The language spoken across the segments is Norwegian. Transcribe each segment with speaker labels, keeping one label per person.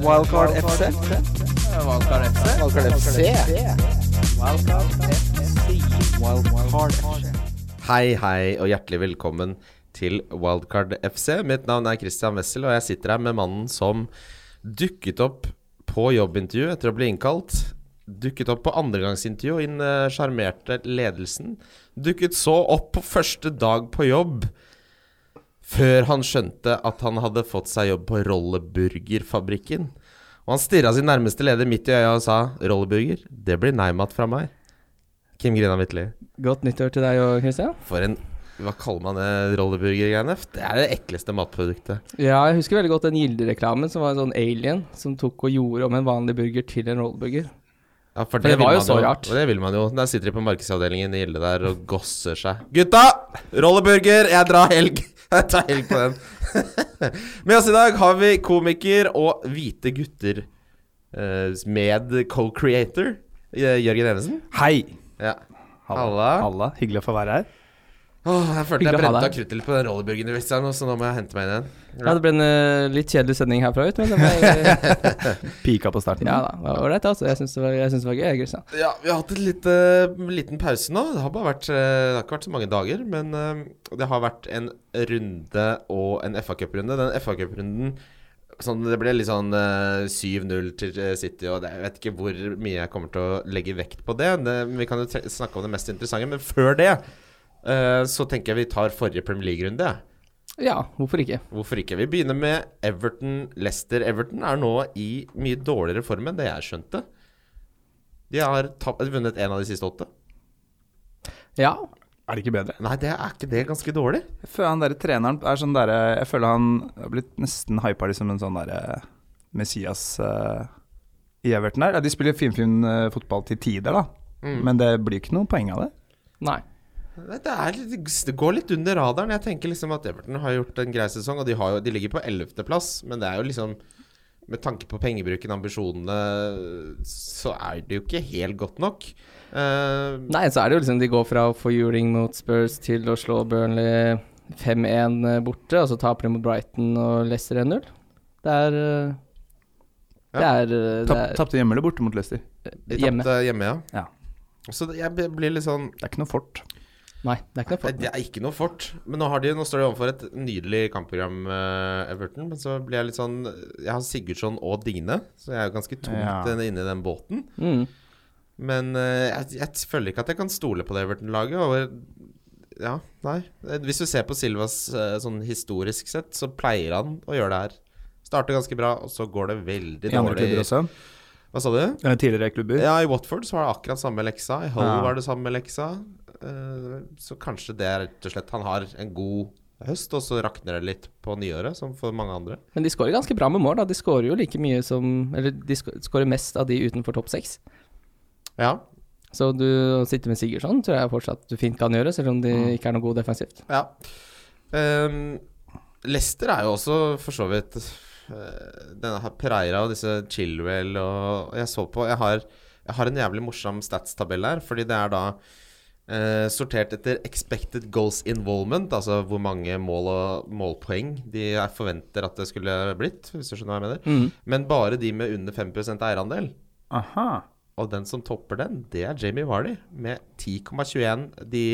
Speaker 1: Wildcard FC.
Speaker 2: Valkar FC.
Speaker 1: Wildcard FC. Wildcard FC.
Speaker 3: Hei, hei og hjertelig velkommen til Wildcard FC. Mitt navn er Christian Wessel, og jeg sitter her med mannen som dukket opp på jobbintervju etter å bli innkalt. Dukket opp på andregangsintervju og inn, eh, sjarmerte ledelsen. Dukket så opp på første dag på jobb før han skjønte at han hadde fått seg jobb på Rolleburgerfabrikken. Og han stirra sin nærmeste leder midt i øya og sa 'Rolleburger, det blir nei-mat fra meg'. Kim Grina Vitli.
Speaker 4: Godt nyttår til deg òg, Christian.
Speaker 3: For en Hva kaller man det rolleburgergreiene? Det er det ekleste matproduktet.
Speaker 4: Ja, jeg husker veldig godt den Gilde-reklamen som var en sånn alien som tok og gjorde om en vanlig burger til en rolleburger.
Speaker 3: Ja,
Speaker 4: det
Speaker 3: vil
Speaker 4: var jo
Speaker 3: man
Speaker 4: så rart.
Speaker 3: Og det vil man jo. Der sitter de på markedsavdelingen i Gilde der og gosser seg. Gutta! Rolleburger! Jeg drar helg! Jeg tar helg på den. Med oss i dag har vi komiker og hvite gutter eh, med co-creator eh, Jørgen Evensen.
Speaker 2: Hei.
Speaker 3: Ja. Halla.
Speaker 2: Halla. Halla. Hyggelig å få være her.
Speaker 3: Åh, jeg følte jeg
Speaker 4: Hyggelig å ha
Speaker 3: brente
Speaker 4: deg.
Speaker 3: av kruttet litt på den rolleburgeren i Vestland, så nå må jeg hente meg inn igjen.
Speaker 4: Ja, det ble en eh, litt kjedelig sending herfra ut, men det var eh,
Speaker 2: Pika på starten.
Speaker 4: Ja da, det var ålreit, altså. Jeg syns det, var- jeg syns det var gøy, jeg, Christian.
Speaker 3: Ja, vi har hatt en lite, liten pause nå. Det har bare vært eh, Det har ikke vært så mange dager, men eh, det har vært en runde og en FA Cup-runde. Den FA Cup-runden sånn, Det ble litt sånn eh, 7-0 til eh, City, og det, jeg vet ikke hvor mye jeg kommer til å legge vekt på det. det vi kan jo tre snakke om det mest interessante, men før det eh, så tenker jeg vi tar forrige Premier League-runde. jeg.
Speaker 4: Ja, hvorfor ikke?
Speaker 3: Hvorfor ikke? Vi begynner med Everton. Leicester Everton er nå i mye dårligere form enn det jeg skjønte. De har tap vunnet én av de siste åtte.
Speaker 4: Ja.
Speaker 2: Er det ikke bedre?
Speaker 3: Nei, det er ikke det ganske dårlig?
Speaker 5: Jeg føler han derre treneren er sånn derre Jeg føler han har blitt nesten hypa som en sånn derre Messias eh, i Everton der. Ja, de spiller finfin eh, fotball til tider, da.
Speaker 2: Mm.
Speaker 5: Men det blir ikke noe poeng av det.
Speaker 4: Nei.
Speaker 3: Nei, Det, er litt, det går litt under radaren. Jeg tenker liksom at Everton har gjort en grei sesong, og de, har jo, de ligger på 11.-plass, men det er jo liksom Med tanke på pengebruken, ambisjonene, så er det jo ikke helt godt nok. Eh,
Speaker 4: Nei, så er det jo liksom de går fra å få juling mot Spurs til å slå Burnley 5-1 borte, og så taper de mot Brighton og Leicester 1-0. Det er eh, Det
Speaker 3: Ja.
Speaker 4: er, eh, det
Speaker 5: Tap-
Speaker 4: er
Speaker 5: Tapte hjemme eller borte mot Leicester?
Speaker 3: de
Speaker 4: hjemme.
Speaker 3: tapte hjemme, ja.
Speaker 5: Ja.
Speaker 3: Så det- jeg b- blir litt sånn
Speaker 5: Det er ikke noe fort.
Speaker 4: Nei, det er ikke noe
Speaker 3: Nei,
Speaker 4: for
Speaker 3: Det er ikke noe fort. Men nå, har de, nå står de overfor et nydelig kampprogram, eh, Everton. Men så blir jeg litt sånn Jeg har Sigurdsson og Digne, så jeg er jo ganske
Speaker 5: Ja.
Speaker 3: tungt inne i den båten.
Speaker 4: Mm.
Speaker 3: Men eh, jeg, jeg føler ikke at jeg kan stole på det Everton-laget. Og ja, nei. Eh, Hvis du ser på Silvas eh, sånn historisk sett, så pleier han å gjøre det her. Starter ganske bra, og så går det veldig
Speaker 5: I andre
Speaker 3: dårlig.
Speaker 5: klubber også.
Speaker 3: Hva sa du?
Speaker 5: Eh, Tidligere klubber.
Speaker 3: Ja, i Watford så var det akkurat samme leksa. I Hull
Speaker 5: Ja.
Speaker 3: var det samme leksa. Eh, så kanskje det er rett og slett Han har en god høst, og så rakner det litt på nyåret, som for mange andre.
Speaker 4: Men de skårer ganske bra med mål, da. De skårer jo like mye som Eller de sk- skårer mest av de utenfor topp seks.
Speaker 3: Ja,
Speaker 4: Så du å sitte med Sigurdsson tror jeg fortsatt du fint kan gjøre, selv om de
Speaker 3: Mm.
Speaker 4: ikke er noe gode defensivt.
Speaker 3: Ja. Ehm, Leicester er jo også for så vidt eh, Denne her Pereira og disse Chilwell og og Jeg så på Jeg har, jeg har en jævlig morsom statstabell her, fordi det er da eh, sortert etter expected goals involvement, altså hvor mange mål og målpoeng de er- forventer at det skulle blitt, hvis du skjønner hva jeg mener. Men bare de med under 5 eierandel.
Speaker 5: Aha.
Speaker 3: Og den som topper den, det er Jamie Vardy med 10,21 de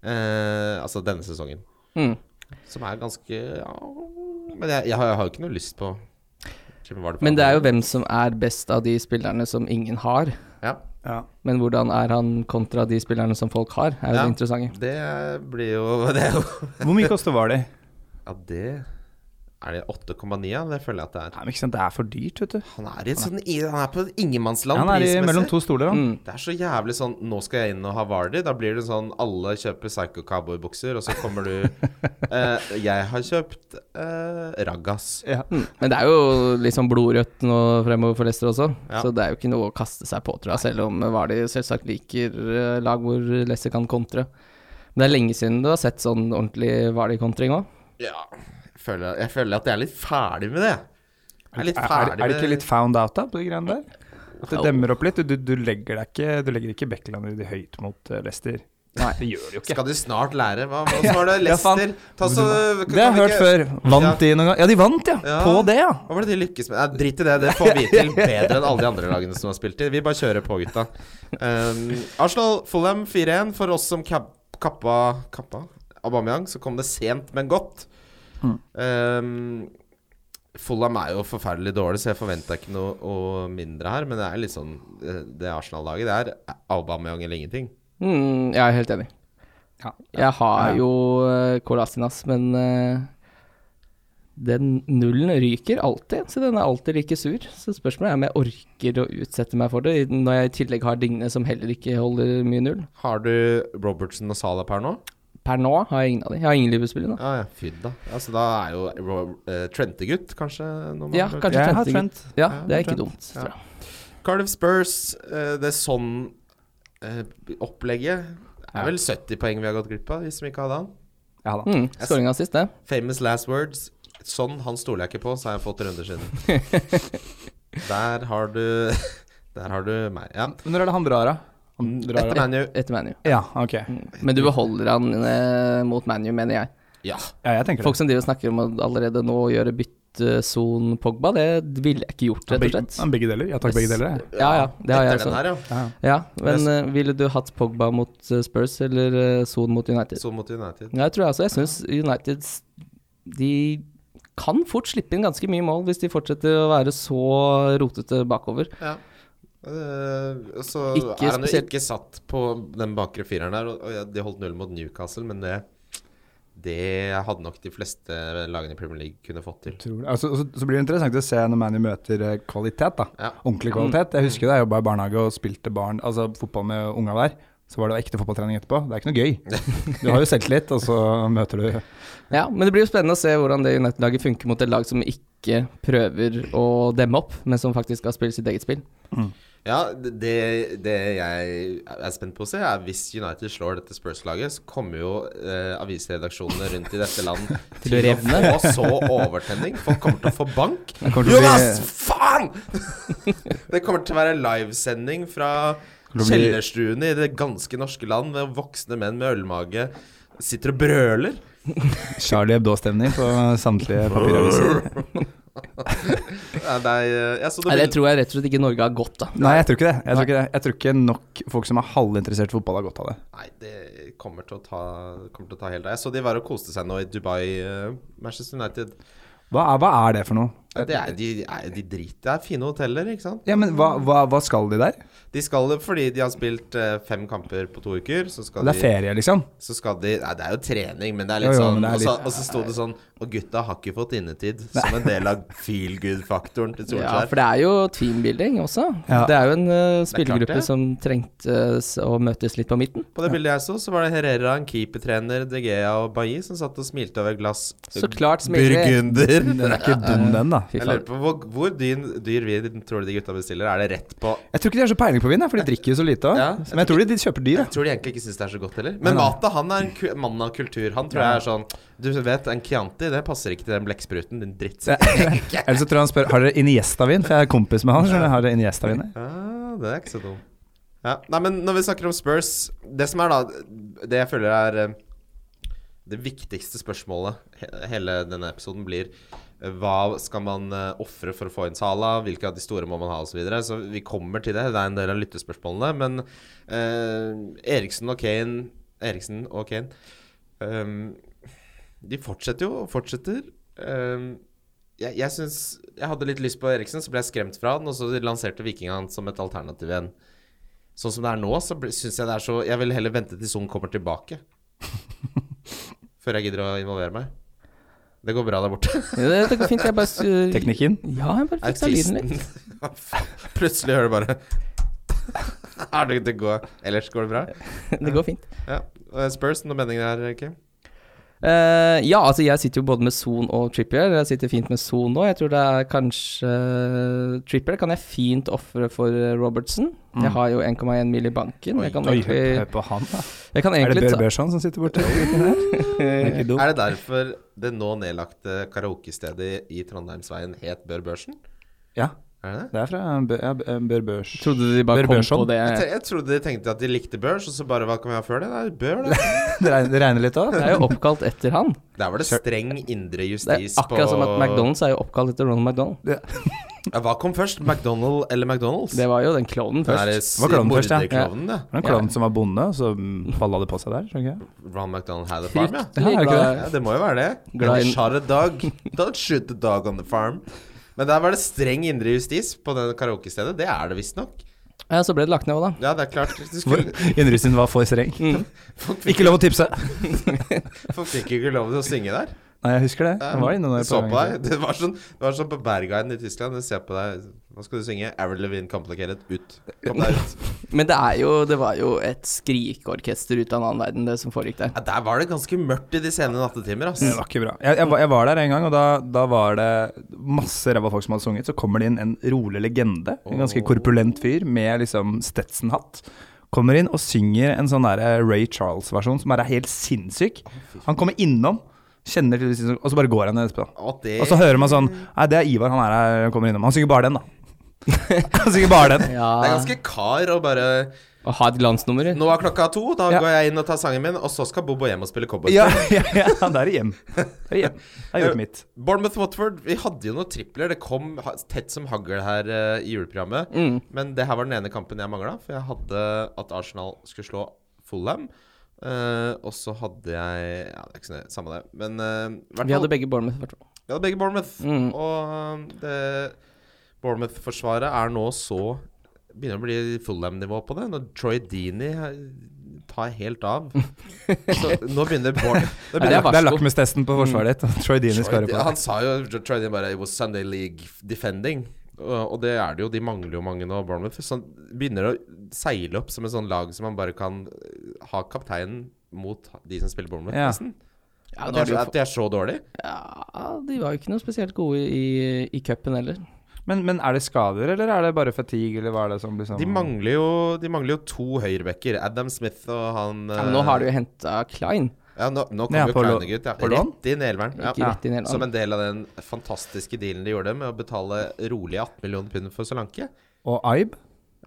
Speaker 3: eh, Altså denne sesongen.
Speaker 4: Mm.
Speaker 3: Som er ganske ja, Men jeg, jeg, har, jeg har jo ikke noe lyst på Jamie Vardy. på
Speaker 4: Men det er jo
Speaker 3: andre.
Speaker 4: hvem som er best av de spillerne som ingen har.
Speaker 3: ja,
Speaker 5: Ja.
Speaker 4: Men hvordan er han kontra de spillerne som folk har, er jo
Speaker 3: Ja.
Speaker 4: det interessante.
Speaker 3: Det blir jo Det er jo
Speaker 5: Hvor mye koster var de?
Speaker 3: Ja, det Er det 8,9? Ja, det føler jeg at det er.
Speaker 5: Nei, men ikke sant, Det er for dyrt, vet du.
Speaker 3: Han er, i et sånn, i- han er på et ingenmannsland
Speaker 5: Han er i
Speaker 3: prismessig.
Speaker 5: mellom to stoler,
Speaker 2: Mm.
Speaker 5: han.
Speaker 3: Det er så jævlig sånn Nå skal jeg inn og ha Vardy. Da blir det sånn alle kjøper Psycho Cowboy-bukser, og så kommer du eh, Jeg har kjøpt eh, Raggas.
Speaker 5: Ja.
Speaker 4: Mm. Men det er jo litt sånn blodrødt nå fremover for Leicester også,
Speaker 3: Ja.
Speaker 4: så det er jo ikke noe å kaste seg på, tror jeg, selv om Vardy selvsagt liker eh, lag hvor Leicester kan kontre. Men det er lenge siden du har sett sånn ordentlig Vardy-kontring òg.
Speaker 3: Ja, jeg føler, jeg føler at jeg er litt ferdig med det. Jeg er litt
Speaker 5: Er, er,
Speaker 3: ferdig
Speaker 5: er det ikke
Speaker 3: med-
Speaker 5: litt found out, da, på de greiene der? At det demmer opp litt. Du, du, du legger deg ikke Du legger ikke Beckland i høyt mot eh, Leicester.
Speaker 4: Nei.
Speaker 2: Det gjør det jo ikke.
Speaker 3: Skal de snart lære? Hva, hva var det?
Speaker 5: Ja, faen.
Speaker 3: Leicester? Ta så,
Speaker 5: Det har jeg hørt før. Vant de noen gang? Ja, de vant, ja!
Speaker 3: Ja.
Speaker 5: På det, ja.
Speaker 3: Hva var det de lykkes med? Nei, drit i det, det får vi til bedre enn alle de andre lagene som har spilt i. Vi bare kjører på, gutta. Um, Arsenal Fulham 4-1. For oss som kap kappa, kappa Aubameyang, så kom det sent, men godt.
Speaker 5: Hmm.
Speaker 3: Um, Fulham er jo forferdelig dårlig, så jeg forventa ikke noe og mindre her. Men det er litt sånn eh, Det Arsenal-laget, det er Aubameyang eller ingenting.
Speaker 4: Mm, jeg er helt enig.
Speaker 5: Ja.
Speaker 4: Jeg har
Speaker 5: Ja.
Speaker 4: jo uh, Kolasinas, men eh, den nullen ryker alltid, så den er alltid like sur. Så spørsmålet er om jeg orker å utsette meg for det, i- når jeg i tillegg har Digne, som heller ikke holder mye null.
Speaker 3: Har du Robertson og Salah per nå?
Speaker 4: Per nå har jeg ingen av de. Jeg har ingen Liverpool-spillere nå.
Speaker 3: Ja, ja, fy da. Altså, da er jo Ro- eh, Trente-gutt, kanskje? når man
Speaker 4: Ja,
Speaker 3: har-
Speaker 4: kanskje
Speaker 5: Jeg har
Speaker 4: Trent. ikke-
Speaker 5: Trent.
Speaker 4: Ja,
Speaker 3: Ja,
Speaker 4: det er ikke
Speaker 3: Trent.
Speaker 4: dumt.
Speaker 3: Ja.
Speaker 4: Tror jeg.
Speaker 3: Cardiff Spurs, eh, det er sånn eh, opplegget Det er vel 70 poeng vi har gått glipp av, vi som ikke hadde han.
Speaker 5: Ja da.
Speaker 4: Mm, Skåringa sist, det.
Speaker 3: Famous last words. Sånn, han stoler jeg ikke på, så har jeg fått runder siden. der har du Der har du meg. Ja.
Speaker 5: Men Når er det han drar, da? Han drar,
Speaker 3: Etter ManU.
Speaker 4: Etter ManU.
Speaker 5: Mm, eh, ja, ok.
Speaker 4: Men du beholder han eh, mot ManU, mener jeg.
Speaker 3: Ja.
Speaker 5: Ja, jeg tenker det.
Speaker 4: Folk som driver og snakker om å allerede nå gjøre bytteson Pogba, det ville jeg ikke gjort, rett og
Speaker 5: Begge,
Speaker 4: slett.
Speaker 5: ja, begge deler. Jeg tar begge deler, jeg.
Speaker 4: Ja, ja, det har jeg
Speaker 3: Etter den
Speaker 4: også.
Speaker 3: her, ja.
Speaker 5: Ja.
Speaker 4: Ja, men eh, ville du hatt Pogba mot eh, Spurs eller eh, Son mot United?
Speaker 3: Så mot United.
Speaker 4: Ja, jeg tror altså, jeg syns United De kan fort slippe inn ganske mye mål hvis de fortsetter å være så rotete bakover.
Speaker 3: Ja. Eh, så
Speaker 4: Ikke
Speaker 3: er han jo
Speaker 4: spesielt-
Speaker 3: ikke satt på den bakre fireren der. Og, og ja, de holdt null mot Newcastle, men det Det hadde nok de fleste lagene i Premier League kunne fått til.
Speaker 5: Tror det. Altså, så, så blir det interessant å se når Manu møter eh, kvalitet, da.
Speaker 3: Ja.
Speaker 5: Ordentlig kvalitet. Jeg husker da jeg jobba i barnehage og spilte barn, altså fotball med unga der. Så var det ekte fotballtrening etterpå. Det er ikke noe gøy. Du har jo selvtillit, og så møter du
Speaker 4: Ja, Men det blir jo spennende å se hvordan det United-laget funker mot et lag som ikke prøver å demme opp, men som faktisk har spilt sitt eget spill.
Speaker 3: Ja, det, det jeg er spent på å se, er hvis United slår dette Spurs-laget, så kommer jo eh, avisredaksjonene rundt i dette land
Speaker 4: Til å revne.
Speaker 3: få så overtenning. Folk kommer til å få bank.
Speaker 5: kommer til å bli-
Speaker 3: Jonas, faen! Det kommer til å være livesending fra
Speaker 5: til å bli-
Speaker 3: kjellerstuene i det ganske norske land, med voksne menn med ølmage sitter og brøler.
Speaker 5: Charlie Hebdo-stemning på samtlige papiraviser.
Speaker 3: Nei, det er, jeg så det
Speaker 4: Nei, det
Speaker 3: bild-
Speaker 4: tror jeg rett og slett ikke Norge har godt av.
Speaker 5: Nei, jeg tror ikke det. Jeg tror ikke, det. Jeg tror ikke nok folk som er halvinteressert i fotball, har godt av det.
Speaker 3: Nei, det kommer til å ta, kommer til å ta helt av. Jeg så de var og koste seg nå i Dubai, eh, Manchester United.
Speaker 5: Hva er, hva er det for noe?
Speaker 3: Ja, Det er, de, er, de driter Det er fine hoteller, ikke sant?
Speaker 5: Ja, men hva, hva, hva skal de der?
Speaker 3: De skal det fordi de har spilt eh, fem kamper på to uker. Så skal
Speaker 5: Det er
Speaker 3: de,
Speaker 5: ferie, liksom.
Speaker 3: så skal de Nei, det er jo trening, men det er
Speaker 5: Jo,
Speaker 3: litt
Speaker 5: jo,
Speaker 3: sånn
Speaker 5: men det er
Speaker 3: og så-
Speaker 5: litt-
Speaker 3: Og så sto det sånn Og gutta har ikke fått innetid, som en del av feel good-faktoren til
Speaker 4: Ja,
Speaker 3: Solskjær.
Speaker 4: for det er jo teambuilding også.
Speaker 5: Ja.
Speaker 4: Det er jo en uh,
Speaker 3: klart
Speaker 4: spillergruppe
Speaker 3: det.
Speaker 4: som trengtes å møtes litt på midten.
Speaker 3: På det bildet jeg så, så var det Herrera, en keepertrener, De Gea og Bailly som satt og smilte over et glass
Speaker 4: Så klart smiler jeg.
Speaker 3: burgunder.
Speaker 5: Den er ikke dum, den, da.
Speaker 4: Fy
Speaker 3: Jeg
Speaker 4: faen.
Speaker 3: lurer på hvor, hvor dyr, dyr vin tror du de gutta bestiller? Er det rett på
Speaker 5: Jeg tror ikke de har så peiling på vin, jeg, for de drikker jo så lite òg.
Speaker 3: Ja.
Speaker 5: Men jeg tror de, de kjøper dyr.
Speaker 3: Jeg
Speaker 5: jeg.
Speaker 3: tror de egentlig ikke syns det er så godt heller. Men Mata han er en ku mann av kultur. Han tror jeg er sånn Du vet, en Chianti det passer ikke til den blekkspruten, din drittsekk.
Speaker 5: Eller så tror jeg han spør Har dere Iniesta-vin, for jeg er kompis med han. skjønner du. Har dere Iniesta-vin her?
Speaker 3: Ah, det er ikke så dum. Ja. Nei, men når vi snakker om Spurs Det som er da Det jeg føler er eh, det viktigste spørsmålet he- hele denne episoden blir eh, hva skal man eh, ofre for å få inn Sala, hvilke av de store må man ha osv. Så, videre. så vi kommer til det, det er en del av lyttespørsmålene. Men eh, Eriksen og Kane Eriksen og Kane ehm, De fortsetter jo og fortsetter. Ehm, jeg, jeg syns Jeg hadde litt lyst på Eriksen, så ble jeg skremt fra han, og så lanserte Vikinga han som et alternativ igjen. Sånn som det er nå, så blir- syns jeg det er så Jeg vil heller vente til Sung kommer tilbake. Før jeg gidder å involvere meg. Det går bra der borte.
Speaker 4: Ja, det, det går fint. Jeg bare uh,
Speaker 5: Teknikken?
Speaker 4: Ja, jeg bare fiksa lyden litt.
Speaker 3: Autisten. Plutselig hører du bare Er det det går Ellers går det bra?
Speaker 4: Det går fint.
Speaker 3: Ja. Eh, Spurs, noen meninger her, Kim?
Speaker 4: Eh, ja, altså jeg sitter jo både med Son og Trippier. Jeg sitter fint med Son nå. Jeg tror det er kanskje Trippier kan jeg fint ofre for eh, Robertson. Jeg har jo 1,1 mill i banken. Jeg kan
Speaker 5: Mm. Oi, hør
Speaker 4: egentlig,
Speaker 5: hør på han, da.
Speaker 4: jeg kan
Speaker 5: Er det
Speaker 4: egentlig
Speaker 5: Bjørn
Speaker 4: ta
Speaker 5: Bjørson som sitter borte? Er ikke dum.
Speaker 3: Er det derfor det nå nedlagte karaokestedet i Trondheimsveien het Bør Børsen?
Speaker 5: Ja.
Speaker 3: Er det det?
Speaker 5: Det er fra Bø- ja, Bø- eh, Bør Børs.
Speaker 4: Trodde du de bare
Speaker 5: Bør
Speaker 4: kom
Speaker 5: Børson?
Speaker 4: på det
Speaker 3: Jeg, te- jeg trodde de tenkte at de likte børs, og så bare hva kan vi ha før det? Det er bør, da.
Speaker 5: Det regner, det regner litt òg.
Speaker 4: Det er jo oppkalt etter han.
Speaker 3: Der var det streng indre
Speaker 4: Det er
Speaker 3: justis
Speaker 4: akkurat
Speaker 3: på-
Speaker 4: som at McDonald's er jo oppkalt etter Ronald McDonald.
Speaker 3: Ja, Hva kom først, McDonald eller McDonald's?
Speaker 4: Det var jo den klovnen
Speaker 3: Den
Speaker 4: først.
Speaker 3: der
Speaker 5: Hva kaller den først, ja?
Speaker 3: morderklovnen, ja.
Speaker 5: En klovn som var bonde, og så balla det på seg der. skjønner ikke jeg?
Speaker 3: Ron McDonald had a farm, ja.
Speaker 5: Ja, er
Speaker 4: Fryktelig
Speaker 5: det ikke
Speaker 4: glad.
Speaker 3: Ja, det må jo være det.
Speaker 4: Glad
Speaker 3: They
Speaker 4: i-
Speaker 3: shot a dog. Don't shoot the dog on the farm. Men der var det streng indre justis på det karaokestedet. Det er det visstnok.
Speaker 4: Ja, så ble det lagt ned òg,
Speaker 3: Ja,
Speaker 4: da.
Speaker 3: det er klart. Du
Speaker 5: Hvor
Speaker 3: skulle,
Speaker 5: Innrømmelsen var for streng.
Speaker 3: Mm. folk, fikk,
Speaker 5: Ikke lov å tipse!
Speaker 3: folk fikk jo ikke lov til å synge der.
Speaker 5: Nei, jeg husker det. Jeg var inne
Speaker 3: Jeg
Speaker 5: der
Speaker 3: så
Speaker 5: en
Speaker 3: på
Speaker 5: gang.
Speaker 3: deg. Det var sånn, det var sånn på Bergheim i Tyskland. Jeg ser på deg Nå skal du synge Avril Lavigne Complicated. Ut. Kom deg ut.
Speaker 4: Men det, er jo, det var jo et skrikeorkester ut av en annen verden, det som foregikk der.
Speaker 3: Ja, der var det ganske mørkt i de sene nattetimer, ass.
Speaker 5: Det var ikke bra. Jeg, jeg, var- jeg var der en gang, og da, da var det masse ræva folk som hadde sunget. Så kommer det inn en rolig legende, en ganske korpulent fyr med liksom Stetson-hatt. Kommer inn og synger en sånn der eh, Ray Charles-versjon som er helt sinnssyk. Han kommer innom, kjenner til det, og så bare går han ned etterpå.
Speaker 3: Og det
Speaker 5: Og så hører man sånn Nei, det er Ivar, han er her, han kommer innom. Han synger bare den, da. Han synger bare den.
Speaker 4: Ja,
Speaker 3: Det er ganske kar å bare
Speaker 4: Å ha et glansnummer.
Speaker 3: Nå er klokka to, da
Speaker 5: Ja.
Speaker 3: går jeg inn og tar sangen min, og så skal Bobo hjem og spille cowboy.
Speaker 5: Ja, ja, ja, det er hjem. Det er hjem. Jeg har gjort mitt.
Speaker 3: Bournemouth-Watford, vi hadde jo noen tripler. Det kom ha- tett som hagl her eh, i juleprogrammet.
Speaker 4: Mm.
Speaker 3: Men det her var den ene kampen jeg mangla, for jeg hadde at Arsenal skulle slå Fulham. Eh, og så hadde jeg Ja, det er ikke så nøye, samme det. Men eh, hvert
Speaker 4: Vi
Speaker 3: fall-
Speaker 4: hadde begge Bournemouth. i hvert fall.
Speaker 3: vi hadde begge Bournemouth.
Speaker 4: Mm.
Speaker 3: Og eh, det Bournemouth-forsvaret er nå så Begynner å bli Fulham-nivå på det. Når Troy Deeney eh, tar helt av. Så nå begynner Bournemouth
Speaker 5: Det
Speaker 4: det er
Speaker 5: er, det er
Speaker 4: varsko.
Speaker 5: lakmustesten på forsvaret ditt. Troy Deeney
Speaker 3: Troy,
Speaker 5: skårer på
Speaker 3: ja,
Speaker 5: det.
Speaker 3: han sa jo Troy Deeney bare It was Sunday League defending. Og og det er det jo. De mangler jo mange nå, Bournemouth. Så han begynner å seile opp som et sånn lag som man bare kan eh, ha kapteinen mot de som spiller Bournemouth,
Speaker 5: Ja.
Speaker 3: nesten.
Speaker 4: Ja,
Speaker 3: At
Speaker 4: nå
Speaker 3: de
Speaker 4: har
Speaker 3: er,
Speaker 4: de,
Speaker 3: så-
Speaker 4: jo
Speaker 3: at de er så dårlige.
Speaker 4: fått- ja, de var jo ikke noe spesielt gode i, i cupen heller.
Speaker 5: Men, men er det skader, eller er det bare fatigue, eller hva er det som liksom
Speaker 3: De mangler jo, de mangler jo to høyrebacker. Adam Smith og han eh,
Speaker 4: Ja, men nå har de jo henta Klein.
Speaker 3: ja, Nå, nå
Speaker 5: Ja,
Speaker 3: kommer jo
Speaker 5: på lå-
Speaker 3: Kleine gutt. Ja.
Speaker 5: på lån?
Speaker 3: Rett i nedleveren.
Speaker 4: Ikke
Speaker 3: Ja.
Speaker 4: rett inn i hele
Speaker 3: Som en
Speaker 4: landet.
Speaker 3: del av den fantastiske dealen de gjorde med å betale rolige 18 millioner pund for Solanke.
Speaker 5: Og Aib?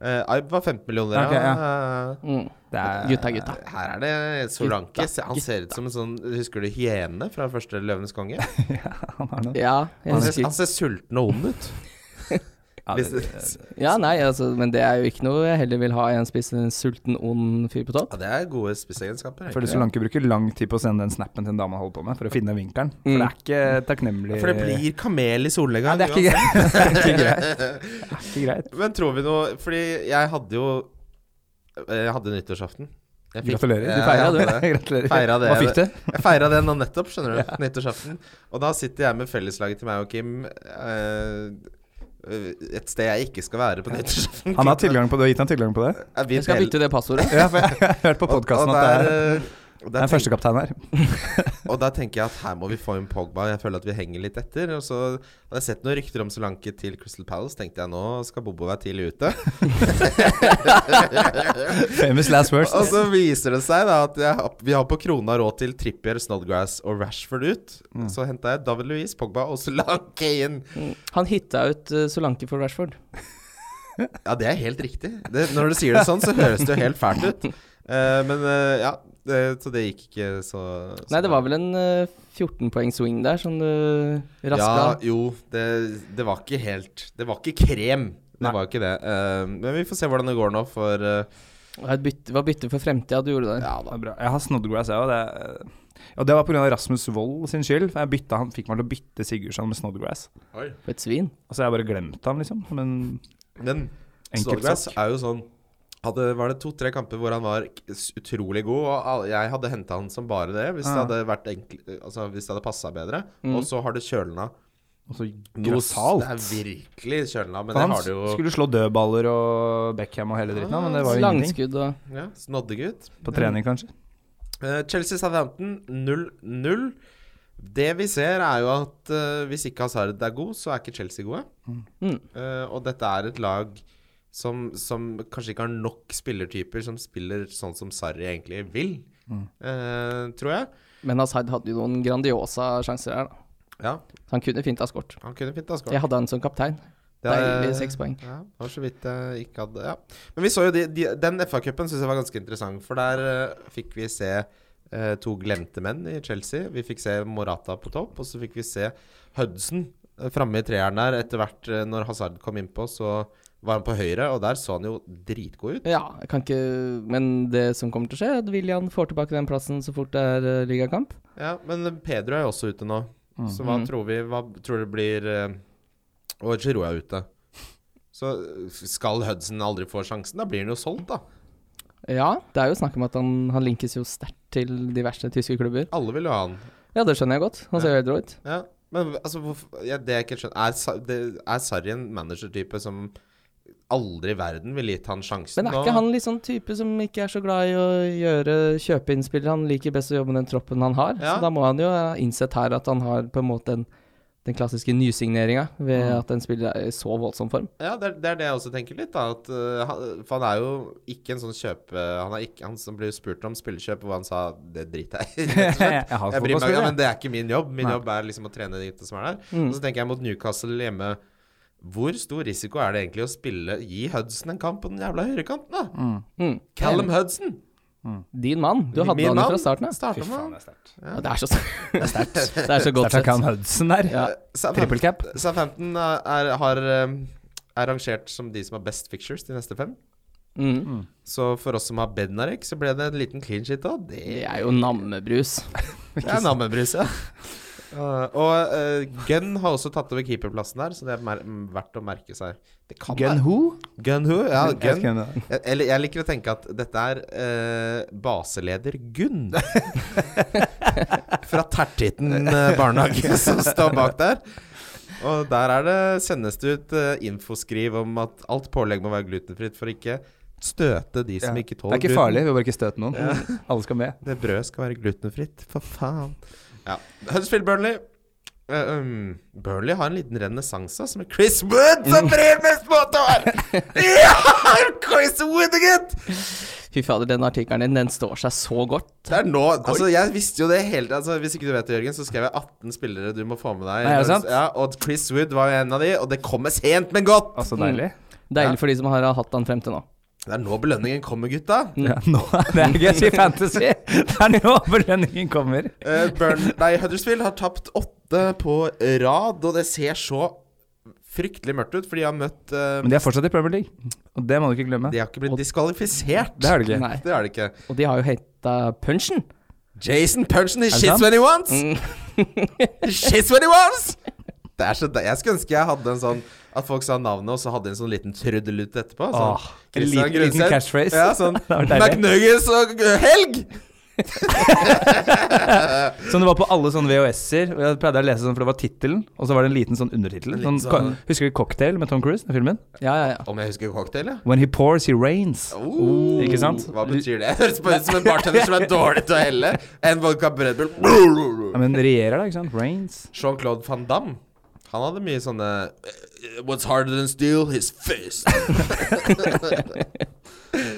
Speaker 3: Eh, Aib var 15 millioner,
Speaker 5: Ok,
Speaker 3: ja. Eh,
Speaker 4: Mm.
Speaker 5: Det er
Speaker 4: Gutta, gutta.
Speaker 3: Her er det Solanke.
Speaker 4: Gutta,
Speaker 3: Se- Han ser ut som en sånn Husker du hyene fra første Løvenes konge?
Speaker 5: Han er noe.
Speaker 4: Ja, jeg
Speaker 3: Han ser,
Speaker 4: husker.
Speaker 3: han ser sulten og ond ut.
Speaker 5: Ja,
Speaker 3: Hvis-
Speaker 5: det,
Speaker 4: Ja, nei, altså, men det er jo ikke noe jeg heller vil ha i en spiss enn en sulten, ond fyr på topp.
Speaker 3: Ja, det er gode spissegenskaper.
Speaker 5: jeg
Speaker 3: egentlig.
Speaker 5: føler Solanke bruker lang tid på å sende den snappen til en dame han holder på med, for å finne vinkelen. For det er ikke takknemlig
Speaker 3: Mm. For det blir kamel i
Speaker 5: ja,
Speaker 3: solnedgang.
Speaker 5: det er ikke greit. Det er ikke greit. Det er ikke greit.
Speaker 3: Men tror vi noe Fordi jeg hadde jo eh, Jeg hadde nyttårsaften. Jeg fikk-
Speaker 5: Gratulerer. Du
Speaker 3: Ja,
Speaker 5: feira, du.
Speaker 3: jeg hadde det.
Speaker 5: Gratulerer.
Speaker 3: Feira det.
Speaker 5: Hva fikk du?
Speaker 3: Jeg feira det nå nettopp, skjønner du. Nyttårsaften. Og da sitter jeg med felleslaget til meg og Kim eh, et sted jeg ikke skal være på nyttårsaften.
Speaker 5: Han har tilgang på det, du har gitt han tilgang på det?
Speaker 3: Jeg vet
Speaker 4: Jeg skal
Speaker 3: hele-
Speaker 4: bytte det passordet.
Speaker 5: Ja, for jeg jeg har hørt på
Speaker 3: Og- og
Speaker 5: podkasten at det er,
Speaker 3: der, eh, og
Speaker 5: det
Speaker 3: der
Speaker 5: er førstekaptein her.
Speaker 3: Og da tenker jeg at her må vi få inn Pogba. Jeg føler at vi henger litt etter. Og så hadde jeg sett noen rykter om Solanke til Crystal Palace. Tenkte jeg nå skal Bobo være tidlig ute.
Speaker 5: Famous last words.
Speaker 3: og så viser det seg da at jeg, har- vi har på krona råd til Trippier, Snodgrass og Rashford ut.
Speaker 5: Mm.
Speaker 3: Så henta jeg David Louise, Pogba og Solanke inn.
Speaker 4: Mm. Han hitta ut eh, Solanke for Rashford.
Speaker 3: Ja, det er helt riktig. Det, når du sier det sånn, så høres det jo helt fælt ut. Eh, men eh, ja, det, så det gikk ikke så, så
Speaker 4: Nei, det var vel en eh, 14 poeng swing der som du
Speaker 3: Ja,
Speaker 4: raska.
Speaker 3: jo, det, det var ikke helt Det var ikke krem. Det
Speaker 5: Nei.
Speaker 3: var ikke det. Eh, men vi får se hvordan det går nå, for eh,
Speaker 4: Det var et bytte, var bytte for fremtida du gjorde der.
Speaker 3: Ja
Speaker 5: Det
Speaker 3: da.
Speaker 5: er bra. Jeg har Snodgrass, jeg òg. Det, og det var pga. Rasmus Wold sin skyld. For jeg bytta, han fikk meg til å bytte Sigurdsson med Snodgrass.
Speaker 4: For et svin.
Speaker 5: Og så har Altså, jeg bare glemt han, liksom. Som en
Speaker 3: Men
Speaker 5: enkel
Speaker 3: Snodgrass
Speaker 5: sak.
Speaker 3: er jo sånn hadde, Var det to-tre kamper hvor han var k- s- utrolig god, og all- jeg hadde henta han som bare det hvis
Speaker 5: Ah.
Speaker 3: det
Speaker 5: Mm.
Speaker 3: hadde vært enkl, Altså hvis det hadde passa bedre. Og så har du kjølna.
Speaker 5: Og så
Speaker 3: Noe s- Det er
Speaker 5: grassalt.
Speaker 3: virkelig kjølna, men
Speaker 5: Han
Speaker 3: det har du jo
Speaker 5: skulle slå dødballer og Beckham og hele dritten, men det var jo ingenting.
Speaker 4: Langskudd og
Speaker 3: ja, Snoddegutt.
Speaker 5: På trening, kanskje.
Speaker 3: Eh, Chelsea Southampton 0-0. Det vi ser, er jo at eh, hvis ikke Hazard er god, så er ikke Chelsea gode.
Speaker 4: Mm.
Speaker 3: Eh, og dette er et lag som, som kanskje ikke har nok spillertyper som spiller sånn som Sarri egentlig vil, eh, tror jeg.
Speaker 4: Men Asaid hadde jo noen grandiosa sjanser her, da.
Speaker 3: Ja,
Speaker 4: Så han kunne fint ha skåret.
Speaker 3: han kunne fint ha skåret.
Speaker 4: Jeg hadde han som kaptein. Deilig seks poeng.
Speaker 3: Ja, det var så vidt jeg ikke hadde ja. Men vi så jo de, de, den FA-cupen syns jeg var ganske interessant, for der eh, fikk vi se eh, to glemte menn i Chelsea. Vi fikk se Morata på topp, og så fikk vi se Hudson eh, framme i treeren der. Etter hvert, eh, når Hazard kom innpå, så var han på høyre, og der så han jo dritgod ut.
Speaker 4: Ja, jeg kan ikke Men det som kommer til å skje, er at William får tilbake den plassen så fort det er eh, ligakamp.
Speaker 3: Ja, men Pedro er jo også ute nå, så hva
Speaker 4: Mhm.
Speaker 3: tror vi Hva tror du blir eh, Og Giroud er ute. Så eh, skal Hudson aldri få sjansen? Da blir han jo solgt, da.
Speaker 4: Ja, det er jo snakk om at han, han linkes jo sterkt til diverse tyske klubber.
Speaker 3: Alle vil jo ha han.
Speaker 4: Ja, det skjønner jeg godt. Han ser jo helt rå ut.
Speaker 3: Ja, men altså, hvorfor, ja, det jeg ikke skjønner Er, Sa- det, er Sarri en managertype som aldri i verden ville gitt han sjansen?
Speaker 4: Men er ikke han litt sånn type som ikke er så glad i å gjøre kjøpeinnspill? Han liker best å jobbe med den troppen han har, så
Speaker 3: Ja.
Speaker 4: da må han jo ha innsett her at han har på en måte den, den klassiske nysigneringa ved at en spiller er i så voldsom form.
Speaker 3: Ja, det, er- det er det jeg også tenker litt, da. At, eh, han, for han er jo ikke en sånn kjøpe... Han, er ikke, han som blir spurt om spillekjøp, hvor han sa 'det driter jeg i'.
Speaker 5: Jeg har
Speaker 3: Jeg bryr meg ikke,
Speaker 5: fotballspillere.
Speaker 3: men det er ikke min jobb. Min
Speaker 5: Nei.
Speaker 3: jobb er liksom å trene de gutta som er der.
Speaker 4: Mm.
Speaker 3: Og så tenker jeg mot Newcastle hjemme Hvor stor risiko er det egentlig å spille Gi Hudson en kamp på den jævla høyrekanten, da?
Speaker 4: Mm.
Speaker 3: Callum Hudson!
Speaker 4: Din mann. Du hadde han jo fra starten av.
Speaker 3: Starta med
Speaker 5: Faen,
Speaker 3: han.
Speaker 5: det er sterkt.
Speaker 4: Ja, det er så Det er sterkt. det er så
Speaker 5: Det er
Speaker 4: godt
Speaker 5: fra
Speaker 4: sett.
Speaker 5: Callum Hudson der.
Speaker 3: Eh,
Speaker 4: Ja.
Speaker 3: Southampton-
Speaker 5: Triple cap.
Speaker 3: Southampton er, er, har, eh, er rangert som de som har best pictures de neste fem.
Speaker 4: Mm.
Speaker 3: Så for oss som har Bednarek, så ble det en liten clean shit òg. Det
Speaker 4: Det er jo nammebrus.
Speaker 3: det er nammebrus, ja. Uh, og eh, Gunn har også tatt over keeperplassen der, så det er mer verdt å merke seg. Det kan
Speaker 5: Gun
Speaker 3: være-
Speaker 5: who?
Speaker 3: Gunn who? Ja,
Speaker 5: Jeg vet ikke
Speaker 3: Gunn.
Speaker 5: hvem det er.
Speaker 3: Jeg- Eller jeg liker å tenke at dette er eh, baseleder Gunn. Fra Tertitten eh, barnehage som står bak der. Og der er det, sendes det ut eh, infoskriv om at alt pålegg må være glutenfritt for ikke støte de som
Speaker 5: Ja.
Speaker 3: ikke
Speaker 5: Det
Speaker 3: tåler
Speaker 5: er ikke farlig, vi vil bare ikke støte noen. Alle skal med.
Speaker 3: Det brødet skal være glutenfritt, for faen. Ja. Huddersfield Burnley. Eh, um, Burnley har en liten renessanse altså, med Chris Wood som
Speaker 5: Mm.
Speaker 3: brenner med småtår! Ja! Chris Wood, gutt!
Speaker 4: Fy fader, den artikkelen din, den står seg så godt.
Speaker 3: Det er nå Altså, jeg visste jo det hele altså, Hvis ikke du vet det, Jørgen, så skrev jeg 18 spillere du må få med deg.
Speaker 5: Nei, er det sant?
Speaker 3: Ja, og Chris Wood var jo en av de, og det kommer sent, men godt!
Speaker 5: Altså,
Speaker 4: Mm.
Speaker 5: deilig.
Speaker 4: Deilig for de som har hatt han frem til nå.
Speaker 3: Det er nå belønningen kommer, gutta.
Speaker 4: Mm.
Speaker 5: Ja, nå er det gøy å si fantasy! Det er nå belønningen kommer.
Speaker 3: Eh, Burn, nei, Huddersfield har tapt åtte på rad, og det ser så fryktelig mørkt ut, for de har møtt eh,
Speaker 5: Men de er fortsatt i Premier League, og det må du ikke glemme.
Speaker 3: De har ikke blitt diskvalifisert.
Speaker 5: Det er det ikke.
Speaker 4: Nei.
Speaker 3: Det er det ikke.
Speaker 4: Og de har jo henta punchen.
Speaker 3: Jason Punchen, he
Speaker 5: det
Speaker 3: shits
Speaker 5: sant?
Speaker 3: when he wants! He shits when he wants! Det er så de jeg skulle ønske jeg hadde en sånn At folk sa navnet, og så hadde de en sånn liten trudelutt etterpå. Sånn,
Speaker 5: Åh, en
Speaker 3: Christian
Speaker 5: liten- liten
Speaker 3: Grundseth.
Speaker 5: catchphrase.
Speaker 3: Ja, sånn
Speaker 5: var deilig.
Speaker 3: McNuggets og uh, Helg!
Speaker 5: Som det var på alle sånne VHS-er. og Jeg pleide å lese sånn, for det var tittelen, og så var det en liten sånn undertittel.
Speaker 3: En liten
Speaker 5: Sånn,
Speaker 3: sånn-
Speaker 5: ko- husker du 'Cocktail' med Tom Cruise? Den filmen?
Speaker 4: Ja, ja, ja.
Speaker 3: Om jeg husker cocktail, ja.
Speaker 5: When he pours, he rains.
Speaker 3: Oh,
Speaker 5: Ikke sant?
Speaker 3: Hva betyr det? Det høres bare ut som en bartender som er dårlig til å helle. En vodka Red Bull.
Speaker 5: Ja, men regjerer da, ikke sant? Rains.
Speaker 3: Jean-Claude Van Damme Han hadde mye sånne eh, What's harder than steel? His face.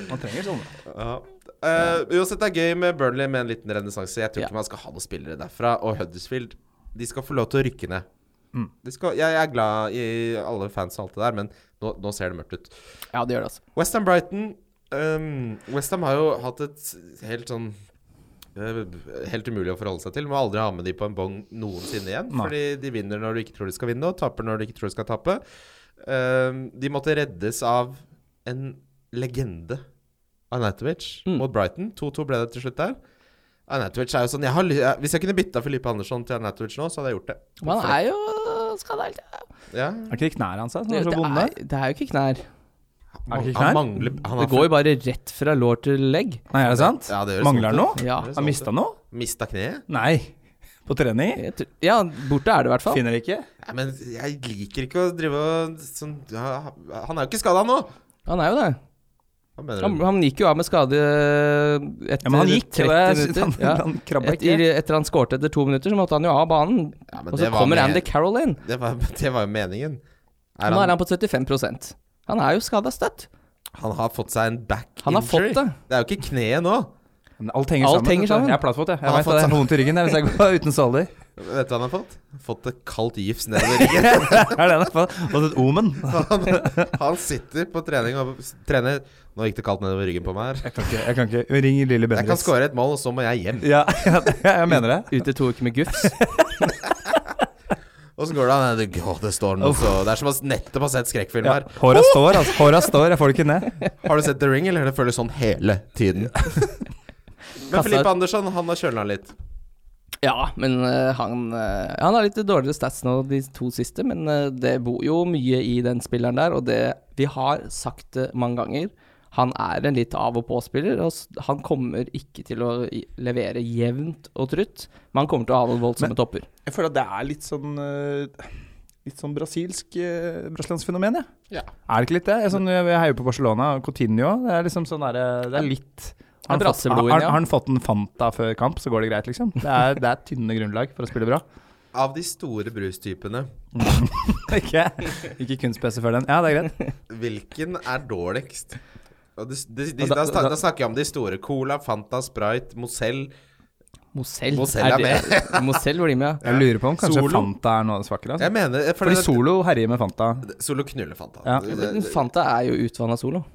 Speaker 5: Man trenger sånne.
Speaker 3: ja. Eh, uansett, det er gøy med Burnley med en liten renessanse. Jeg tror
Speaker 4: Ja.
Speaker 3: ikke man skal ha noen spillere derfra. Og Huddersfield De skal få lov til å rykke ned. De skal, jeg, jeg er glad i alle fans og alt det der, men nå, nå ser det mørkt ut.
Speaker 4: Ja, det gjør det, altså.
Speaker 3: Westham Brighton um, Westham har jo hatt et helt sånn eh, Helt umulig å forholde seg til. Må aldri ha med de på en bong noensinne igjen.
Speaker 5: Nei.
Speaker 3: Fordi de vinner når du ikke tror de skal vinne, og taper når du ikke tror de skal tape. Um, de måtte reddes av en legende Arnautovic
Speaker 4: Mm.
Speaker 3: mot Brighton. 2-2 ble det til slutt der. Arnautovic er jo sånn jeg har, ly- jeg- Hvis jeg kunne bytta Filippe Andersson til Arnautovic nå, så hadde jeg gjort det.
Speaker 4: Men han er jo skada helt.
Speaker 3: Ja.
Speaker 5: Er ikke det knærne hans da, som
Speaker 4: Det,
Speaker 5: er så vonde?
Speaker 4: er- det er jo ikke knær.
Speaker 5: Er det ikke
Speaker 3: han
Speaker 5: knær?
Speaker 3: mangler han har
Speaker 4: Det går jo bare rett fra lår til legg.
Speaker 5: Nei, er det sant?
Speaker 3: Ja, det gjør det
Speaker 5: Mangler han
Speaker 3: sant,
Speaker 5: noe?
Speaker 4: Ja,
Speaker 3: det gjør det
Speaker 5: Har
Speaker 3: sant.
Speaker 5: mista noe?
Speaker 3: Mista kneet.
Speaker 5: Nei. På trening?
Speaker 4: jeg tror- ja borte er det i hvert fall.
Speaker 5: Finner ikke?
Speaker 3: Nei, men jeg liker ikke å drive og sånn ja, Han er jo ikke skada nå!
Speaker 4: Han er jo det.
Speaker 3: Hva mener
Speaker 4: Han,
Speaker 3: du?
Speaker 4: han gikk jo av med skade etter
Speaker 5: Ja, men han gikk.
Speaker 4: 30
Speaker 5: og jeg synes
Speaker 4: minutter.
Speaker 5: Han,
Speaker 4: ja.
Speaker 5: han krabba ikke.
Speaker 4: etter, etter han skårte etter to minutter, så måtte han jo av banen.
Speaker 3: Ja, men
Speaker 4: Og så
Speaker 3: det var
Speaker 4: kommer
Speaker 3: med-
Speaker 4: Andy Carroll inn.
Speaker 3: Det var, det var jo meningen. Er
Speaker 4: Nå er
Speaker 3: han,
Speaker 4: han på 75 Han er jo skada støtt.
Speaker 3: han har fått seg en back
Speaker 4: Han har
Speaker 3: injury.
Speaker 4: fått det.
Speaker 3: Det er jo ikke kneet nå.
Speaker 5: Men Alt henger
Speaker 4: Alt
Speaker 5: sammen. vet
Speaker 4: henger
Speaker 5: du.
Speaker 4: sammen.
Speaker 5: Jeg er plattfot, jeg.
Speaker 3: Han
Speaker 5: Jeg
Speaker 3: har
Speaker 5: vet
Speaker 3: fått
Speaker 5: at jeg
Speaker 3: seg-
Speaker 5: har vondt i ryggen jeg, hvis jeg går uten såler.
Speaker 3: Vet du hva han har fått? Fått et kaldt gifs nedover ryggen.
Speaker 5: Er det det? Og et omen.
Speaker 3: Han, han sitter på trening og trener Nå gikk det kaldt nedover ryggen på meg her.
Speaker 5: Jeg kan ikke, jeg kan ikke. Ring Lilly
Speaker 3: Jeg kan
Speaker 5: Bendriss.
Speaker 3: skåre et mål, og så må jeg hjem.
Speaker 5: Ja, ja, jeg mener det.
Speaker 4: Ute to uker med gufs.
Speaker 3: Og så går det an. Det, å, det står noe så Det er som å nettopp ha sett skrekkfilm
Speaker 5: Ja,
Speaker 3: her.
Speaker 5: håra står, altså. Håra står, jeg får det ikke ned.
Speaker 3: Har du sett The Ring, eller det føles sånn hele tiden? Men Filippe Andersson, han har kjøla litt.
Speaker 4: Ja, men eh, han eh, Han har litt dårligere stats nå, de to siste, men eh, det bor jo mye i den spilleren der, og det Vi har sagt det mange ganger. Han er en litt av- og på-spiller, og s- han kommer ikke til å i- levere jevnt og trutt, men han kommer til å ha noen voldsomme topper.
Speaker 5: Jeg føler at det er litt sånn eh, Litt sånn brasilsk eh, brasiliansk fenomen, jeg.
Speaker 3: Ja.
Speaker 5: Er det ikke litt det? Jeg, er sånn, jeg heier på Barcelona og Coutinho. Det er liksom sånn derre Det er litt har han, fått, har,
Speaker 4: Brasselblod inn,
Speaker 5: har
Speaker 4: ja.
Speaker 5: han fått en Fanta før kamp, så går det greit, liksom. Det er, det er tynne grunnlag for å spille bra.
Speaker 3: Av de store brustypene,
Speaker 5: ikke ikke kunstpese før den. Ja, det er greit.
Speaker 3: hvilken er dårligst? Og det, det, de,
Speaker 5: Og
Speaker 3: da,
Speaker 5: da-
Speaker 3: snak-
Speaker 5: da-
Speaker 3: da snakker jeg om de store. Cola, Fanta, Sprite, Mozell.
Speaker 4: Mosell
Speaker 3: Mosell er
Speaker 4: med. Mosell blir med, ja.
Speaker 5: Jeg lurer på om kanskje
Speaker 3: Solo?
Speaker 5: Fanta er noe svakere. Altså.
Speaker 3: Jeg mener jeg føler
Speaker 5: Fordi
Speaker 3: at-
Speaker 5: Solo herjer med Fanta.
Speaker 3: Solo knuller Fanta.
Speaker 5: Ja.
Speaker 3: Det- det-
Speaker 4: Men Fanta er jo utvanna solo.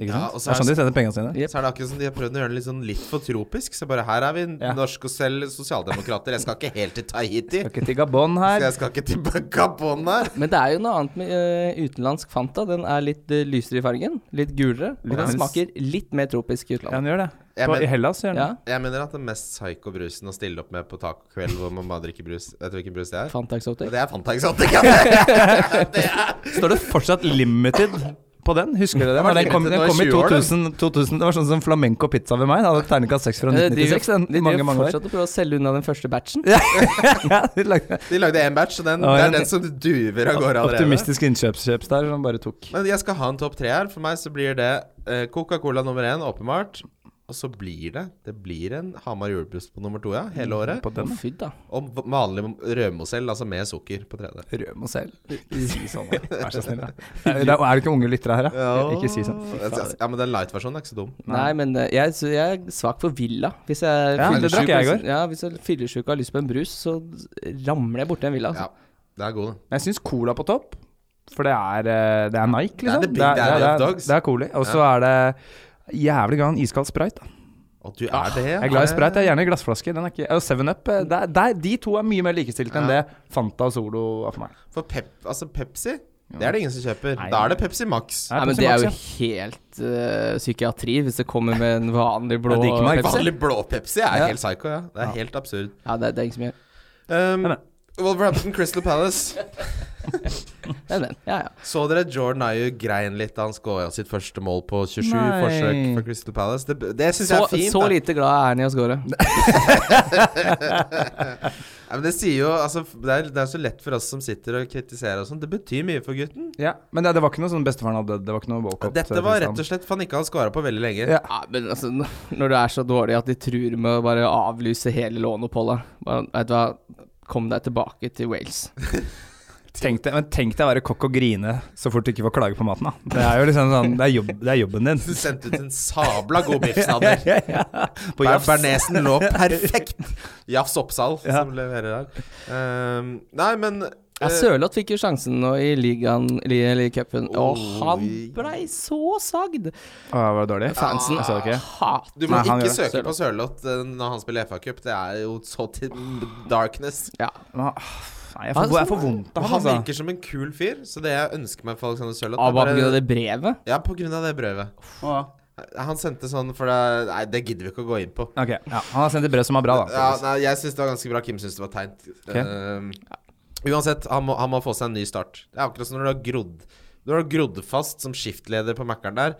Speaker 5: Ikke
Speaker 3: Ja,
Speaker 5: sant?
Speaker 3: og
Speaker 5: det
Speaker 3: så
Speaker 5: er
Speaker 3: er-
Speaker 5: sånn de sender pengene sine.
Speaker 3: Så er det akkurat som de har prøvd å gjøre det litt, sånn litt for tropisk. Så bare her er vi
Speaker 5: Ja.
Speaker 3: norske og selv sosialdemokrater. Jeg skal ikke helt til Tahiti.
Speaker 5: Skal ikke til Gabon her.
Speaker 3: Så jeg skal ikke til Gabon her.
Speaker 4: Men det er jo noe annet med eh, utenlandsk Fanta. Den er litt eh, lysere i fargen, litt gulere, og
Speaker 5: Ja.
Speaker 4: den smaker litt mer tropisk i
Speaker 5: Ja,
Speaker 4: utlandet.
Speaker 5: han gjør det.
Speaker 3: Ja,
Speaker 5: På,
Speaker 3: men-
Speaker 5: I Hellas gjør han
Speaker 4: Ja,
Speaker 5: det.
Speaker 3: Jeg mener at den mest psycho brusen å stille opp med på tacokveld hvor man bare drikker brus Vet du hvilken brus det er?
Speaker 4: Fanta Exotic.
Speaker 3: Det er Fanta Exotic. ja, det- det er-
Speaker 5: Står det fortsatt 'limited' på den? Husker dere det?
Speaker 3: var
Speaker 5: Den kom,
Speaker 3: limited
Speaker 5: den
Speaker 3: nå i
Speaker 5: kom i
Speaker 3: 20 år, den.
Speaker 5: 2000, 2000 Det var sånn som flamenco pizza ved meg. Da hadde terningkast 6 fra
Speaker 4: Eh, De
Speaker 5: 1996. Den,
Speaker 4: de
Speaker 5: mange,
Speaker 4: driver
Speaker 5: mange år.
Speaker 4: fortsatt og prøver å selge unna den første batchen.
Speaker 5: Ja, de lagde
Speaker 3: De lagde én batch, og den, det er den som duver av gårde allerede.
Speaker 5: Optimistisk innkjøpskjøps der som bare tok.
Speaker 3: Men jeg skal ha en topp tre her. For meg så blir det eh, Coca-Cola nummer én, åpenbart. Og så blir det Det blir en Hamar julebrus på nummer to, ja. Hele
Speaker 5: Mm,
Speaker 3: året.
Speaker 5: På den.
Speaker 4: Å, Fy da.
Speaker 3: Og vanlig rødmosell, altså med sukker, på tredje.
Speaker 5: Røm og selv. Si sånn, da. Vær så snill, da. Er det er det ikke unge lyttere her, da? Ikke si sånn.
Speaker 3: Ja, men den light-versjonen er ikke så dum.
Speaker 4: Nei, men eh, jeg, så jeg er svak for Villa. Hvis jeg
Speaker 5: Ja, det drakk jeg i går.
Speaker 4: ja, hvis jeg er fyllesyk og har lyst på en brus, så ramler jeg borti en Villa.
Speaker 3: Ja,
Speaker 4: Altså.
Speaker 3: det er god, den.
Speaker 5: Jeg syns Cola på topp, for det er, eh, det er Nike,
Speaker 3: Det er
Speaker 5: liksom.
Speaker 3: the big daddy of dogs.
Speaker 5: det er Coli. Og så er det jævlig glad i en iskald sprite. da.
Speaker 3: Og du er det?
Speaker 5: Ah, Jeg er glad i Sprite. Jeg er gjerne i glassflaske. Den er ikke, og Seven Up eh, der, der, De to er mye mer likestilte enn det Fanta og Solo er for meg.
Speaker 3: For pep, altså Pepsi, det er det ingen som kjøper.
Speaker 5: Nei.
Speaker 3: Da er det Pepsi Max.
Speaker 5: Ja,
Speaker 4: Nei, men
Speaker 5: Pepsi
Speaker 4: det
Speaker 5: Max,
Speaker 4: er jo helt eh, psykiatri hvis det kommer med en vanlig blå
Speaker 5: Jeg drikker meg ikke
Speaker 4: Pepsi.
Speaker 3: Vanlig blå Pepsi er helt psycho, ja. Det er helt absurd.
Speaker 4: Ja, det, det er ikke så mye.
Speaker 3: Um,
Speaker 5: Nei, nei.
Speaker 3: Wolverhampton Crystal Palace.
Speaker 4: Det er den. Ja, ja.
Speaker 3: Så dere Jordan Ayew grein litt da han skåra sitt første mål på 27
Speaker 5: Nei.
Speaker 3: forsøk for Crystal Palace? Det, det syns jeg
Speaker 4: Så,
Speaker 3: er fint.
Speaker 4: så
Speaker 3: da.
Speaker 4: lite glad er han i å score.
Speaker 3: Nei, men det sier jo altså, det, er, det er så lett for oss som sitter og kritiserer og sånn. Det betyr mye for gutten.
Speaker 5: Ja, men det, det var ikke noe sånn bestefaren hadde Det var ikke noe walkout.
Speaker 3: Dette var rett og slett for han ikke hadde skåra på veldig lenge.
Speaker 5: Ja.
Speaker 4: Ja, men altså, n- når du er så dårlig at de truer med å bare avlyse hele låneoppholdet Bare, Vet du hva, kom deg tilbake til Wales.
Speaker 5: Tenk deg, men tenk deg å være kokk og grine så fort du ikke får klage på maten, da. Det er jo liksom sånn Det er, jobb, det er jobben din.
Speaker 3: Du sendte ut en sabla god biffsnadder.
Speaker 5: Ja, ja. På
Speaker 3: Ber-
Speaker 5: jafs.
Speaker 3: Bernesen lå perfekt. Jafs Oppsal
Speaker 5: Ja.
Speaker 3: som leverer der. Ehm, nei, men
Speaker 4: Ja,
Speaker 3: eh,
Speaker 4: Sørloth fikk jo sjansen nå i ligaen, li- eller i cupen, og
Speaker 3: Oi.
Speaker 4: han blei så sagd!
Speaker 5: Å, var det dårlig? Ah.
Speaker 4: Fansen Ah.
Speaker 5: Jeg så det ikke.
Speaker 4: hat.
Speaker 3: Du må
Speaker 5: Nei, han
Speaker 3: ikke
Speaker 5: gjør
Speaker 3: søke
Speaker 5: det.
Speaker 3: på Sørloth eh, når han spiller FA-cup. Det er jo så til darkness.
Speaker 4: Ja.
Speaker 5: Nei, jeg får, jeg får vondt av
Speaker 3: Men
Speaker 5: han,
Speaker 3: han
Speaker 5: altså.
Speaker 3: virker som en kul fyr, så det jeg ønsker meg for Alexander Sørloth
Speaker 4: Ah,
Speaker 3: er
Speaker 4: bare
Speaker 3: bare-
Speaker 4: pga. det brevet?
Speaker 3: Ja, på grunn av det brevet. Han sendte sånn for det Nei, det gidder vi ikke å gå inn på.
Speaker 5: Ok, ja. Han har sendt et brev som er bra, da.
Speaker 3: Ja, nei, jeg syns det var ganske bra. Kim syns det var teint.
Speaker 5: Ok.
Speaker 3: Ehm, uansett, han må, han må få seg en ny start. Det er akkurat som når du har grodd Når du har grodd fast som skiftleder på Mækkern der.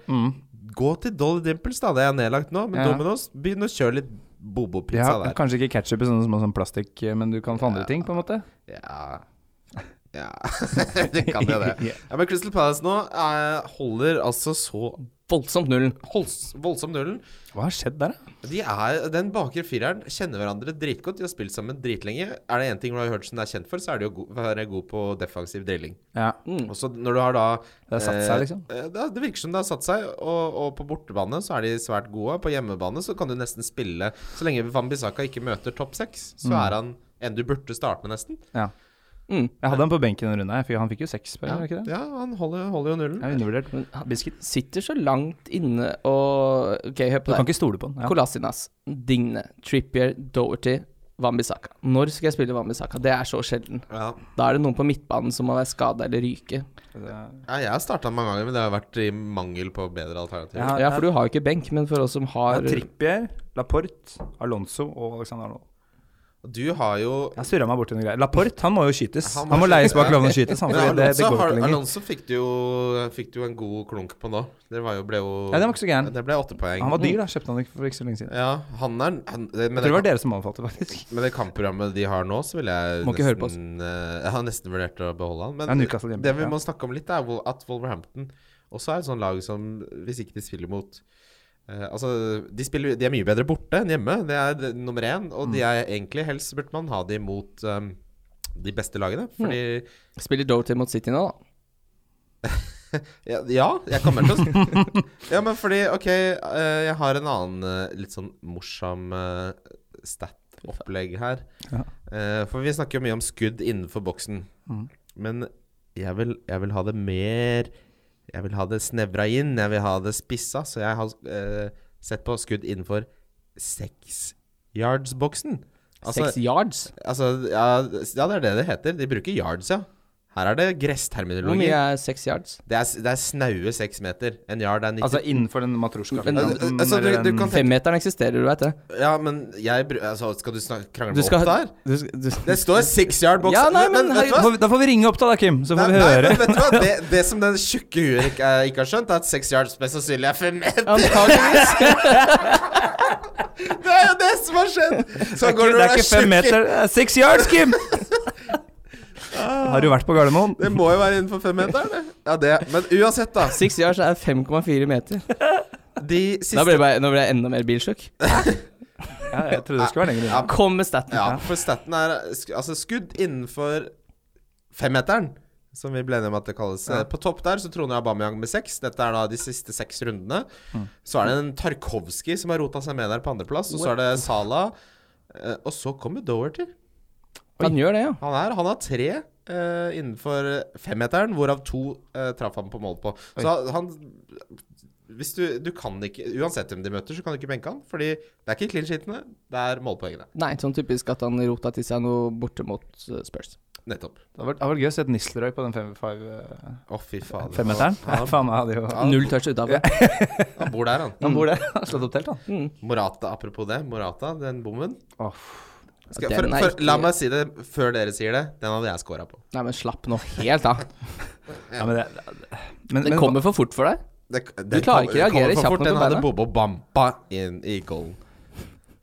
Speaker 3: Gå til Dolly Dimples, da. Det er nedlagt nå. Men
Speaker 5: Mm. Ja.
Speaker 3: Domino's, begynn å kjøre litt
Speaker 5: De
Speaker 3: bobo-pizza
Speaker 5: har
Speaker 3: der.
Speaker 5: kanskje ikke ketsjup i sånne små sånn plastikk, men du kan få andre ting, på en måte.
Speaker 3: Ja Ja, det kan jo det. Ja, men Crystal Palace nå eh, holder altså så
Speaker 4: Voldsomt nullen.
Speaker 3: holds, voldsomt nullen.
Speaker 5: Hva har skjedd der, da?
Speaker 3: De er, Den bakre fireren kjenner hverandre dritgodt. De har spilt sammen dritlenge. Er det én ting Roy Hudson er kjent for, så er det jo å go- være god på defensiv drilling.
Speaker 5: Ja.
Speaker 3: Og så når du har da
Speaker 5: Det har satt seg, liksom.
Speaker 3: eh, det, det virker som det har satt seg. Og, og på bortebane så er de
Speaker 5: Mm.
Speaker 3: svært gode. På hjemmebane så kan du nesten spille Så lenge Van Bissaka ikke møter topp seks, så er han enn du burde starte med, nesten.
Speaker 4: Mm.
Speaker 5: Jeg hadde han på benken en runde. her, for Han fikk jo seks poeng, gjorde han ikke det?
Speaker 3: Ja, han holder, holder jo nullen.
Speaker 5: Jeg er undervurdert.
Speaker 4: Men han
Speaker 5: Biscuit.
Speaker 4: sitter så langt inne og Ok, hør
Speaker 5: Du
Speaker 4: på
Speaker 5: kan
Speaker 4: det.
Speaker 5: ikke stole på han. Ja.
Speaker 4: Kolasinas, Digne, Trippier, Doherty, Wambisaka. Når skal jeg spille Wambisaka? Det er så sjelden.
Speaker 3: Ja.
Speaker 4: Da er det noen på midtbanen som må være skada eller ryke.
Speaker 3: Ja, jeg har starta mange ganger, men det har vært i mangel på bedre alternativer.
Speaker 5: Ja,
Speaker 4: Ja, for du har jo ikke benk, men for oss som har
Speaker 5: Det er Trippier, Laporte, Alonso og Alexander Arnold.
Speaker 3: Du har jo
Speaker 5: Jeg surra meg borti noen greier. Laporte han må jo skytes.
Speaker 3: Han
Speaker 5: Han
Speaker 3: må
Speaker 5: må, leies bak
Speaker 3: skytes, ja.
Speaker 5: loven og skytes. Han,
Speaker 3: Men
Speaker 5: fordi det, det
Speaker 3: Alonso,
Speaker 5: går
Speaker 3: har,
Speaker 5: ikke lenger.
Speaker 3: Alonso fikk du jo, fikk du jo en god klunk på nå. Det var jo, ble jo
Speaker 5: Ja, den var ikke så gæren.
Speaker 3: Det ble åtte poeng.
Speaker 5: Han var dyr, da. Kjøpte han ikke for ikke så lenge siden.
Speaker 3: Ja, han er han,
Speaker 5: Jeg
Speaker 3: det,
Speaker 5: tror det
Speaker 3: med, det,
Speaker 5: var dere som anbefalte, faktisk.
Speaker 3: med det kampprogrammet de har nå, så ville jeg
Speaker 4: Må ikke høre på oss.
Speaker 3: nesten eh, Jeg har nesten vurdert å beholde han.
Speaker 5: Ja,
Speaker 3: Men
Speaker 5: Newcastle hjemme.
Speaker 3: det
Speaker 5: Ja.
Speaker 3: vi må snakke om litt, er Wol- at Wolverhampton også er et sånt lag som, hvis ikke de spiller mot eh, altså, de, spiller, de er mye bedre borte enn hjemme, det er det- nummer én. Og
Speaker 5: Mm.
Speaker 3: de er egentlig helst burde man ha de mot eh, de beste lagene.
Speaker 5: Mm.
Speaker 3: Fordi
Speaker 4: Spiller Doherty mot City nå, da.
Speaker 3: Ja, ja, jeg kommer til å Ja, men fordi, ok, eh, jeg har en annen eh, litt sånn morsom eh, stat-opplegg her.
Speaker 5: Ja.
Speaker 3: Eh, For vi snakker jo mye om skudd innenfor boksen.
Speaker 4: Mm.
Speaker 3: Men jeg vil, jeg vil ha det mer Jeg vil ha det snevra inn, jeg vil ha det spissa, så jeg har eh, sett på skudd innenfor seks yards-boksen. Altså,
Speaker 4: Seks yards.
Speaker 3: altså ja, ja, det er det det heter. De bruker yards, ja. Her er det
Speaker 4: Hvor
Speaker 3: gressterminologi.
Speaker 4: mye er seks yards?
Speaker 3: Det er, det er snaue seks meter. En yard er 90
Speaker 5: Altså innenfor den matrosjka.
Speaker 4: Men-
Speaker 3: Altså, du- du kan-
Speaker 4: Femmeteren eksisterer, du veit det.
Speaker 3: Ja, men jeg bru- altså, Skal du snak- krangle
Speaker 4: Du
Speaker 3: meg
Speaker 4: skal
Speaker 3: opp der?
Speaker 4: du, skal- du,
Speaker 3: Det står six yard box.
Speaker 4: Ja, nei, men
Speaker 3: vet du hva?
Speaker 5: Da får vi ringe opp, da, da, Kim. Så
Speaker 3: Nei,
Speaker 5: får vi
Speaker 3: nei,
Speaker 5: høre.
Speaker 3: men vet du hva? Det, det som den tjukke huet ikke, eh, ikke har skjønt, er at six yards mest sannsynlig er fem meter.
Speaker 4: Antakeligvis.
Speaker 3: Det er jo det som har skjedd! Så går du
Speaker 5: Det
Speaker 3: og
Speaker 5: er ikke fem
Speaker 3: tjukk i-
Speaker 5: meter, det er six yards, Kim! Har du vært på Gardermoen?
Speaker 3: Det må jo være innenfor femmeteren, det. Ja, det. Men uansett, da.
Speaker 4: Seks yards er 5,4 meter.
Speaker 3: De
Speaker 4: Da ble
Speaker 3: siste
Speaker 4: jeg, bare, nå ble jeg enda mer bilsjuk.
Speaker 5: Ja, jeg trodde det skulle være lenger unna.
Speaker 4: Kom med staten.
Speaker 3: Ja, for staten er sk- altså skudd innenfor femmeteren. Som vi ble enige om at det kalles. Eh, På topp der så troner Aubameyang med seks. Dette er da de siste seks rundene. Så er det en Tarkovskij som har rota seg med der på andreplass. Og så er det Salah. Eh, Og så kommer Doherty.
Speaker 4: Han gjør det, ja.
Speaker 3: Han, er, han har tre eh, innenfor femmeteren, hvorav to eh, traff han på mål på. Så han- han hvis du, du kan ikke, Uansett hvem de møter, så kan du ikke benke han. Fordi det er ikke clean sheetene, det er målpoengene.
Speaker 4: Nei, sånn typisk at han rota til seg noe borte mot eh, Spurs.
Speaker 3: Nettopp.
Speaker 5: Det hadde vært- det hadde vært gøy å se et Nislerøy på den fem- five, eh,
Speaker 3: Å, fy fader.
Speaker 5: femmeteren.
Speaker 3: Han-
Speaker 5: Faen, han hadde jo
Speaker 4: Null touch utafor.
Speaker 3: Han bor der, han.
Speaker 5: Han bor der. Han har slått opp telt, han.
Speaker 3: Morata, apropos det. Morata, den bommen.
Speaker 5: Åh.
Speaker 3: Skal,
Speaker 4: Den
Speaker 3: for,
Speaker 4: er
Speaker 3: for,
Speaker 4: ikke-
Speaker 3: la meg si det før dere sier det. Den hadde jeg scora på.
Speaker 4: Nei, men slapp nå helt av.
Speaker 5: Ja, men det, men,
Speaker 4: Den
Speaker 5: men-
Speaker 4: kommer for fort for deg.
Speaker 3: Det,
Speaker 4: klarer ikke å reagere kjapt nok
Speaker 3: Den
Speaker 4: på
Speaker 3: hadde
Speaker 4: beina.
Speaker 3: bomma og bampa inn i goalen.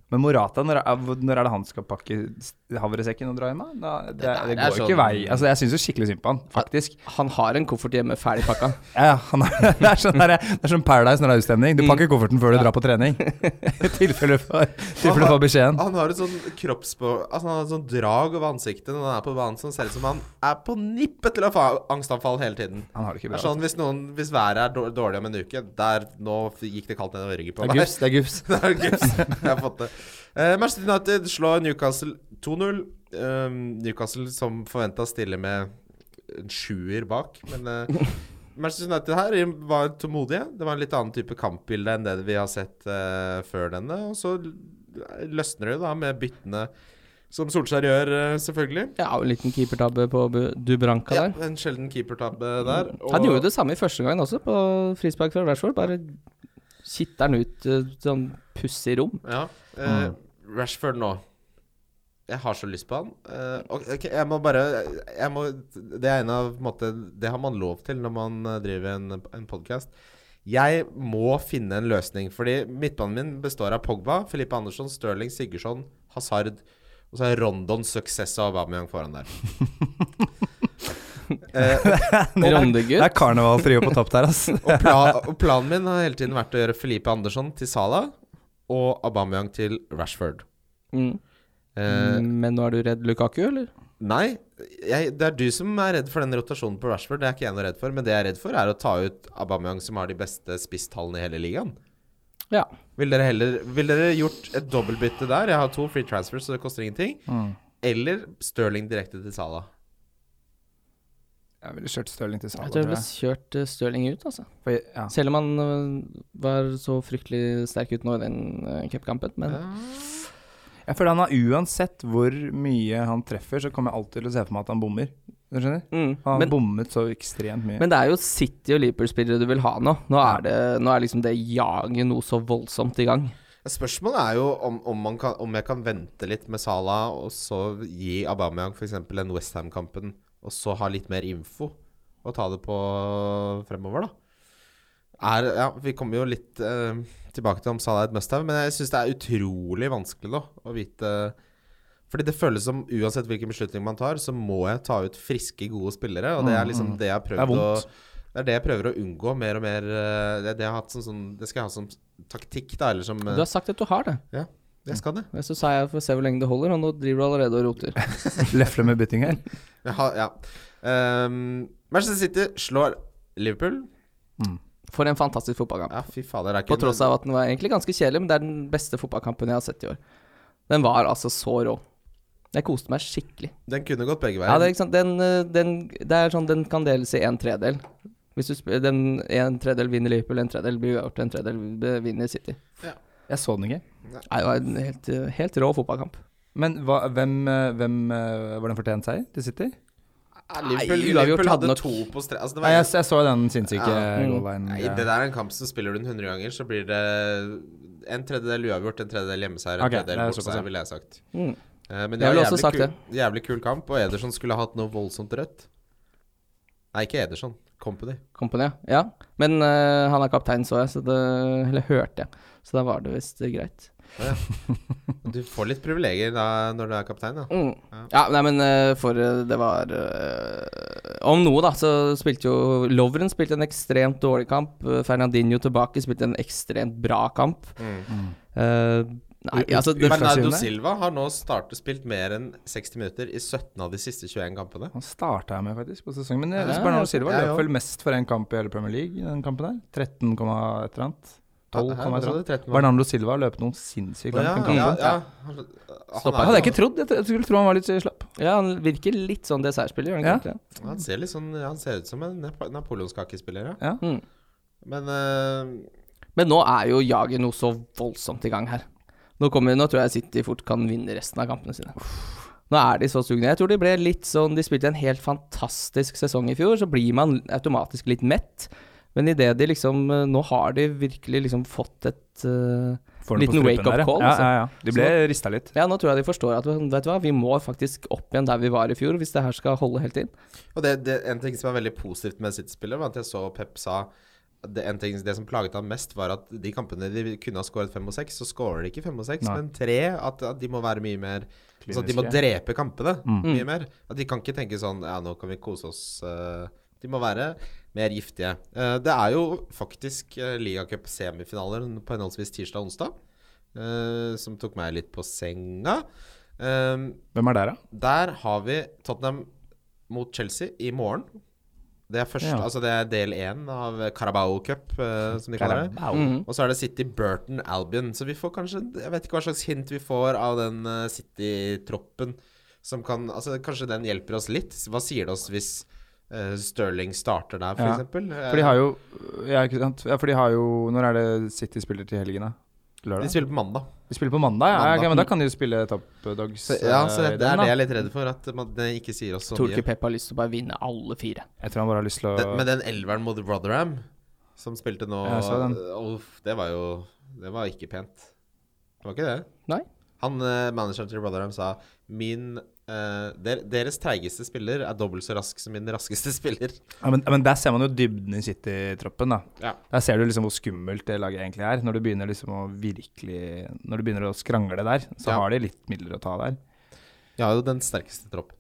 Speaker 5: Men Morata, når er, når er det han skal pakke s- havresekken og dra hjem? da? Da, det,
Speaker 3: der
Speaker 5: det
Speaker 3: er
Speaker 5: går jo
Speaker 3: sånn-
Speaker 5: ikke vei. Altså, jeg syns jo skikkelig synd på han, faktisk.
Speaker 4: Han har en koffert hjemme ferdig pakka.
Speaker 5: Ja, ja, han er, det, er sånn der, det er sånn Paradise når det er utstemning. Du pakker kofferten før du drar på trening. I tilfelle du får, tilfelle du får beskjeden.
Speaker 3: Han har et sånn kroppsspå... Altså, han har et sånn drag over ansiktet når han er på banen som ser ut som han er på nippet til å få angstanfall hele tiden.
Speaker 5: Han har det ikke
Speaker 3: Det
Speaker 5: bra.
Speaker 3: er sånn hvis, noen, hvis været er dår- dårlig om en uke Der Nå f- gikk det kaldt nedover ryggen på
Speaker 5: Det er gufs. Det er gufs.
Speaker 3: Det er gøy. Jeg har fått det. Eh, Manchester United slår Newcastle 2-0. Eh, Newcastle som forventa stille med en sjuer bak, men eh, Manchester United her var tålmodige. Det var en litt annen type kampbilde enn det vi har sett eh, før denne. Og så løsner det jo da med byttene som Solskjær gjør, eh, selvfølgelig.
Speaker 4: Ja, og en liten keepertabbe på Bu- Dubranka
Speaker 3: Ja,
Speaker 4: der.
Speaker 3: en sjelden keepertabbe der.
Speaker 4: Han gjorde det samme i første gangen også, på frispark fra Rashford. Bare kitter han ut eh, sånn pussig rom.
Speaker 3: Ja. eh, Rashford nå. Jeg har så lyst på han. Eh, ok, ok, jeg må bare jeg må, Det er en av på en måte, Det har man lov til når man eh, driver en, en podkast. Jeg må finne en løsning, fordi midtbanen min består av Pogba, Filippe Andersson, Stirling, Sigurdsson, Hazard og så er Rondon Success og Aubameyang foran der. Eh,
Speaker 5: Det
Speaker 4: Rondegutt.
Speaker 5: er karnevaltrio på topp der, ass.
Speaker 3: Og, pla, og planen min har hele tiden vært å gjøre Filippe Andersson til Salah og Aubameyang til Rashford.
Speaker 4: Mm.
Speaker 3: Eh,
Speaker 4: Men nå er du redd Lukaku, eller?
Speaker 3: Nei, jeg, det er du som er redd for den rotasjonen på Rashford. Det er ikke jeg noe redd for. Men det jeg er redd for, er å ta ut Aubameyang, som har de beste spisstallene i hele ligaen.
Speaker 4: Ja.
Speaker 5: Mm.
Speaker 3: Vil dere heller Vil dere gjort et dobbeltbytte der? Jeg har to free transfers, så det koster ingenting. eller Stirling direkte til Salah.
Speaker 5: Jeg ville kjørt Stirling til Sala,
Speaker 4: Jeg tror jeg
Speaker 5: tror
Speaker 4: ville
Speaker 5: jeg.
Speaker 4: kjørt eh, Stirling ut, altså.
Speaker 5: For, ja.
Speaker 4: Selv om han øh, var så fryktelig sterk ut nå i den øh, cupkampen, men
Speaker 5: Jeg føler han har uansett hvor mye han treffer, så kommer jeg alltid til å se for meg at han bommer. Du skjønner?
Speaker 4: mm.
Speaker 5: Han har
Speaker 4: men,
Speaker 5: bommet så ekstremt mye.
Speaker 4: men det er jo City og Liverpool-spillere du vil ha nå. Nå er, det, nå er liksom det jaget noe så voldsomt i gang.
Speaker 3: Spørsmålet er jo om, om, man kan, om jeg kan vente litt med Salah, og så gi Aubameyang f.eks. den Westham-kampen, og så ha litt mer info å ta det på fremover, da. Er, ja, vi kommer jo litt eh, tilbake til om Salah er et must-have, men jeg syns det er utrolig vanskelig da, å vite Fordi det føles som uansett hvilken beslutning man tar, så må jeg ta ut friske, gode spillere, og det er liksom det jeg har prøvd
Speaker 5: Mm, Det er
Speaker 3: å
Speaker 5: vondt.
Speaker 3: det er det jeg prøver å unngå mer og mer. eh, Det, det, jeg har hatt som, sånn, det skal jeg ha som taktikk, da, eller som eh,
Speaker 4: Du har sagt at du har det.
Speaker 3: ja, jeg skal det.
Speaker 4: Men Så sa jeg får se hvor lenge det holder, og nå driver du allerede og roter.
Speaker 5: Lefle med bytting her.
Speaker 3: Jeg har, ja. Ehm, Manchester City slår Liverpool.
Speaker 4: For en fantastisk fotballkamp.
Speaker 3: Ja, fy fader. Det er ikke
Speaker 4: På tross av at den var egentlig ganske kjedelig, men det er den beste fotballkampen jeg har sett i år. Den var altså så rå. Jeg koste meg skikkelig.
Speaker 3: Den kunne gått begge
Speaker 4: Ja,
Speaker 3: veier.
Speaker 4: det er ikke sant. Den, øh, den, det er sånn, den kan deles i en tredel. Hvis du spiller, den En tredel vinner Liverpool, en tredel blir uavgjort, en tredel vinner City.
Speaker 5: Jeg så den ikke.
Speaker 4: Nei, Det var en helt, øh, helt rå fotballkamp.
Speaker 5: Men hva, hvem, eh, hvem eh, var den fortjent seier til City?
Speaker 3: Ja, Liverpool,
Speaker 4: Nei, uavgjort
Speaker 3: Liverpool
Speaker 4: hadde
Speaker 3: hadde
Speaker 4: nok-
Speaker 3: to på stre... Altså, det
Speaker 5: Nei,
Speaker 3: var
Speaker 5: jeg, jeg så den sinnssyke
Speaker 3: Ja.
Speaker 5: ja.
Speaker 4: Mm.
Speaker 3: Nei, det
Speaker 5: goal-line. eh,
Speaker 3: der er en kamp som spiller du den 100 ganger, så blir det en tredjedel uavgjort, en tredjedel hjemmeseier, en
Speaker 5: Ok, det
Speaker 3: tredjedel
Speaker 5: er såpass,
Speaker 3: bortseier,
Speaker 5: ja.
Speaker 3: ville jeg sagt.
Speaker 4: Mm.
Speaker 3: Eh, men
Speaker 4: Jeg ville
Speaker 3: var
Speaker 4: også
Speaker 3: jævlig
Speaker 4: sagt
Speaker 3: kul, Jævlig kul kamp, og Ederson skulle hatt noe voldsomt rødt. Nei, ikke Ederson. Company.
Speaker 4: Company, ja. Men øh, han er kaptein, så jeg, så det Eller hørte jeg. Så da var det visst øh, greit.
Speaker 3: Du får litt privilegier da når du er kaptein, da.
Speaker 4: Mm. Ja, nei, men øh, for øh, det var øh, Om noe, da, så spilte jo Lovren spilte en ekstremt dårlig kamp. øh, Fernandinho tilbake spilte en ekstremt bra kamp.
Speaker 5: Mm.
Speaker 4: Eh, nei,
Speaker 5: U-
Speaker 4: altså det,
Speaker 3: Bernardo
Speaker 5: Utslagsgivende.
Speaker 3: Silva har nå startet spilt mer enn 60 minutter i 17 av de siste 21 kampene.
Speaker 5: Han starta jeg med faktisk på sesongen, men jeg
Speaker 4: Ja,
Speaker 5: husker Bernardo Silva
Speaker 3: ja,
Speaker 5: ja,
Speaker 3: ja.
Speaker 5: løp vel mest for en kamp i hele Premier League, i den kampen der. 13, komma et eller annet. 12,
Speaker 3: Her,
Speaker 5: komma
Speaker 3: hva
Speaker 5: et
Speaker 3: sa
Speaker 5: eller
Speaker 3: du?
Speaker 5: annet.
Speaker 3: 13 mann.
Speaker 5: Bernardo Silva løp noen sinnssyke
Speaker 3: Å,
Speaker 5: kamp
Speaker 3: ja,
Speaker 5: den
Speaker 3: ja,
Speaker 5: kampen.
Speaker 3: ja. Han, han,
Speaker 5: Hadde jeg
Speaker 3: er,
Speaker 5: ikke trodd. Jeg, tro- jeg skulle tro han var litt eh, slapp.
Speaker 4: ja, han virker litt sånn dessertspiller, gjør han
Speaker 5: Ja.
Speaker 4: ikke det?
Speaker 3: han ser litt sånn Han ser ut som en nap- napoleonskakespiller, ja.
Speaker 5: Ja.
Speaker 4: Mm.
Speaker 3: Men eh,
Speaker 4: Men nå er jo jaget noe så voldsomt i gang her. Nå, kommer, nå tror jeg City fort kan vinne resten av kampene sine. Nå er de så sugne. Jeg tror de ble litt sånn De spilte en helt fantastisk sesong i fjor, så blir man automatisk litt mett. Men idet de liksom eh, Nå har de virkelig liksom fått et eh,
Speaker 5: Får den på
Speaker 4: Liten
Speaker 5: strupen
Speaker 4: wake-up
Speaker 5: der, ja.
Speaker 4: call,
Speaker 5: Ja,
Speaker 4: altså.
Speaker 5: ja, ja. De ble rista litt.
Speaker 4: Ja, nå tror jeg de forstår at Vet du hva, vi må faktisk opp igjen der vi var i fjor, hvis det her skal holde helt inn.
Speaker 3: Og det, det, en ting som er veldig positivt med City-spillet, var at jeg så Pep sa det, en ting, det som plaget ham mest, var at de kampene de kunne ha skåret fem og seks, så skårer de ikke fem og seks,
Speaker 5: Nei.
Speaker 3: men tre. At, at de må være mye mer altså At de må
Speaker 5: Kliniske. Mm.
Speaker 3: drepe kampene mye mer. At de kan ikke tenke sånn Ja, nå kan vi kose oss. eh, De må være mer giftige. Eh, Det er jo faktisk eh, ligacup-semifinaler på henholdsvis tirsdag og onsdag, eh, som tok meg litt på senga. Um,
Speaker 5: Hvem er der, da?
Speaker 3: der har vi Tottenham mot Chelsea i morgen. Det er, første,
Speaker 5: Ja.
Speaker 3: altså det er del én av Carabao Cup, eh, som de kaller det.
Speaker 5: Mm.
Speaker 3: Og så er det City Burton Albion. Så vi får kanskje Jeg vet ikke hva slags hint vi får av den eh, City-troppen som kan Altså kanskje den hjelper oss litt. Hva sier det oss hvis eh, Sterling starter der,
Speaker 5: Ja.
Speaker 3: f.eks.? Ja.
Speaker 5: For de har jo ja, ikke sant? ja, for de har jo Når er det City spiller til helgen, da?
Speaker 3: Eh, De
Speaker 5: Lørdag?
Speaker 3: spiller på mandag.
Speaker 5: De spiller på mandag, ja.
Speaker 3: Mandag.
Speaker 5: ja ok, men da kan de jo spille Top Dogs.
Speaker 3: Så, ja, så
Speaker 5: eh,
Speaker 3: det,
Speaker 5: i
Speaker 3: det
Speaker 5: den, da.
Speaker 3: er det jeg er litt redd for. At man, det ikke sier oss så
Speaker 4: Tror du
Speaker 3: mye.
Speaker 4: ikke Pep har lyst til å bare vinne alle fire?
Speaker 5: Jeg tror han bare har lyst til å
Speaker 3: Den, men den elveren mot Rotherham som spilte nå
Speaker 5: Ja, jeg så den.
Speaker 3: øh, Uff, det var jo Det var ikke pent. Det var ikke det.
Speaker 4: Nei.
Speaker 3: Han, eh, Manageren til Rotherham sa Min eh, der, Deres treigeste spiller er dobbelt så rask som min raskeste spiller.
Speaker 5: Ja, men, men der ser man jo dybden i City-troppen, da.
Speaker 3: Ja.
Speaker 5: Der ser du liksom hvor skummelt det laget egentlig er. Når du begynner liksom å virkelig Når du begynner å skrangle der, så
Speaker 3: Ja.
Speaker 5: har de litt midler å ta der.
Speaker 3: Jeg har jo den sterkeste tropp.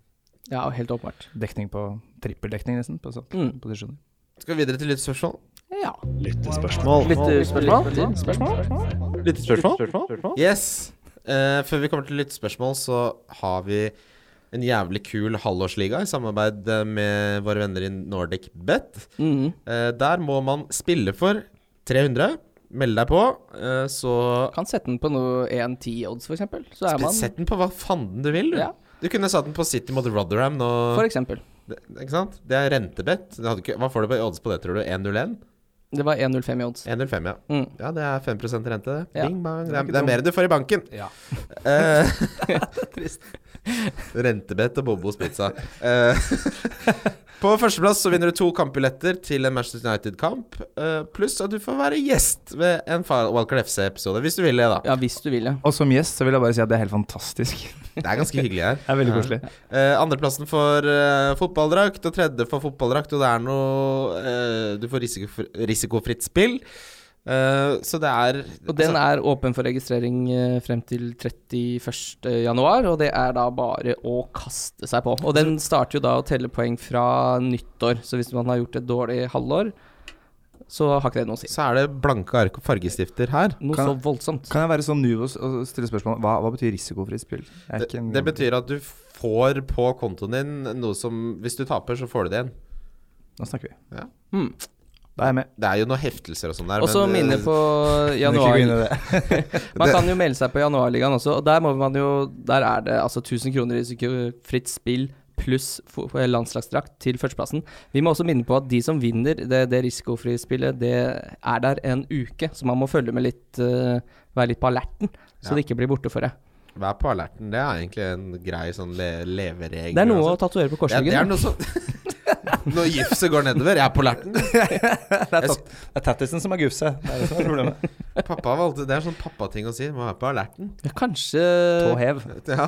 Speaker 4: Ja, helt åpenbart.
Speaker 5: Dekning på trippeldekning, nesten, på sånne
Speaker 4: Mm.
Speaker 5: posisjoner.
Speaker 3: Skal vi videre til lyttespørsmål?
Speaker 4: Ja.
Speaker 1: Lyttespørsmål.
Speaker 4: Lyttespørsmål?
Speaker 3: Yes! Eh, før vi kommer til lyttespørsmål, så har vi en jævlig kul halvårsliga i samarbeid eh, med våre venner i Nordic Bet.
Speaker 4: Mm.
Speaker 3: Eh, der må man spille for 300. Meld deg på, eh, så
Speaker 4: Kan sette den på noe 1-10 odds, for eksempel. Så er man
Speaker 3: Sett den på hva fanden du vil, du.
Speaker 4: ja.
Speaker 3: Du kunne satt den på City mot Rotherham nå.
Speaker 4: For eksempel.
Speaker 3: Det, ikke sant? Det er rentebett. Det hadde ikke, hva får du på odds på det, tror du? 1,01?
Speaker 4: Det var 1,05 i odds.
Speaker 3: 1,05, ja.
Speaker 4: Mm.
Speaker 3: Ja, det er 5 rente, det.
Speaker 4: Ja.
Speaker 3: Bing bang. Det er, det er mer enn du får i banken.
Speaker 2: Ja.
Speaker 3: Eh, Rentebett og Bobos pizza. Eh, på førsteplass så vinner du to kampbilletter til en Manchester United-kamp, eh, pluss at du får være gjest ved en Fa- Wildcard FC-episode, hvis du vil det, da.
Speaker 4: Ja, hvis du vil, ja.
Speaker 5: Og som gjest så vil jeg bare si at det er helt fantastisk.
Speaker 3: Det er ganske hyggelig her.
Speaker 5: Det er veldig koselig.
Speaker 3: Eh, andreplassen for eh, fotballdrakt, og tredje for fotballdrakt, og det er noe eh, Du får risikofri, risikofritt spill. Eh, så det er
Speaker 4: Og den er åpen for registrering eh, frem til 31. januar, og det er da bare å kaste seg på. Og den starter jo da å telle poeng fra nyttår, så hvis man har gjort et dårlig halvår, så har ikke det noe å si.
Speaker 3: Så er det blanke ark og fargestifter her.
Speaker 4: Noe
Speaker 5: Kan-
Speaker 4: så voldsomt.
Speaker 5: Kan jeg være så naiv og s- og stille spørsmål hva, hva betyr risikofritt spill? Jeg er
Speaker 3: Det,
Speaker 5: ikke en-
Speaker 3: det betyr at du får på kontoen din noe som Hvis du taper, så får du det igjen.
Speaker 5: Nå snakker vi. Hmm.
Speaker 3: Ja.
Speaker 4: Mm.
Speaker 5: Da er jeg med.
Speaker 3: Det er jo noen heftelser og sånn der.
Speaker 4: Og så
Speaker 3: men,
Speaker 4: minne
Speaker 3: eh,
Speaker 4: på
Speaker 5: Men ikke
Speaker 4: januar.
Speaker 5: gå inn i det.
Speaker 4: Man kan jo melde seg på Januarligaen også, og der må man jo Der er det altså 1000 kroner risikofritt spill pluss fo- landslagsdrakt til førsteplassen. Vi må også minne på at de som vinner det, det risikofrie spillet, det er der en uke, så man må følge med litt eh, Være litt på alerten,
Speaker 3: Ja.
Speaker 4: så det ikke blir borte for deg.
Speaker 3: Vær på alerten. Det er egentlig en grei sånn le leveregel.
Speaker 4: Det er noe å
Speaker 3: altså.
Speaker 4: tatovere på
Speaker 3: Ja, det er
Speaker 4: korsryggen.
Speaker 3: noe sånn Når gifset går nedover, jeg er på alerten.
Speaker 5: Det er, tat, det er tattisen som er gufset. Det er det som er problemet.
Speaker 3: Pappa valgte Det er sånn pappating å si. Må være på alerten.
Speaker 4: Ja, Kanskje
Speaker 5: Tåhev.
Speaker 3: Ja,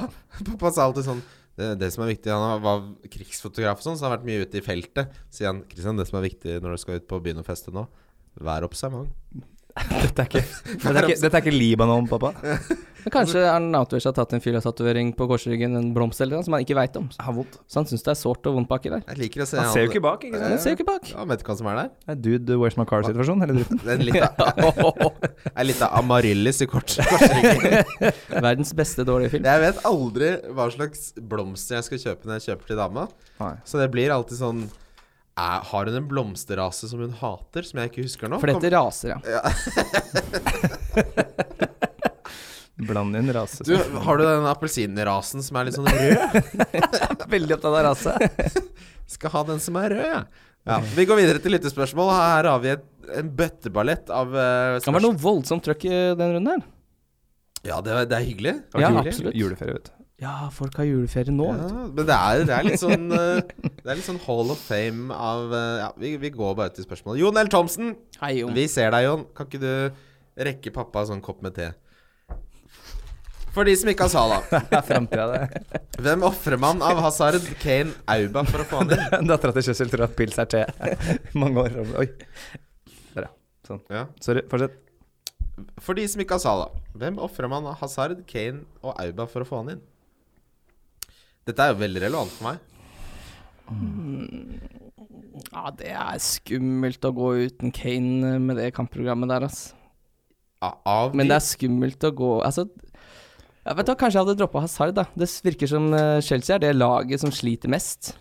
Speaker 3: pappa sa alltid sånn det, det som er viktig, Han var krigsfotograf og sånn, så han har vært mye ute i feltet. Sier han Kristian, det som er viktig når du skal ut på byen og feste nå, vær observant.
Speaker 5: Dette er ikke, dette er ikke, dette er ikke Libanon, pappa.
Speaker 4: Men Kanskje Erlend Autovic har tatt en filatatovering på korsryggen, en blomst eller noe som han ikke veit om.
Speaker 5: Jeg har vondt.
Speaker 4: Så han syns det er sårt og vondt baki der.
Speaker 3: Jeg liker å se
Speaker 5: Han ser jo ikke bak, ikke sant?
Speaker 4: Men ser jo ikke bak.
Speaker 3: Ja, vet du hva som er der?
Speaker 5: Det er dude where's my car-situasjon, hele dritten.
Speaker 3: Det er en lita, en lita amaryllis i kort- korsryggen.
Speaker 4: Verdens beste dårlige film.
Speaker 3: Jeg vet aldri hva slags blomster jeg skal kjøpe når jeg kjøper til dama.
Speaker 5: Nei.
Speaker 3: Så det blir alltid sånn er, Har hun en blomsterrase som hun hater, som jeg ikke husker nå?
Speaker 4: For dette raser, ja.
Speaker 5: Bland inn rase.
Speaker 3: Du, har du den appelsinrasen som er litt sånn rød?
Speaker 5: veldig opptatt av rase.
Speaker 3: Skal ha den som er rød, jeg. Ja. Vi går videre til lyttespørsmål. Her har vi et, en bøtteballett av eh,
Speaker 4: Det var
Speaker 3: spørsmål.
Speaker 4: noe voldsomt trøkk i den runden her.
Speaker 3: Ja, det, er- det er hyggelig.
Speaker 4: Ja,
Speaker 5: Jule-
Speaker 4: absolutt.
Speaker 5: Juleferie, vet du.
Speaker 4: Ja, folk har juleferie nå.
Speaker 3: Ja,
Speaker 4: vet du.
Speaker 3: men det er, det er litt sånn eh, Det er litt sånn Hall of Fame av eh, Ja, vi, vi går bare til spørsmålet. Jon L. Thomsen,
Speaker 4: Hei, Jon.
Speaker 3: vi ser deg, Jon. Kan ikke du rekke pappa en sånn kopp med te? For de som ikke har sala,
Speaker 5: Det er fremtiden, det.
Speaker 3: hvem ofrer man av Hazard, Kane, Auba for å få han inn?
Speaker 5: Dattera til Kjøssel tror at pils er te. Mange år. Oi. Der, ja. Sånn.
Speaker 3: Ja.
Speaker 5: Sorry, fortsett.
Speaker 3: For de som ikke har Salah, hvem ofrer man av Hazard, Kane og Auba for å få han inn? Dette er jo veldig relevant for meg.
Speaker 4: Ja, det er skummelt å gå uten Kane med det kampprogrammet der, ass.
Speaker 3: A- Av
Speaker 4: Men
Speaker 3: de-
Speaker 4: det er skummelt å gå Altså, ja, vet du, hva, kanskje jeg hadde droppa Hazard, da. Det virker som eh, Chelsea er det laget som sliter mest.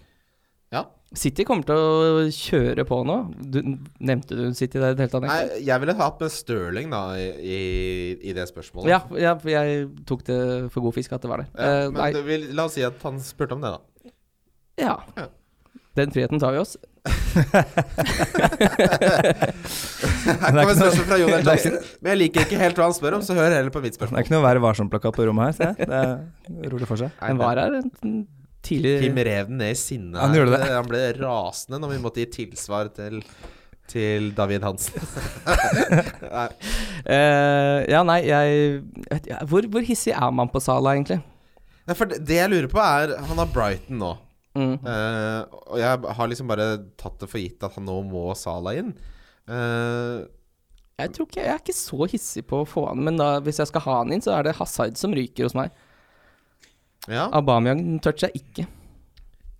Speaker 3: ja.
Speaker 4: City kommer til å kjøre på nå. Du, nevnte du City der i det hele tatt?
Speaker 3: Nei,
Speaker 4: egentlig?
Speaker 3: jeg ville hatt med Stirling da, i, i- i det spørsmålet.
Speaker 4: Ja, ja, for jeg tok det for god fisk at det var der.
Speaker 3: Ja,
Speaker 4: Eh,
Speaker 3: men
Speaker 4: nei,
Speaker 3: det vil- la oss si at han spurte om det, da.
Speaker 4: Ja.
Speaker 3: Ja.
Speaker 4: Den friheten tar vi oss.
Speaker 3: Her
Speaker 5: det er
Speaker 3: kommer
Speaker 5: ikke noe-
Speaker 3: spørsmål fra Jon Ernst
Speaker 5: det er
Speaker 3: Johnsen. Men jeg liker ikke helt hva han spør om, så hør heller på mitt
Speaker 5: Det
Speaker 3: spørsmål.
Speaker 5: er ikke noe Vær varsom-plakat på rommet her, ser jeg. Det er rolig for seg.
Speaker 3: Nei,
Speaker 4: Den var her en tidlig
Speaker 3: Kim rev den ned i sinne.
Speaker 5: Han
Speaker 3: her.
Speaker 5: gjorde det.
Speaker 3: Han ble rasende når vi måtte gi tilsvar til, til David Hansen.
Speaker 4: Eh, ja, nei, jeg vet, ja, hvor, hvor hissig er man på Sala, egentlig?
Speaker 3: Nei, for det, det jeg lurer på, er Han har Brighton nå.
Speaker 4: Mm.
Speaker 3: Eh, og jeg har liksom bare tatt det for gitt at han nå må Sala inn. Eh,
Speaker 4: Jeg tror ikke, jeg er ikke så hissig på å få han, men da, hvis jeg skal ha han inn, så er det Hazard som ryker hos meg.
Speaker 3: ja.
Speaker 4: Aubameyang toucher jeg ikke.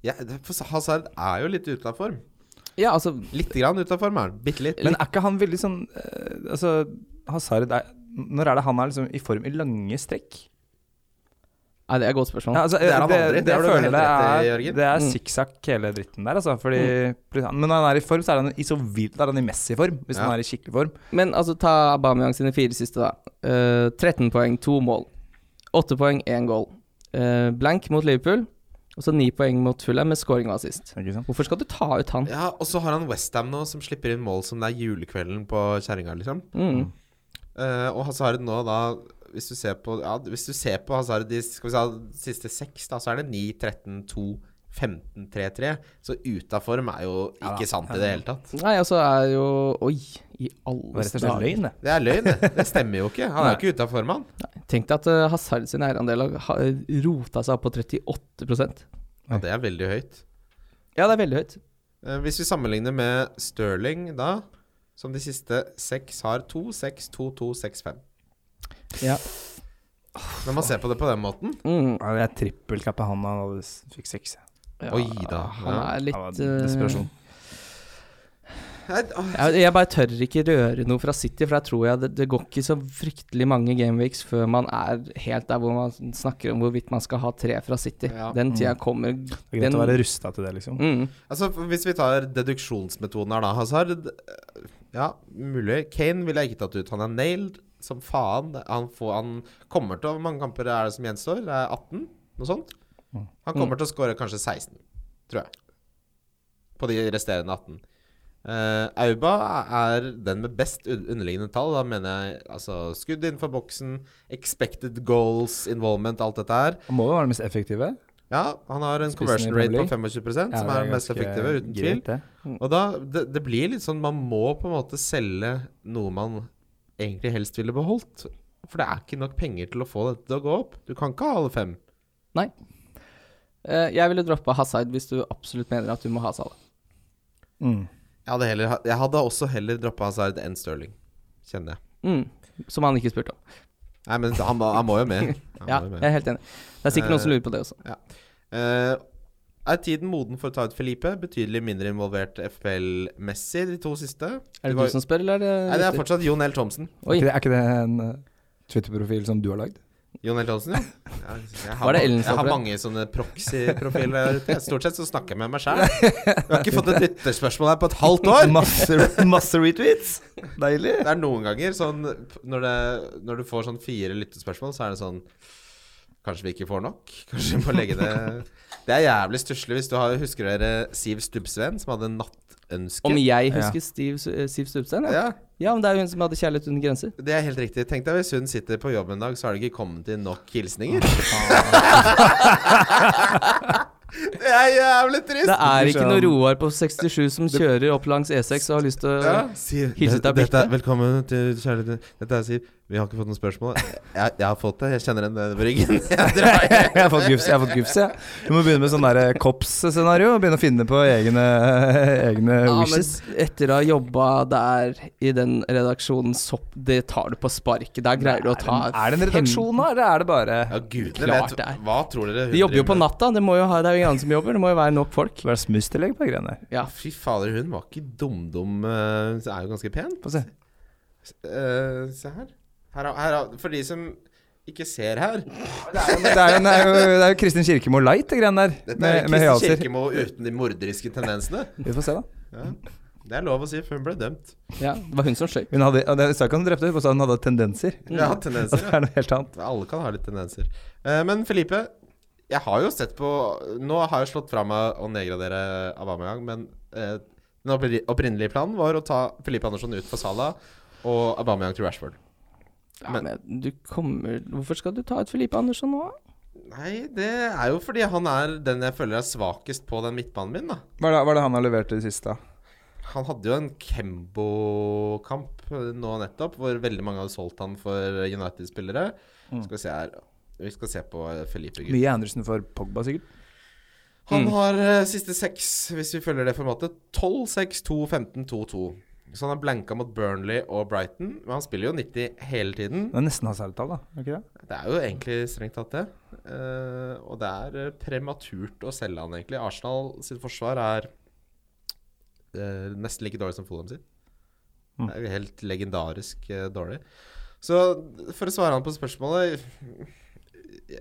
Speaker 3: ja det- for Hazard er jo litt ute av form.
Speaker 4: Ja, altså
Speaker 3: Litt grann ute av form er han. Bitte litt.
Speaker 5: Men er ikke han veldig sånn eh, Altså, Hazard er Når er det han er liksom i form i lange strekk?
Speaker 4: Nei, det er et godt spørsmål.
Speaker 5: Ja, altså,
Speaker 3: Det er han
Speaker 5: det,
Speaker 3: aldri.
Speaker 5: det,
Speaker 3: Det har
Speaker 5: jeg
Speaker 3: du
Speaker 5: føler det
Speaker 3: helt rett i,
Speaker 5: er,
Speaker 3: Jørgen.
Speaker 5: det er
Speaker 4: Mm.
Speaker 5: sikksakk hele dritten der, altså. Fordi, Men når han er i form, så er han i så vilt Da er han i Messi-form, hvis
Speaker 3: Ja.
Speaker 5: han er i skikkelig form.
Speaker 4: Men altså, ta Aubameyang sine fire siste, da. Eh, 13 poeng, to mål. 8 poeng, én goal. eh, blank mot Liverpool, og så ni poeng mot Fulham med scoring og assist.
Speaker 5: Ikke sant?
Speaker 4: Hvorfor skal du ta ut han?
Speaker 3: Ja, og så har han Westham nå, som slipper inn mål som det er julekvelden på kjerringa, liksom.
Speaker 4: Mm.
Speaker 3: Eh, og Hazard nå, da Hvis du ser på, ja, hvis du ser på Hazard de skal vi si, siste seks, da, så er det 9, 13, 2, 15, 3, 3. Så ut av form er jo
Speaker 5: Ja da.
Speaker 3: ikke sant i det hele tatt.
Speaker 4: Nei, altså er jo Oi, i alle
Speaker 5: Det var rett og slett
Speaker 4: dager.
Speaker 5: løgn, det.
Speaker 3: Det er løgn, det. Det stemmer jo ikke. Han er jo ikke ute av form, han.
Speaker 4: Tenk deg at eh, Hazard sin eierandel har- har rota seg opp på 38
Speaker 3: Ja, det er veldig høyt.
Speaker 4: Ja, det er veldig høyt.
Speaker 3: Eh, Hvis vi sammenligner med Sterling da, som de siste seks har 2, 6, 2, 2, 6, 5.
Speaker 4: Ja.
Speaker 3: Når man ser på det på den måten
Speaker 4: Mm.
Speaker 5: Ja, Jeg trippelkappa han da han hadde- fikk seks. jeg.
Speaker 4: Ja,
Speaker 3: Oi da.
Speaker 4: Han er
Speaker 5: Det var
Speaker 4: litt eh,
Speaker 5: desperasjon.
Speaker 3: Nei, åh,
Speaker 4: Jeg, jeg bare tør ikke røre noe fra City, for jeg tror jeg det, det går ikke så fryktelig mange gameweeks før man er helt der hvor man snakker om hvorvidt man skal ha tre fra City.
Speaker 3: Ja.
Speaker 4: Den tida kommer
Speaker 5: Det er greit
Speaker 4: den,
Speaker 5: å være rusta til det, liksom.
Speaker 4: mm,
Speaker 3: Altså, Hvis vi tar deduksjonsmetoden her, da, Hazard eh, Ja, mulig. Kane ville jeg ikke tatt ut. Han er nailed som faen. Han, får, han kommer til å Hvor mange kamper er det som gjenstår? Det er 18? Noe sånt?
Speaker 5: Mm.
Speaker 3: Han kommer til å skåre kanskje 16, tror jeg. På de resterende 18. Eh, Auba er den med best un- underliggende tall. Da mener jeg altså skudd innenfor boksen, expected goals, involvement, alt dette her.
Speaker 5: Han må jo være den mest effektive.
Speaker 3: Ja, han har en
Speaker 5: Spissen i
Speaker 3: conversion rate på
Speaker 5: Premier
Speaker 3: 25
Speaker 5: Ja,
Speaker 3: som
Speaker 5: det
Speaker 3: er den mest
Speaker 5: ganske
Speaker 3: effektive, uten tvil.
Speaker 5: greit, det.
Speaker 3: Og da, det, det blir litt sånn Man må på en måte selge noe man egentlig helst ville beholdt. For det er ikke nok penger til å få dette til å gå opp. Du kan ikke ha alle fem.
Speaker 4: Nei. Eh, jeg ville droppa Hazard hvis du absolutt mener at du må ha Salah.
Speaker 5: Mm.
Speaker 3: Jeg hadde, heller, ha- jeg hadde også heller droppa Hazard enn Sterling, kjenner jeg.
Speaker 4: Mm, som han ikke spurte om.
Speaker 3: Nei, men han, må- han må jo med. Han
Speaker 4: Ja,
Speaker 3: må jo
Speaker 4: jeg
Speaker 3: med.
Speaker 4: er helt enig. Det er sikkert noen som lurer på det også.
Speaker 3: Eh, er tiden moden for å ta ut Felipe? Betydelig mindre involvert FPL-messig, de to siste.
Speaker 4: Er det
Speaker 3: var-
Speaker 4: du som spør, eller?
Speaker 3: Nei, det er fortsatt Jon L. Thomsen.
Speaker 5: Er,
Speaker 4: Oi.
Speaker 5: ikke det, er ikke det en eh, Twitter-profil som du har lagd?
Speaker 3: Jon L. Thomsen, ja. Jeg, jeg, har,
Speaker 4: Var det
Speaker 3: ma-
Speaker 4: Ellen som
Speaker 3: jeg har
Speaker 4: for det?
Speaker 3: mange sånne proxy-profiler der ute. Stort sett så snakker jeg med meg sjæl. Jeg har ikke fått et lytterspørsmål her på et halvt år.
Speaker 5: Masse, masse retweets! Deilig.
Speaker 3: Det er noen ganger sånn når, det, når du får sånn fire lyttespørsmål, så er det sånn Kanskje vi ikke får nok? Kanskje vi må legge det Det er jævlig stusslig hvis du har, husker dere Siv Stubbsveen, som hadde nattønske?
Speaker 4: Om jeg husker Steve, eh, Siv Stubbstein? Ja.
Speaker 3: Ja,
Speaker 4: ja, men det er jo hun som hadde Kjærlighet uten grenser.
Speaker 3: det er helt riktig. Tenk deg hvis hun sitter på jobb en dag, så har det ikke kommet inn nok hilsninger. det er jævlig trist!
Speaker 4: Det er ikke noe
Speaker 5: skjønn.
Speaker 4: Roar på 67 som kjører opp langs E6 og har lyst til å
Speaker 3: Ja, Siv.
Speaker 4: Hilse
Speaker 3: dette-
Speaker 4: til
Speaker 3: dette er-
Speaker 4: Birte.
Speaker 3: Velkommen til kjærligheten. Dette er Siv. Vi har ikke fått noen spørsmål. Jeg, jeg har fått det. Jeg kjenner den nede på ryggen. Jeg drar hjem.
Speaker 5: jeg har fått gufs, jeg. har fått gufs, jeg. Du må begynne med sånn der kops-scenario. og Begynne å finne på egne, egne
Speaker 4: Ja, men
Speaker 5: wishes.
Speaker 4: etter å ha jobba der i den redaksjonen sopp, det tar du på sparket. Der greier du å ta
Speaker 5: Er det en redaksjon, da, eller er det bare
Speaker 3: Ja, gudene
Speaker 4: Klart
Speaker 3: vet
Speaker 4: det er.
Speaker 3: Hva tror dere hun
Speaker 4: De jobber jo
Speaker 3: driver
Speaker 4: på
Speaker 3: med?
Speaker 4: natta, det, må jo ha, det er jo ingen andre som jobber. Det må jo være nok folk.
Speaker 5: Bare smusstillegg på greiene der.
Speaker 4: Ja.
Speaker 3: Fy fader, hun var ikke dum-dum. eh, Hun er jo ganske pen.
Speaker 5: Få se.
Speaker 3: Eh, se her. her, er- her er- for de som ikke ser her
Speaker 5: Det er jo, det er jo, det er jo Kristin Kirkemo Light, det greiene der.
Speaker 3: Dette er
Speaker 5: Med, med
Speaker 3: Kristin
Speaker 5: høyhalser.
Speaker 3: Kirkemo uten de morderiske tendensene.
Speaker 5: Vi får se, da.
Speaker 3: Ja. Det er lov å si, for hun ble dømt.
Speaker 4: ja, Det var hun som sløy.
Speaker 5: Hun hadde, ja, det sa ikke at hun drepte, hun bare sa hun hadde tendenser.
Speaker 3: Ja,
Speaker 5: Og
Speaker 3: tendenser. ja.
Speaker 5: det er noe helt annet.
Speaker 3: Alle kan ha litt tendenser. Eh, men Felipe, jeg har jo sett på Nå har jeg slått fra meg å nedgradere Aubameyang, men eh, den oppri- opprinnelige planen var å ta Felipe Andersson ut for Salah og Aubameyang til Rashford.
Speaker 4: Ja, men du kommer Hvorfor skal du ta ut Felipe Andersson nå?
Speaker 3: Nei, det er jo fordi han er den jeg føler er svakest på den midtbanen min, da.
Speaker 5: Hva er det, hva er det han har levert i det siste? da?
Speaker 3: Han hadde jo en Kembo-kamp eh, nå nettopp, hvor veldig mange hadde solgt han for United-spillere. Skal vi se her Vi skal se på eh, Felipe, gutt.
Speaker 5: Mye Andersen for Pogba, sikkert.
Speaker 3: Han har eh, siste seks, hvis vi følger det formatet, 12, 6, 2, 15, 2, 2. Så han er blanka mot Burnley og Brighton, men han spiller jo 90 hele tiden.
Speaker 5: Det er nesten hans tall, da. Er det ikke det?
Speaker 3: Det er jo egentlig strengt tatt det. Eh, og det er eh, prematurt å selge han, egentlig. Arsenal sitt forsvar er eh, nesten like dårlig som Fulham sitt.
Speaker 5: Mm.
Speaker 3: Det er jo helt legendarisk eh, dårlig. Så for å svare han på spørsmålet Jeg,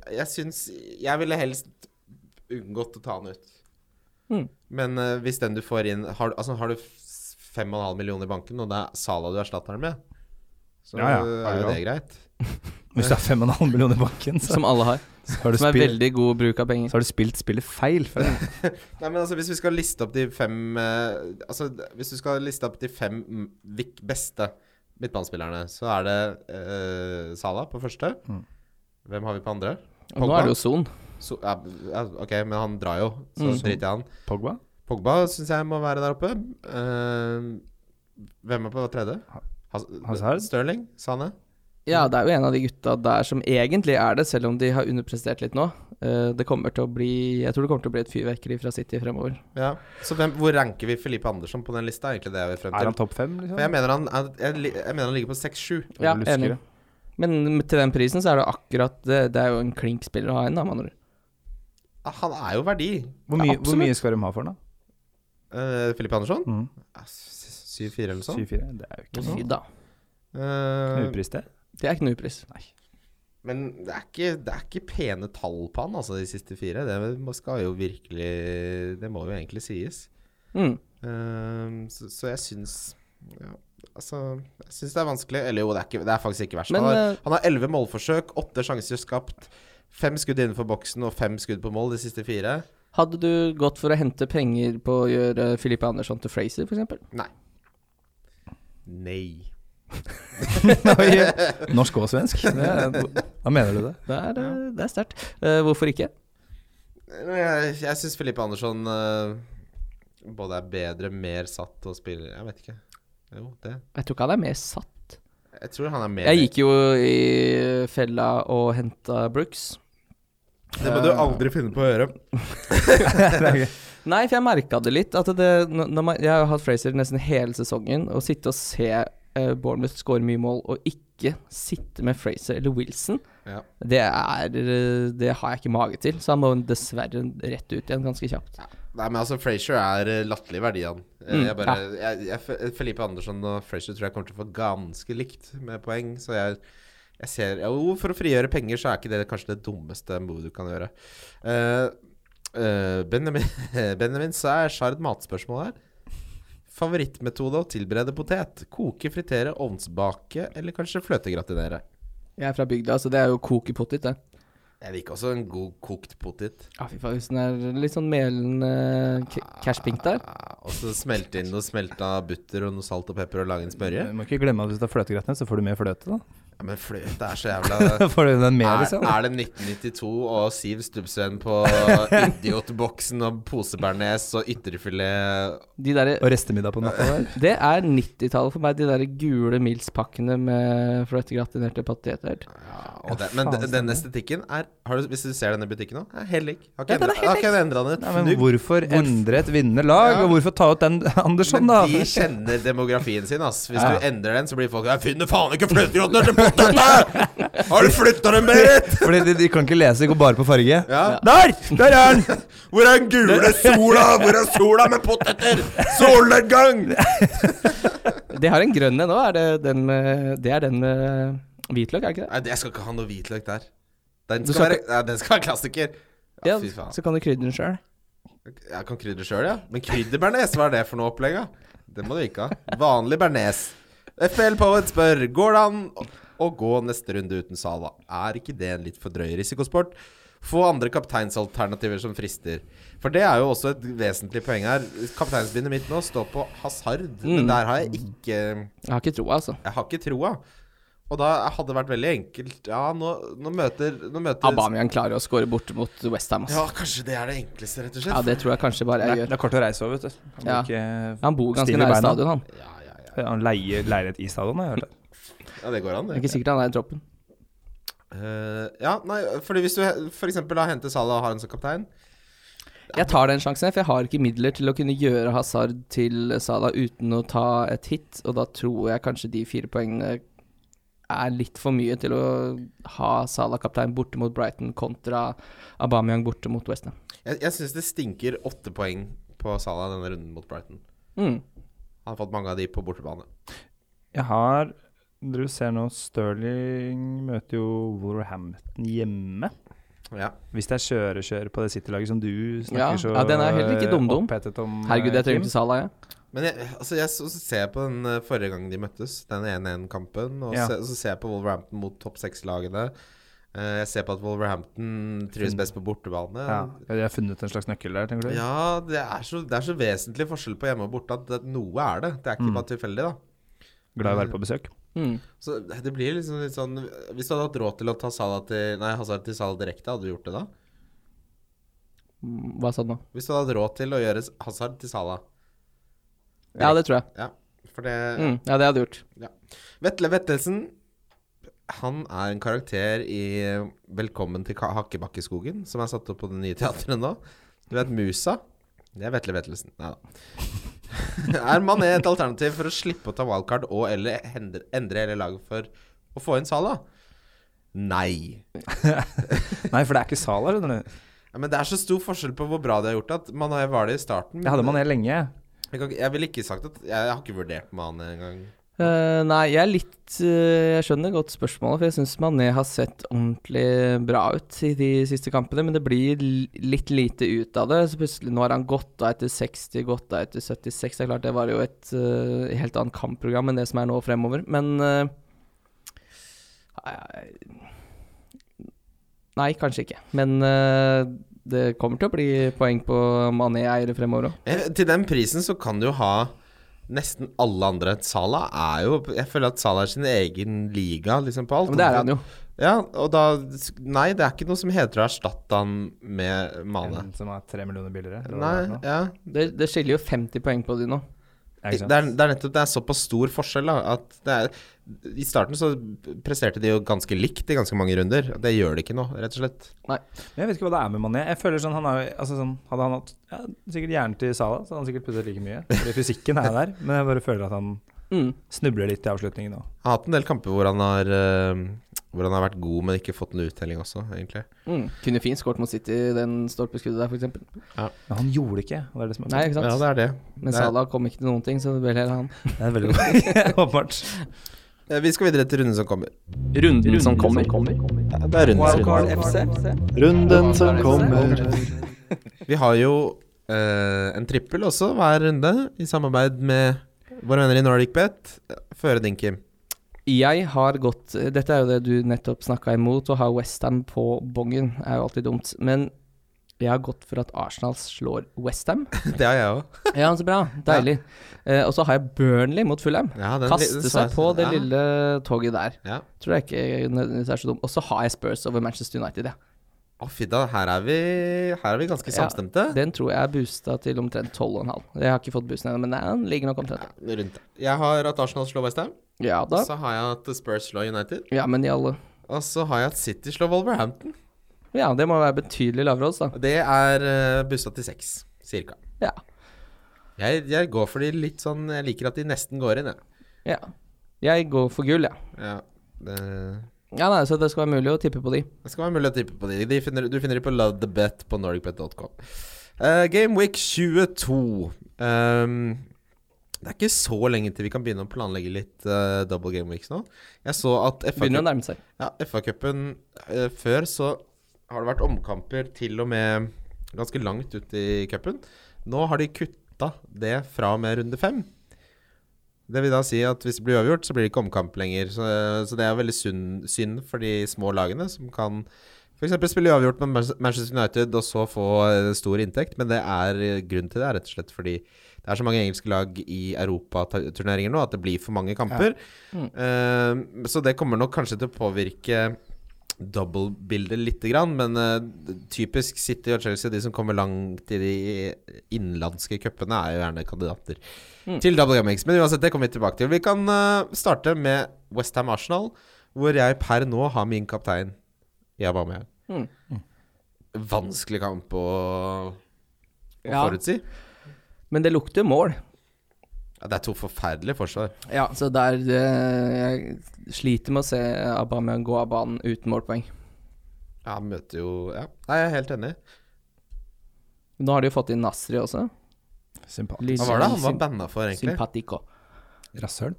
Speaker 3: jeg syns Jeg ville helst unngått å ta han ut.
Speaker 4: Mm.
Speaker 3: Men eh, hvis den du får inn Har, altså, har du f- 5,5 millioner i banken, og det er Sala du erstatter den med, så
Speaker 5: Ja, ja.
Speaker 3: er jo det greit.
Speaker 5: Hvis du har 5,5 millioner i banken, så
Speaker 4: Som alle har.
Speaker 5: Så har du,
Speaker 4: Som er
Speaker 5: spilt,
Speaker 4: veldig god bruk av penger.
Speaker 5: så har du spilt spillet feil. Før.
Speaker 3: Nei, men altså Hvis vi skal liste opp de fem eh, Altså Hvis du skal liste opp de fem mm, vik- beste midtbanespillerne, så er det eh, Salah på første.
Speaker 5: Mm.
Speaker 3: Hvem har vi på andre?
Speaker 4: Og nå
Speaker 3: Pogba?
Speaker 4: er det jo Son.
Speaker 3: So, ja, ja, ok, men han drar jo, så driter jeg i han.
Speaker 5: Pogba?
Speaker 3: Pogba syns jeg må være der oppe. Eh, hvem er på tredje? Has
Speaker 5: Hazard?
Speaker 3: Sterling? Sane?
Speaker 4: Ja, det er jo en av de gutta der som egentlig er det, selv om de har underprestert litt nå. Eh, Det kommer til å bli Jeg tror det kommer til å bli et fyrverkeri fra City fremover.
Speaker 3: Ja. Så hvem, hvor ranker vi Felipe Andersson på den lista? Er egentlig det jeg vil frem
Speaker 5: Er
Speaker 3: til.
Speaker 5: han topp fem?
Speaker 3: For
Speaker 5: Liksom?
Speaker 3: jeg mener han, er- jeg, li- jeg mener han ligger på 6-7.
Speaker 4: Ja,
Speaker 5: lusker,
Speaker 4: enig.
Speaker 5: ja.
Speaker 4: Men til den prisen så er det akkurat Det, det er jo en klink spiller å ha inn, da, med andre ord.
Speaker 3: Ah, Han er jo verdi,
Speaker 5: Hvor mye,
Speaker 4: Ja,
Speaker 5: hvor mye skal de ha for den, da?
Speaker 3: eh, Filippe Andersson.
Speaker 5: Mm.
Speaker 3: Ja, s- 7-4 Ah, eller noe sånt.
Speaker 5: 7-4? Det er jo ikke
Speaker 4: Fy da.
Speaker 3: Eh,
Speaker 5: knupris, det.
Speaker 4: Det er ikke noe upris.
Speaker 3: men det er, ikke, det er ikke pene tall på han, altså, de siste fire. Det må- skal jo virkelig Det må jo egentlig sies.
Speaker 4: Mm.
Speaker 3: Eh, så, så jeg syns ja, Altså, jeg syns det er vanskelig. Eller jo, det er, ikke, det er faktisk ikke verst.
Speaker 4: Men,
Speaker 3: han har-
Speaker 4: eh,
Speaker 3: han har elleve målforsøk, åtte sjanser skapt, fem skudd innenfor boksen og fem skudd på mål de siste fire.
Speaker 4: Hadde du gått for å hente penger på å gjøre Filippe Andersson til Fraser, f.eks.?
Speaker 3: Nei. Nei.
Speaker 5: Oi, Norsk og svensk? Det er- Da mener du det?
Speaker 4: Det er, eh, det er sterkt. Eh, hvorfor ikke?
Speaker 3: Jeg, jeg syns Filippe Andersson eh, både er bedre, mer satt og spiller Jeg vet ikke. Jo, det.
Speaker 4: Jeg tror ikke han er mer satt.
Speaker 3: Jeg tror han er mer
Speaker 4: Jeg gikk jo i fella og henta Brooks.
Speaker 3: Det må du aldri finne på å gjøre.
Speaker 4: Nei, for jeg merka det litt. At det, når når man, jeg har jo hatt Fraser nesten hele sesongen. Å sitte og se eh, Bournemouth score mye mål og ikke sitte med Fraser eller Wilson,
Speaker 3: Ja.
Speaker 4: det, er, eh, det har jeg ikke mage til. Så han må dessverre rett ut igjen ganske kjapt.
Speaker 3: Nei, men altså, Frazier er eh, latterlig verdi, han. Eh,
Speaker 4: Mm,
Speaker 3: jeg bare, jeg, jeg, Fe- Felipe Andersson og Frazier tror jeg kommer til å få ganske likt med poeng, så jeg, jeg ser Jo, for å frigjøre penger, så er ikke det kanskje det dummeste movet du kan gjøre. Eh, eh, Benjamin, Benjamin, så er har et matspørsmål her. Favorittmetode å tilberede potet? Koke, fritere, ovnsbake eller kanskje fløtegratinere?
Speaker 4: Jeg er fra bygda, så det er jo koke potet, det.
Speaker 3: Jeg liker også en god kokt potet.
Speaker 4: Ja, fy faen, hvis den er litt sånn melen eh, ca- cashpink der.
Speaker 3: Ah, Og så smelte inn noe smelta butter og noe salt og pepper og lage en smørje.
Speaker 5: Du må ikke glemme at hvis du tar fløtegratin, så får du mer fløte, da.
Speaker 3: Ja, men fløte er så jævla
Speaker 5: Da får du den med,
Speaker 3: er,
Speaker 5: liksom.
Speaker 3: er det 1992 og Siv Stubbsveen på idiotboksen og posebearnés og ytrefilet
Speaker 4: De derre
Speaker 5: Og restemiddag på natta der.
Speaker 4: Det er 90-tallet for meg, de der gule Mills-pakkene med fløtegratinerte poteter.
Speaker 3: ja, og det,
Speaker 5: Ja,
Speaker 3: Men
Speaker 5: faen,
Speaker 3: den- denne estetikken er har du, Hvis du ser denne butikken nå, er helt lik. Har
Speaker 4: Ja,
Speaker 3: ikke
Speaker 4: den er
Speaker 3: endret-
Speaker 4: helt
Speaker 3: har ikke endra den
Speaker 5: Nei,
Speaker 3: et
Speaker 5: men
Speaker 3: fnugg.
Speaker 5: hvorfor endre et vinnende lag,
Speaker 3: Ja.
Speaker 5: og hvorfor ta ut den Andersson, da?
Speaker 3: Men de kjenner demografien sin, ass. Hvis
Speaker 5: Ja.
Speaker 3: du endrer den, så blir folk Jeg finner faen ikke fløtegrotter til poteta! Har du flytta dem, Berit?
Speaker 5: Fordi de, de kan ikke lese, de går bare på farge.
Speaker 3: Ja.
Speaker 5: Der! Der er den!
Speaker 3: Hvor er den gule sola? Hvor er sola med poteter? Solnedgang!
Speaker 4: De har en grønn en òg, er det den med Det er den med hvitløk, er det ikke det?
Speaker 3: Nei, det- jeg skal ikke ha noe hvitløk der. Den skal,
Speaker 4: Du skal
Speaker 3: være, nei, den skal være klassiker. Ja, fy faen.
Speaker 4: så kan du krydre den sjøl.
Speaker 3: Jeg kan krydre sjøl, ja. Men krydderbearnés, hva er det for noe opplegg? da? Det må du ikke ha. Vanlig bearnés. FL Poet spør Går det an å- å gå neste runde uten Sala. Er ikke det en litt for drøy risikosport? Få andre kapteinsalternativer som frister. For det er jo også et vesentlig poeng her. Kapteinsbindet mitt nå står på Hazard, men der har jeg ikke
Speaker 4: Jeg har ikke troa, altså.
Speaker 3: Jeg har ikke troa. Og da hadde det vært veldig enkelt Ja, nå, nå møter, nå møter
Speaker 4: Aubameyang klarer å score borte mot Westham,
Speaker 3: Ja,
Speaker 4: altså.
Speaker 3: kanskje det er det enkleste, rett og
Speaker 4: Ja,
Speaker 3: slett.
Speaker 4: det tror jeg kanskje bare jeg gjør.
Speaker 5: er kort å reise over, vet du. Kan
Speaker 4: Ja.
Speaker 5: ikke
Speaker 4: Han bor ganske
Speaker 5: stille
Speaker 4: nær
Speaker 5: beina.
Speaker 4: stadion, han.
Speaker 3: Ja, ja, ja.
Speaker 5: Han leier leilighet i stadion, har jeg hørt. det.
Speaker 3: ja det går an,
Speaker 4: Det er
Speaker 3: det.
Speaker 4: ikke sikkert han er i troppen.
Speaker 3: Eh, ja, nei, fordi hvis du he- for eksempel da henter Salah og har en som kaptein
Speaker 4: Jeg tar den sjansen, for jeg har ikke midler til å kunne gjøre Hazard til Salah uten å ta et hit, og da tror jeg kanskje de fire poengene er litt for mye til å ha Salah kaptein borte mot Brighton kontra Aubameyang borte mot Westham.
Speaker 3: Jeg, jeg syns det stinker åtte poeng på Salah denne runden mot Brighton. Han
Speaker 4: Mm.
Speaker 3: har fått mange av de på bortebane.
Speaker 5: Jeg har Dere ser nå, Sterling møter jo Wolverhampton hjemme.
Speaker 3: Ja.
Speaker 5: Hvis det er kjøre-kjøre på det City-laget som du snakker
Speaker 4: Ja,
Speaker 5: så
Speaker 4: ja, den er heller ikke dum-dum.
Speaker 5: opphetet om eh,
Speaker 4: Herregud, jeg trenger
Speaker 5: Kim.
Speaker 4: ikke Salah, jeg.
Speaker 3: Men jeg, altså jeg så, så ser jeg på den eh, forrige gangen de møttes, den 1-1-kampen, og
Speaker 5: Ja.
Speaker 3: se, så ser jeg på Wolverhampton mot topp seks-lagene. Eh, Jeg ser på at Wolverhampton trives best på bortebane.
Speaker 5: Ja. Jeg har funnet en slags nøkkel der, tenker du?
Speaker 3: Ja, det er, så, det er så vesentlig forskjell på hjemme og borte at det- noe er det. Det er ikke bare tilfeldig, da.
Speaker 5: Glad i å være på besøk.
Speaker 4: Mm.
Speaker 3: Så det blir liksom litt sånn Hvis du hadde hatt råd til å ta Salah til Nei, Hazard til Salah direkte, hadde du gjort det da?
Speaker 4: Hva sa du nå?
Speaker 3: Hvis du hadde hatt råd til å gjøre Hazard til Salah
Speaker 4: Ja, det tror jeg.
Speaker 3: Ja, for det
Speaker 4: Mm. Ja, det hadde jeg gjort.
Speaker 3: Ja. Vetle Vettelsen han er en karakter i Velkommen til Ka- Hakkebakkeskogen, som er satt opp på det nye teatret nå. Du vet Musa? Det er Vetle Vettelsen. Nei da. er Mané et alternativ for å slippe å ta wildcard og eller hendre- endre hele laget for å få inn Salah? Nei.
Speaker 5: Nei, for det er ikke Sala, skjønner du.
Speaker 3: Ja, men det er så stor forskjell på hvor bra de har gjort at Mané var det i starten.
Speaker 5: Jeg hadde Mané lenge.
Speaker 3: Jeg, kan, ikke- jeg ville ikke sagt at Jeg, jeg har ikke vurdert Mané engang.
Speaker 4: Eh, nei, jeg er litt eh, Jeg skjønner godt spørsmålet, for jeg syns Mané har sett ordentlig bra ut i de siste kampene, men det blir l- litt lite ut av det. Så plutselig nå har han gått av etter 60, gått av etter 76. Det er klart, det var jo et eh, helt annet kampprogram enn det som er nå fremover, men eh, nei, Nei, kanskje ikke. Men eh, det kommer til å bli poeng på Mané-eiere fremover òg.
Speaker 3: Eh, Til den prisen så kan du jo ha nesten alle andre. Sala er jo Jeg føler at Sala er sin egen liga liksom på alt.
Speaker 4: Men det er han jo.
Speaker 3: Ja, og da Nei, det er ikke noe som heter å erstatte han med Mane.
Speaker 5: En som er tre millioner billigere. eller hva
Speaker 3: Nei,
Speaker 5: det er for noe.
Speaker 3: ja.
Speaker 4: Det, det skiller jo 50 poeng på de nå.
Speaker 5: Ja,
Speaker 3: Det
Speaker 5: ikke
Speaker 3: er,
Speaker 5: sant?
Speaker 3: det er nettopp det er såpass stor forskjell da, at det er, I starten så presterte de jo ganske likt i ganske mange runder. Det gjør de ikke nå, rett og slett.
Speaker 5: Men jeg vet ikke hva det er med Mané. Jeg føler sånn, han er, jo- altså sånn, Hadde han hatt ja, sikkert hjernen til Sala, så hadde han sikkert puttet like mye. Fordi fysikken er der. Men jeg bare føler at han
Speaker 4: Mm.
Speaker 5: snubler litt i avslutningen nå.
Speaker 3: Han har hatt en del kamper hvor han har, eh, hvor han har vært god, men ikke fått noen uttelling også, egentlig.
Speaker 4: Mm. Kunne fint skåret mot City i den stolpeskuddet der, f.eks.
Speaker 5: Men han gjorde det ikke. og Det er det som er
Speaker 4: Nei, ikke sant?
Speaker 3: Ja, det er det.
Speaker 4: Men
Speaker 3: det er-
Speaker 4: Salah kom ikke til noen ting, så det ble heller han.
Speaker 5: Det er veldig godt. Åpenbart.
Speaker 3: Eh, Vi skal videre til runden som kommer.
Speaker 4: Runden som kommer.
Speaker 1: Det er
Speaker 4: Wildcard FC.
Speaker 1: Runden som kommer.
Speaker 3: Vi har jo eh, en trippel også hver runde, i samarbeid med våre venner i Nordic Bet. Føre din, Kim.
Speaker 4: Jeg har gått Dette er jo det du nettopp snakka imot, å ha Westham på bongen er jo alltid dumt. Men jeg har gått for at Arsenal slår Westham.
Speaker 3: Det har jeg òg.
Speaker 4: Ja, så bra. Deilig. Eh, og så har jeg Burnley mot Fulham.
Speaker 3: Ja, den- den
Speaker 4: Kaste
Speaker 3: sa
Speaker 4: seg
Speaker 3: jeg-
Speaker 4: på det
Speaker 3: ja,
Speaker 4: lille toget der.
Speaker 3: Ja.
Speaker 4: Tror jeg ikke nødvendigvis er så dum. Og så har jeg Spurs over Manchester United, ja.
Speaker 3: Å, fy da, her er vi, her er vi ganske
Speaker 4: Ja,
Speaker 3: samstemte.
Speaker 4: Den tror jeg er boosta til omtrent 12,5. Jeg har ikke fått boosten ennå, men den ligger nok omtrent der.
Speaker 3: Ja, rundt. Jeg har at Arsenal slår Westham.
Speaker 4: Ja da.
Speaker 3: Så har jeg at Spurs slår United.
Speaker 4: Ja, men i alle
Speaker 3: Og så har jeg at City slår Wolverhampton.
Speaker 4: Ja, det må være betydelig lavere odds, da.
Speaker 3: Og Det er uh, bussa til seks, cirka.
Speaker 4: Ja.
Speaker 3: Jeg, jeg går for de litt sånn Jeg liker at de nesten går inn, jeg.
Speaker 4: ja. Jeg går for gull, jeg.
Speaker 3: Ja, det
Speaker 4: Ja. ja, nei, så det skal være mulig å tippe på de.
Speaker 3: Det skal være mulig å tippe på de. de finner, du finner de på lovethebet på nordicbet.com. Uh, Game Week 22. Ehm, det er ikke så lenge til vi kan begynne å planlegge litt eh, double game weeks nå. Jeg så at
Speaker 4: Begynner å
Speaker 3: FA-cupen
Speaker 4: nærme seg.
Speaker 3: ja, FA uh, Før så har det vært omkamper til og med ganske langt ut i cupen. Nå har de kutta det fra og med runde fem. Det vil da si at hvis det blir uavgjort, så blir det ikke omkamp lenger. Så, så det er veldig synd, synd for de små lagene, som kan f.eks. spille uavgjort med Manchester- Manchester United og så få eh, stor inntekt. Men det er eh, grunnen til det er rett og slett fordi det er så mange engelske lag i europaturneringer nå at det blir for mange kamper.
Speaker 4: Mm.
Speaker 3: Eh, så det kommer nok kanskje til å påvirke double-bildet lite grann, men eh, typisk City og Chelsea, de som kommer langt i de innenlandske cupene, er jo gjerne kandidater
Speaker 4: Mm.
Speaker 3: til double gamings. Men uansett, det kommer vi tilbake til. Vi kan eh, starte med Westham Arsenal, hvor jeg per nå har min kaptein i Aubameyang.
Speaker 4: Mm.
Speaker 3: Vanskelig kamp å, å
Speaker 4: Ja.
Speaker 3: forutsi.
Speaker 4: Men det lukter mål.
Speaker 3: Ja, det er to forferdelige forsvar.
Speaker 4: Ja, så der eh, Jeg sliter med å se Aubameyang gå av banen uten målpoeng.
Speaker 3: Ja, han møter jo Ja, Nei, jeg er helt enig.
Speaker 4: Nå har de jo fått inn Nasri også.
Speaker 5: Sympatisk.
Speaker 4: Lys-
Speaker 3: Hva var det han var
Speaker 4: symp-
Speaker 3: banna for, egentlig?
Speaker 4: Sympatico.
Speaker 5: Rasshøl.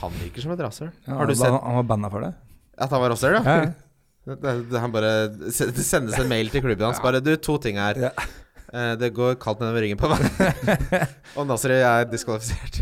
Speaker 3: Han virker som et rasshøl.
Speaker 5: Ja,
Speaker 3: Har du
Speaker 5: han,
Speaker 3: sett
Speaker 5: han var banna for det?
Speaker 3: at han var rasshøl, ja?
Speaker 5: Ja.
Speaker 3: Det, det, han bare se- det sendes en mail til klubben hans. Bare du, to ting her.
Speaker 5: Ja.
Speaker 3: Eh, det går kaldt nedover ryggen på meg. og Nasri er diskvalifisert.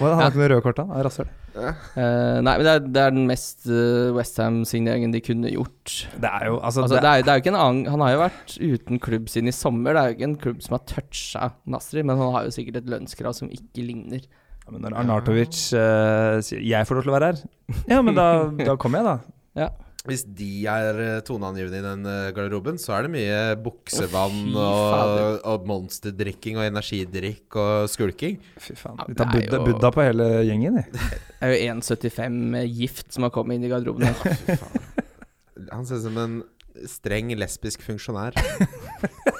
Speaker 5: Hvordan har han ikke noe røde kort, da? Er Rasshøl.
Speaker 4: Eh, nei, men det er, det er den mest uh, Westham-signeringen de kunne gjort.
Speaker 5: Det er jo altså,
Speaker 4: Altså, det, er, det er jo ikke en annen Han har jo vært uten klubb siden i sommer. Det er jo ikke en klubb som har toucha Nasri, men han har jo sikkert et lønnskrav som ikke ligner.
Speaker 5: Ja, men når Arnatovic eh, sier 'jeg får lov til å være her', ja, men da, da kommer jeg, da.
Speaker 3: Hvis de er eh, toneangivende i den eh, garderoben, så er det mye buksevann
Speaker 4: Å, fy
Speaker 3: og,
Speaker 4: fader.
Speaker 3: og monsterdrikking og energidrikk og skulking.
Speaker 5: Fy faen.
Speaker 4: Ja,
Speaker 5: De tar
Speaker 4: det er
Speaker 5: Buddha,
Speaker 4: jo-
Speaker 5: Buddha på hele gjengen, de.
Speaker 4: Det er jo 1,75 gift som har kommet inn i garderoben. hans.
Speaker 3: Han ser ut som en streng lesbisk funksjonær. Det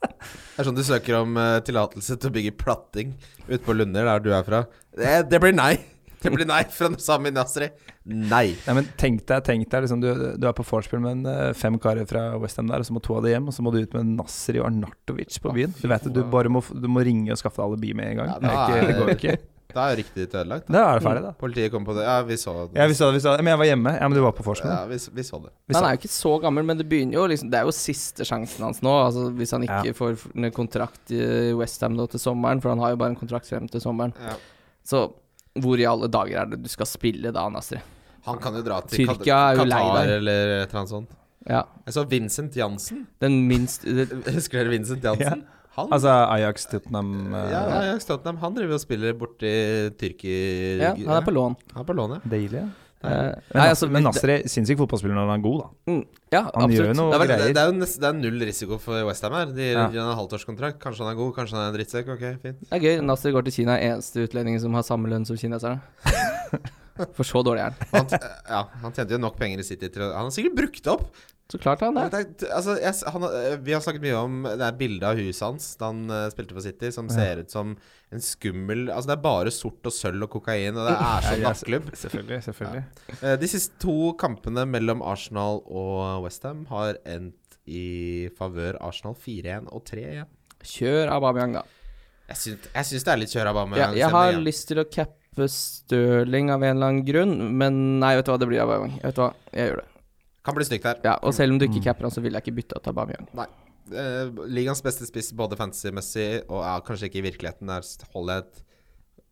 Speaker 3: er sånn du søker om eh, tillatelse til å bygge platting ute på Lunder, der du er fra. Det, det blir nei! Det blir nei fra Sami Nasri. Nei.
Speaker 5: Nei, men tenk deg, tenk deg liksom, du, du er på vorspiel med en, eh, fem karer fra Westham der, og så må to av de hjem, og så må du ut med Nasri og Arnatovic på byen. Du vet det, du bare må, f- du må ringe og skaffe deg alibi med en gang.
Speaker 3: Ja,
Speaker 5: det,
Speaker 3: da
Speaker 5: er ikke,
Speaker 3: er
Speaker 5: det går ikke.
Speaker 3: Da er ryktet ditt ødelagt.
Speaker 5: Da er det ferdig, da.
Speaker 3: Politiet kom på det. Ja, vi så det.
Speaker 5: Ja, vi så det, vi så det. Men jeg var hjemme. Ja, men du var på vorspiel.
Speaker 3: Ja, vi, s- vi så det.
Speaker 5: Vi
Speaker 4: Han
Speaker 5: sa-
Speaker 4: er jo ikke så gammel, men det begynner jo liksom Det er jo siste sjansen hans nå. Altså Hvis han ikke får f- en kontrakt i Westham nå til sommeren, for han har jo bare en kontrakt frem til sommeren.
Speaker 3: Ja.
Speaker 4: Så hvor i alle dager er det du skal spille da, Nasri?
Speaker 3: Han kan jo dra til
Speaker 4: Tyrkia er jo lei
Speaker 3: Qatar
Speaker 4: der.
Speaker 3: eller et eller annet sånt.
Speaker 4: Ja,
Speaker 3: Jeg så Vincent Jansen.
Speaker 4: den minst det,
Speaker 3: Husker dere Vincent Jansen? Han
Speaker 5: Altså Ajax, Tottenham eh,
Speaker 3: ja, ja, Tottenham, Han driver og spiller borti Tyrkia
Speaker 4: Ja, han er på lån.
Speaker 3: Han er på lån, ja.
Speaker 5: Daily, ja.
Speaker 4: Eh,
Speaker 5: Men,
Speaker 4: nei, altså,
Speaker 5: men Nasri, sinnssyk fotballspiller når han er god, da.
Speaker 4: Mm, ja,
Speaker 5: Han
Speaker 4: absolutt.
Speaker 5: gjør jo noe
Speaker 4: Det er vel-
Speaker 3: det,
Speaker 5: greier.
Speaker 3: det, er jo nest, det er null risiko for Westham her. De gir
Speaker 5: Ja.
Speaker 3: han en halvtårskontrakt. Kanskje han er god, kanskje han er en drittsekk. Ok, fint.
Speaker 4: Det er gøy. Nasri går til Kina, er eneste utlendingen som har samme lønn som kineserne. For så dårlig er han.
Speaker 3: Han, t- eh, ja, han tjente jo nok penger i City til å Han har sikkert brukt det opp.
Speaker 4: Så klart han det.
Speaker 3: Det er- altså, jeg, s- han, har- vi har snakket mye om det er bildet av huset hans da han eh, spilte for City, som ser ut som en skummel Altså, det er bare sort og sølv og kokain, og det er sånn
Speaker 5: Ja,
Speaker 3: nattklubb.
Speaker 5: Selvfølgelig. selvfølgelig
Speaker 3: Eh, De siste to kampene mellom Arsenal og Westham har endt i favør Arsenal 4-1 og 3-1.
Speaker 4: Kjør Aubameyang, da.
Speaker 3: Jeg syns, jeg syns det er litt kjør av
Speaker 4: Ja, jeg har lyst til å cappe Stirling av en eller annen grunn, men nei, vet du hva, det blir Aubameyang. Vet du hva, jeg gjør det.
Speaker 3: Kan bli stygt her.
Speaker 4: Ja, og selv om du
Speaker 5: Mm.
Speaker 4: ikke capper han, så vil jeg ikke bytte ut Aubameyang.
Speaker 3: Eh, Ligaens beste spiss både fantasy-messig og ja, kanskje ikke i virkeligheten. Der holder jeg, et,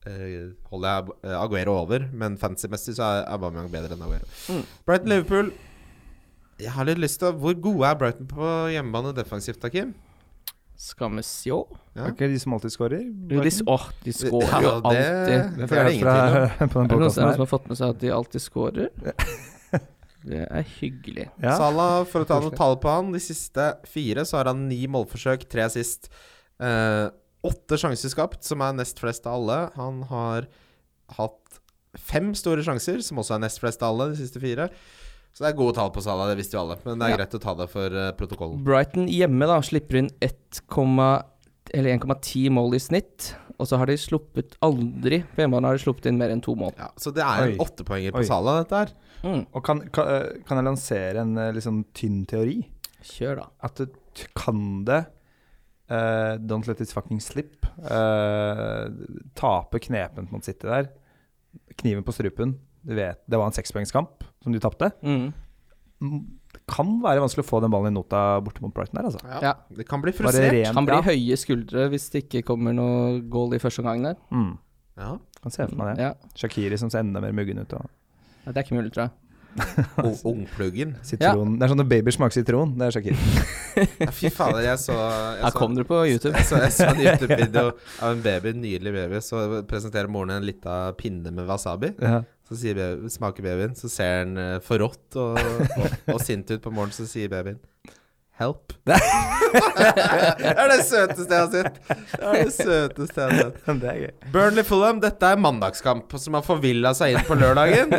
Speaker 3: eh, holder jeg Ab- eh, Aguero over, men fantasy-messig så er Aubameyang bedre enn Aguero.
Speaker 4: Mm.
Speaker 3: Brighton-Liverpool Jeg har litt lyst til å Hvor gode er Brighton på hjemmebane defensivt, da, Kim?
Speaker 4: Skammesjå?
Speaker 3: Ja.
Speaker 5: Er ikke de som alltid scorer?
Speaker 4: Åh, de, åh, de scorer jo
Speaker 3: Ja, det-
Speaker 4: alltid.
Speaker 5: Det
Speaker 3: det
Speaker 5: får
Speaker 3: er det
Speaker 5: jeg
Speaker 3: ingen
Speaker 5: fra
Speaker 3: tvil om.
Speaker 5: på den
Speaker 4: Er det noen
Speaker 5: podcasten
Speaker 4: som, er
Speaker 5: her.
Speaker 4: det noen som har fått med seg at de alltid scorer? Det er hyggelig.
Speaker 5: Ja.
Speaker 3: Salah, for å ta noen tall på han, de siste fire så har han ni målforsøk, tre sist. Eh, åtte sjanser skapt, som er nest flest av alle. Han har hatt fem store sjanser, som også er nest flest av alle, de siste fire. Så det er gode tall på Salah, det visste jo alle. Men det er
Speaker 4: Ja.
Speaker 3: greit å ta det for eh, protokollen.
Speaker 4: Brighton hjemme da slipper inn 1,0 eller 1,10 mål i snitt. Og så har de sluppet aldri På hjemmebane har de sluppet inn mer enn to mål.
Speaker 3: Ja, så det er
Speaker 5: Oi.
Speaker 3: en åttepoenger
Speaker 5: Oi.
Speaker 3: på Salah, dette her.
Speaker 4: Mm.
Speaker 5: Og kan, kan, eh, kan jeg lansere en eh, litt sånn tynn teori?
Speaker 4: Kjør, da.
Speaker 5: At du t- kan det eh, Don't let it fucking slip. eh, tape knepent mot City der. Kniven på strupen. Du vet, det var en sekspoengskamp som du tapte.
Speaker 4: Mm.
Speaker 5: Mm, Det kan være vanskelig å få den ballen i nota borte mot Brighton der, altså.
Speaker 4: Ja.
Speaker 3: Det kan bli
Speaker 5: Bare
Speaker 3: frustrert.
Speaker 5: rent-
Speaker 4: Han blir
Speaker 5: ja.
Speaker 4: høye skuldre hvis det ikke kommer noe goal i første omgang der.
Speaker 5: Mm,
Speaker 3: Ja.
Speaker 5: kan se for meg det.
Speaker 4: Ja.
Speaker 5: Shakiri som ser enda mer muggen ut. Og
Speaker 4: Ja, Det er ikke mulig, tror jeg.
Speaker 3: Og Ungpluggen.
Speaker 5: sitron. Det er sånn når babyer smaker sitron. Det er Shakiri.
Speaker 3: Ja, Fy fader, jeg så jeg
Speaker 4: Her
Speaker 3: så-
Speaker 4: kom dere på YouTube.
Speaker 3: Jeg så, jeg så en YouTube-video av en baby, en nydelig baby, så presenterer moren en lita pinne med wasabi.
Speaker 5: Ja.
Speaker 3: Så sier baby, smaker babyen, så ser den eh, forrådt og, og, og sint ut på morgenen, så sier babyen Help. det er det søteste jeg har sett. Det er det søteste jeg har sett.
Speaker 5: Det er gøy.
Speaker 3: Burnley Fulham, dette er mandagskamp som har forvilla seg inn på lørdagen.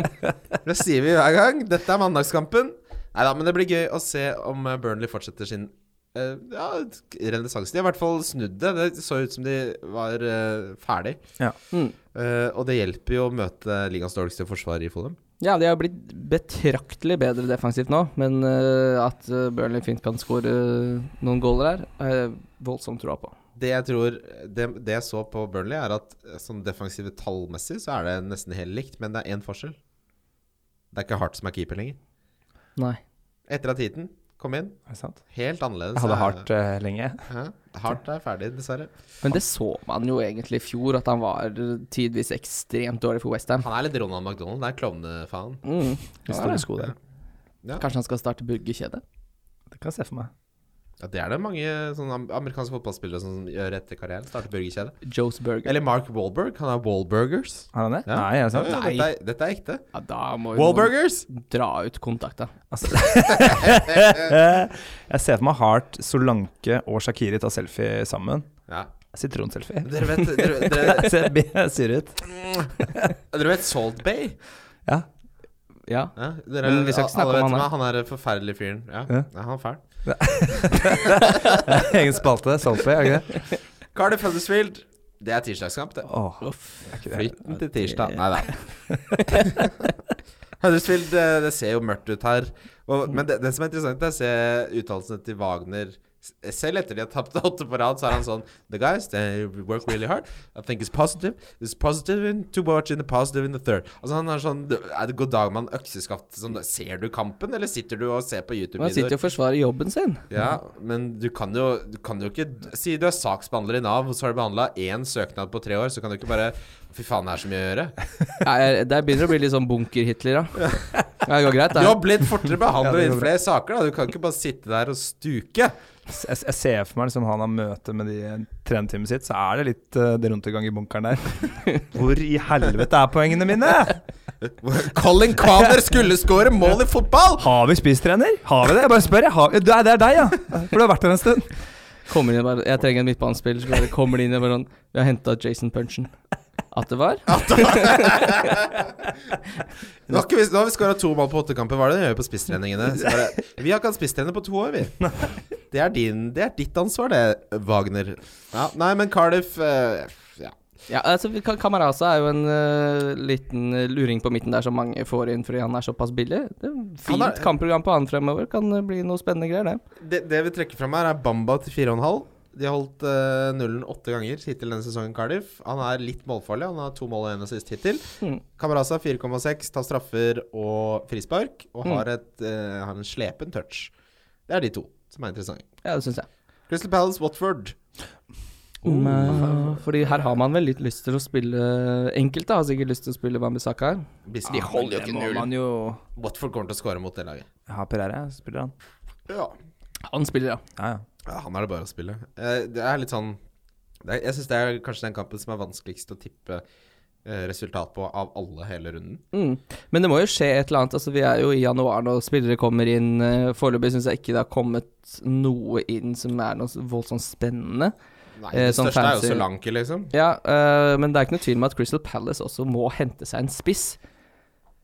Speaker 3: Det sier vi hver gang. Dette er mandagskampen. Nei da, men det blir gøy å se om eh, Burnley fortsetter sin eh, ja, renessanse. De har i hvert fall snudd det. Det så ut som de var eh, ferdig.
Speaker 5: Ja.
Speaker 4: Mm.
Speaker 3: Eh, og det hjelper jo å møte ligaens dårligste forsvar i Fulham.
Speaker 4: Ja, de har blitt betraktelig bedre defensivt nå, men eh, at eh, Burnley fint kan skåre noen goaler her, har jeg voldsomt troa på.
Speaker 3: Det jeg tror det, det jeg så på Burnley, er at eh, sånn defensive tallmessig så er det nesten helt likt, men det er én forskjell. Det er ikke Hart som er keeper lenger.
Speaker 4: Nei.
Speaker 3: Etter at heaten kom inn.
Speaker 5: Er det sant?
Speaker 3: Helt annerledes.
Speaker 5: Jeg hadde hardt eh, lenge.
Speaker 3: Ja, hardt er ferdig, dessverre.
Speaker 4: Men det så man jo egentlig i fjor, at han var tidvis ekstremt dårlig for Westham.
Speaker 3: Han er litt Ronald McDonald. Det er klovnefaen.
Speaker 4: Mm.
Speaker 2: Historisk god del.
Speaker 4: Kanskje han skal starte burgerkjede?
Speaker 5: Det kan jeg se for meg.
Speaker 3: Ja, det er det mange sånne am- amerikanske fotballspillere som gjør etter karrieren. Starter burgerkjede.
Speaker 4: Joe's Burger.
Speaker 3: Eller Mark Wallberg. Han er Wallburgers.
Speaker 5: Har han det?
Speaker 3: Ja.
Speaker 5: Nei, er det sant?
Speaker 3: Ja, ja, dette, er, dette er ekte.
Speaker 4: Ja, da må jo noen
Speaker 3: Wallburgers!
Speaker 4: dra ut kontakta.
Speaker 5: Altså, Jeg ser for meg Hart, Solanke og Shakiri ta selfie sammen.
Speaker 3: Ja.
Speaker 5: Sitronselfie.
Speaker 3: Dere vet, dere, dere,
Speaker 5: Jeg ser jeg ser ut.
Speaker 3: dere vet Salt Bay?
Speaker 5: Ja.
Speaker 4: Ja.
Speaker 3: Ja, dere,
Speaker 4: Men vi skal ikke snakke
Speaker 3: alle
Speaker 4: om
Speaker 3: vet
Speaker 4: han,
Speaker 3: Han er forferdelig fyren. Ja.
Speaker 5: Ja.
Speaker 3: ja, han er fæl.
Speaker 5: Egen spalte. Saltbay, er det ikke det?
Speaker 3: Cardiff Huddersfield. Det er tirsdagskamp, det.
Speaker 5: Åh,
Speaker 4: Uff.
Speaker 3: Flytten til tirsdag. Nei da. Huddersfield, eh, det ser jo mørkt ut her. Og, men det, det som er interessant, er å se uttalelsene til Wagner. S- Selv etter de har tapt åtte på rad, så er han sånn The guys, they work really hard. I think it's positive. It's positive in two watch and positive in the third. Altså han er sånn Er det god dag mann økseskaft? Sånn, ser du kampen, eller sitter du og ser på
Speaker 4: Men han sitter
Speaker 3: YouTube-videoer?
Speaker 4: jo og forsvarer jobben sin.
Speaker 3: Ja, men du kan jo, du kan jo ikke Si du er saksbehandler i Nav, og så har du behandla én søknad på tre år, så kan du ikke bare Fy faen, det er så mye å gjøre.
Speaker 4: Ja, jeg- det begynner å bli litt sånn bunker-Hitler, da. Ja, det går greit,
Speaker 3: Du
Speaker 4: det.
Speaker 3: har blitt fortere behandlet i flere saker, da. Du kan ikke bare sitte der og stuke.
Speaker 5: jeg, jeg ser for meg liksom han har møte med de trenerteamet sitt, så er det litt uh, det rundegang i bunkeren der. Hvor i helvete er poengene mine?
Speaker 3: Colin Kvadner skulle skåre mål i fotball!
Speaker 5: Har vi spist trener? Har vi det? Jeg bare spør, jeg. Har, det, er, det er deg, ja. For du har vært der en stund.
Speaker 4: Kommer inn og bare Jeg trenger en midtbanespiller. Så bare kommer de inn og bare sånn Vi har henta Jason Punchen. At det var?
Speaker 3: Nå har, ikke vi, nå har vi skåra to mål på åtte kamper. Hva er det dere gjør på spisstreningene? Så bare, Vi har ikke hatt spisstrener på to år, vi. Det er, din, det er ditt ansvar, det, Wagner. Ja, nei, men Cardiff eh, ja.
Speaker 4: Ja, altså vi kan- Kamaraza er jo en eh, liten eh, luring på midten der som mange får inn fordi han er såpass billig. Det er Fint
Speaker 3: Han er-
Speaker 4: kampprogram på han fremover. Kan eh, bli noe spennende greier, det.
Speaker 3: det, det vi trekker fram her, er Bamba til 4,5. De har holdt eh, nullen åtte ganger hittil denne sesongen, Cardiff. Han er litt målfarlig. Han har to mål og én assist hittil.
Speaker 4: Mm.
Speaker 3: Kamaraza 4,6, tar straffer og frispark, og
Speaker 4: Mm.
Speaker 3: har, et, eh, har en slepen touch. Det er de to som er interessante.
Speaker 4: Ja, det syns jeg.
Speaker 3: Crystal Palace, Watford.
Speaker 4: Men, Mm. fordi her har man vel litt lyst til å spille eh, Enkelte har sikkert lyst til å spille Wambisaka her.
Speaker 3: Bissi-
Speaker 4: De holder jo ikke
Speaker 5: Det må
Speaker 4: null.
Speaker 5: man jo
Speaker 3: Watford kommer til å skåre mot det laget.
Speaker 5: Ja, Pereira spiller han.
Speaker 3: Ja.
Speaker 4: Han spiller, ja.
Speaker 5: Ja, ja.
Speaker 3: Han er det bare å spille. Eh, det er litt sånn det er, Jeg syns det er kanskje den kampen som er vanskeligst å tippe eh, resultat på av alle hele runden.
Speaker 4: Mm. Men det må jo skje et eller annet. Altså, vi er jo i januar nå, spillere kommer inn. eh, Foreløpig syns jeg ikke det har kommet noe inn som er noe så voldsomt spennende.
Speaker 3: Nei,
Speaker 4: Eh,
Speaker 3: det
Speaker 4: sånn
Speaker 3: største er
Speaker 4: fancy-
Speaker 3: jo Solanke, liksom.
Speaker 4: Ja, eh, men det er ikke noe tvil om at Crystal Palace også må hente seg en spiss.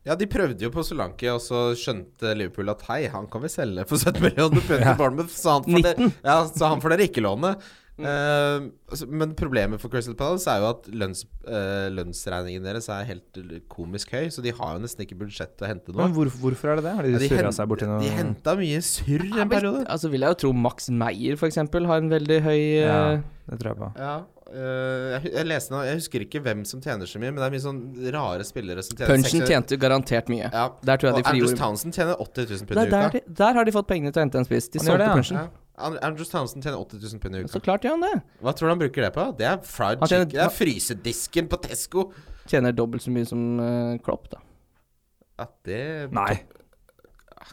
Speaker 3: Ja, de prøvde jo på Solanke, og så skjønte Liverpool at hei, han kan vi selge for 17 millioner pund til Bournemouth, så han får dere, ja, så han får dere ikke låne.
Speaker 4: Mm.
Speaker 3: Eh, så- men problemet for Crystal Palace er jo at lønns, eh, lønnsregningen deres er helt komisk høy, så de har jo nesten ikke budsjett til å hente
Speaker 5: Men
Speaker 3: noe.
Speaker 5: hvorfor, hvorfor er det det? Har
Speaker 3: Ja,
Speaker 5: de,
Speaker 3: de
Speaker 5: surra
Speaker 3: hen-
Speaker 5: seg borti
Speaker 3: de
Speaker 5: noe
Speaker 3: henta mye surr en periode.
Speaker 4: Altså vil jeg jo tro Max Meyer f.eks. har en veldig høy eh,
Speaker 5: Ja, det tror jeg på.
Speaker 3: Ja, eh, jeg, hu- jeg leste noe, jeg husker ikke hvem som tjener så mye, men det er mye sånn rare spillere som tjener
Speaker 4: Punchen
Speaker 3: 60
Speaker 4: tjente jo garantert mye.
Speaker 3: Ja.
Speaker 4: Der tror jeg
Speaker 3: Og
Speaker 4: de
Speaker 3: Andrews
Speaker 4: frigjorde
Speaker 3: Townsend tjener 80 000 pund i
Speaker 4: Nei, der,
Speaker 3: uka.
Speaker 4: de- der har de fått pengene til å hente en spiss. De
Speaker 5: Han gjør
Speaker 4: solgte
Speaker 5: det, ja.
Speaker 4: punchen.
Speaker 3: Ja. And- Andrews Townsend tjener 80 000 pund i uka.
Speaker 4: Så klart gjør han det.
Speaker 3: Hva tror du han bruker det på? Det er fried
Speaker 4: Altså- Han tjener-
Speaker 3: chicken. Det er frysedisken på Tesco.
Speaker 4: Tjener dobbelt så mye som eh, Klopp, da.
Speaker 3: Ja, det
Speaker 5: Nei.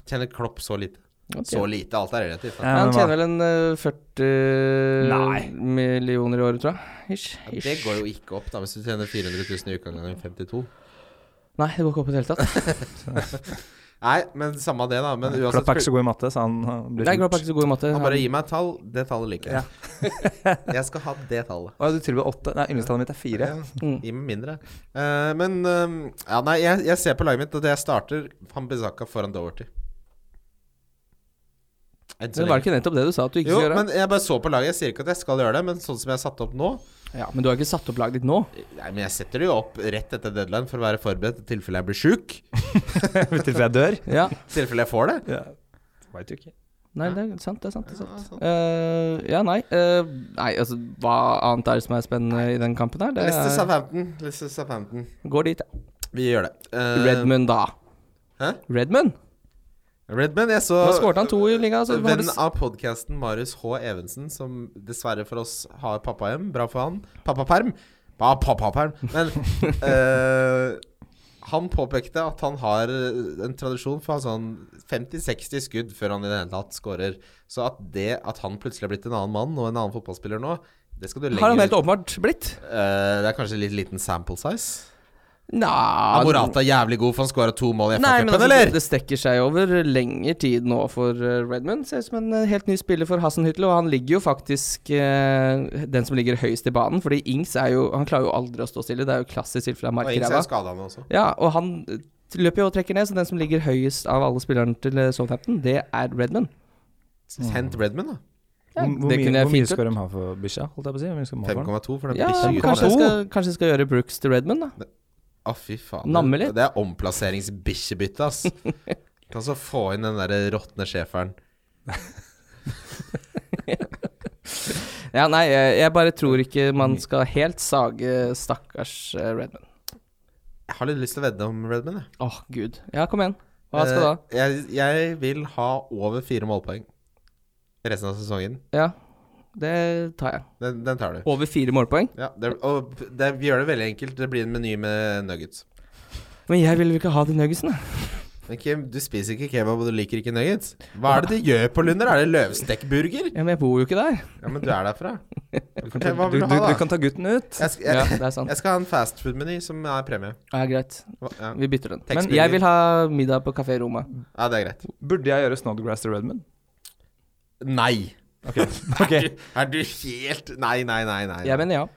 Speaker 3: Tjener Klopp så lite.
Speaker 4: Han
Speaker 3: Så
Speaker 4: tjener-
Speaker 3: lite, alt er relativt. da.
Speaker 5: Ja,
Speaker 4: Ja, han
Speaker 5: men hva-
Speaker 4: tjener vel en eh, 40
Speaker 5: Nei.
Speaker 4: millioner i året, tror jeg. Ish.
Speaker 3: Ja,
Speaker 4: Ish.
Speaker 3: Det går jo ikke opp, da, hvis du tjener 400 000 i uka ganger 52.
Speaker 4: Nei, det går ikke opp i det hele tatt.
Speaker 3: Nei, men samme det, da. Men uansett
Speaker 5: Klopp er ikke så god i matte, så han uh, blir
Speaker 4: Nei, Klopp
Speaker 5: lurt.
Speaker 4: er ikke så god i matte.
Speaker 3: Han bare
Speaker 4: Han-
Speaker 3: gi meg et tall. Det tallet liker jeg. jeg skal ha det tallet.
Speaker 5: Å, du tilbyr åtte? Nei, yndlingstallet mitt er fire.
Speaker 3: Ja,
Speaker 4: Mm.
Speaker 3: Gi meg mindre. Eh, men eh, Ja, nei, jeg, jeg ser på laget mitt, og det jeg starter Hambizaka foran Doherty. Enn så
Speaker 4: Men var
Speaker 3: lenge.
Speaker 4: det ikke nettopp det du sa at du ikke
Speaker 3: Jo,
Speaker 4: skulle gjøre?
Speaker 3: men jeg bare så på laget. Jeg sier ikke at jeg skal gjøre det, men sånn som jeg har satt opp nå
Speaker 4: ja, men du har ikke satt opp laget ditt nå?
Speaker 3: Nei, men jeg setter det jo opp rett etter deadline for å være forberedt i tilfelle jeg blir sjuk.
Speaker 5: I tilfelle jeg dør.
Speaker 4: Ja.
Speaker 3: I tilfelle jeg får det.
Speaker 5: Ja. Veit jo ikke.
Speaker 4: Nei, det er sant, det er sant. Det er sant.
Speaker 3: Ja, sant.
Speaker 4: Eh, ja, nei. eh, nei, altså hva annet er det som er spennende i den kampen her? Det
Speaker 3: Leicester
Speaker 4: er,
Speaker 3: Southampton. Leicester Southampton.
Speaker 4: går dit.
Speaker 3: Vi gjør det. Eh,
Speaker 4: Redmond, da.
Speaker 3: Hæ?
Speaker 4: Redmond?
Speaker 3: Redman, Eh, jeg så
Speaker 4: Nå skåret han to i ligaen. altså. Så var det
Speaker 3: Vennen av podkasten Marius H. Evensen, som dessverre for oss har pappahjem. Bra for han. Pappaperm. Pa- Pappaperm. Men eh, han påpekte at han har eh, en tradisjon for å ha sånn 50-60 skudd før han i det hele tatt scorer. Så at det at han plutselig er blitt en annen mann og en annen fotballspiller nå, det skal du
Speaker 4: s-
Speaker 3: legge
Speaker 4: har han helt åpenbart blitt.
Speaker 3: Eh, Det er kanskje litt liten sample size.
Speaker 4: Nja
Speaker 3: Er Morata jævlig god, for han skåra to mål i
Speaker 4: Nei, men
Speaker 3: FA-cupen,
Speaker 4: altså,
Speaker 3: eller?
Speaker 4: det strekker seg over lengre tid nå for eh, Redmond. Ser ut som en eh, helt ny spiller for Hassenhyttel, og han ligger jo faktisk eh, den som ligger høyest i banen, fordi Ings er jo Han klarer jo aldri å stå stille, det er jo klassisk tilfelle av
Speaker 3: Og Ings er
Speaker 4: markræva.
Speaker 3: skadet nå også.
Speaker 4: Ja, og han eh, løper jo og trekker ned, så den som ligger høyest av alle spillerne til eh, Southampton, det er Redmond. Mm.
Speaker 3: Hent Redman, da.
Speaker 4: Ja,
Speaker 5: Hvor, hvor
Speaker 4: det
Speaker 5: mye-
Speaker 4: kunne jeg
Speaker 5: hvor mye
Speaker 4: fint gjort.
Speaker 5: skal de ha for bikkja? Holdt jeg på å si? Hvor mye skal de ha for den?
Speaker 3: 5,2 for den
Speaker 4: Ja,
Speaker 3: bikkja.
Speaker 4: kanskje jeg, skal, kanskje jeg skal gjøre Brooks til Redmond, da.
Speaker 3: Å, fy faen.
Speaker 4: Namme litt.
Speaker 3: Det er omplasseringsbikkjebytte, ass. kan så få inn den derre råtne schæferen.
Speaker 4: Ja, nei, jeg, jeg bare tror ikke man skal helt sage stakkars eh, Redmond.
Speaker 3: Jeg har litt lyst til å vedde om Redman, jeg.
Speaker 4: Åh, gud. Ja, kom igjen. Hva skal du ha?
Speaker 3: Eh, Jeg, jeg vil ha over fire målpoeng resten av sesongen.
Speaker 4: Ja, det tar jeg.
Speaker 3: Den, den tar du.
Speaker 4: Over fire målpoeng.
Speaker 3: Ja, det, og det, vi gjør det veldig enkelt. Det blir en meny med nuggets.
Speaker 4: Men jeg vil vel ikke ha de nuggesene?
Speaker 3: Men Kim, du spiser ikke kebab, og du liker ikke nuggets. Hva er det de gjør på Lunder? Er det løvstekkburger?
Speaker 4: Ja, men jeg bor jo ikke der.
Speaker 3: Ja, men du er derfra.
Speaker 5: Du,
Speaker 3: Hva
Speaker 5: du,
Speaker 3: vil du
Speaker 5: du,
Speaker 3: ha, da?
Speaker 5: kan ta gutten ut.
Speaker 3: Jeg, skal-
Speaker 4: Ja,
Speaker 3: jeg,
Speaker 4: det er sant.
Speaker 3: jeg skal ha en fastfood-meny som er premie.
Speaker 4: Ja, greit.
Speaker 3: Hva- Ja.
Speaker 4: Vi bytter den. Men
Speaker 3: Tekstmelding.
Speaker 4: jeg vil ha middag på Kafé Roma.
Speaker 3: ja, det er greit.
Speaker 5: Burde jeg gjøre Snodgrass til Redmond?
Speaker 3: Nei.
Speaker 5: Ok,
Speaker 3: Er, du, er du helt Nei, nei, nei. nei.
Speaker 4: Jeg mener ja.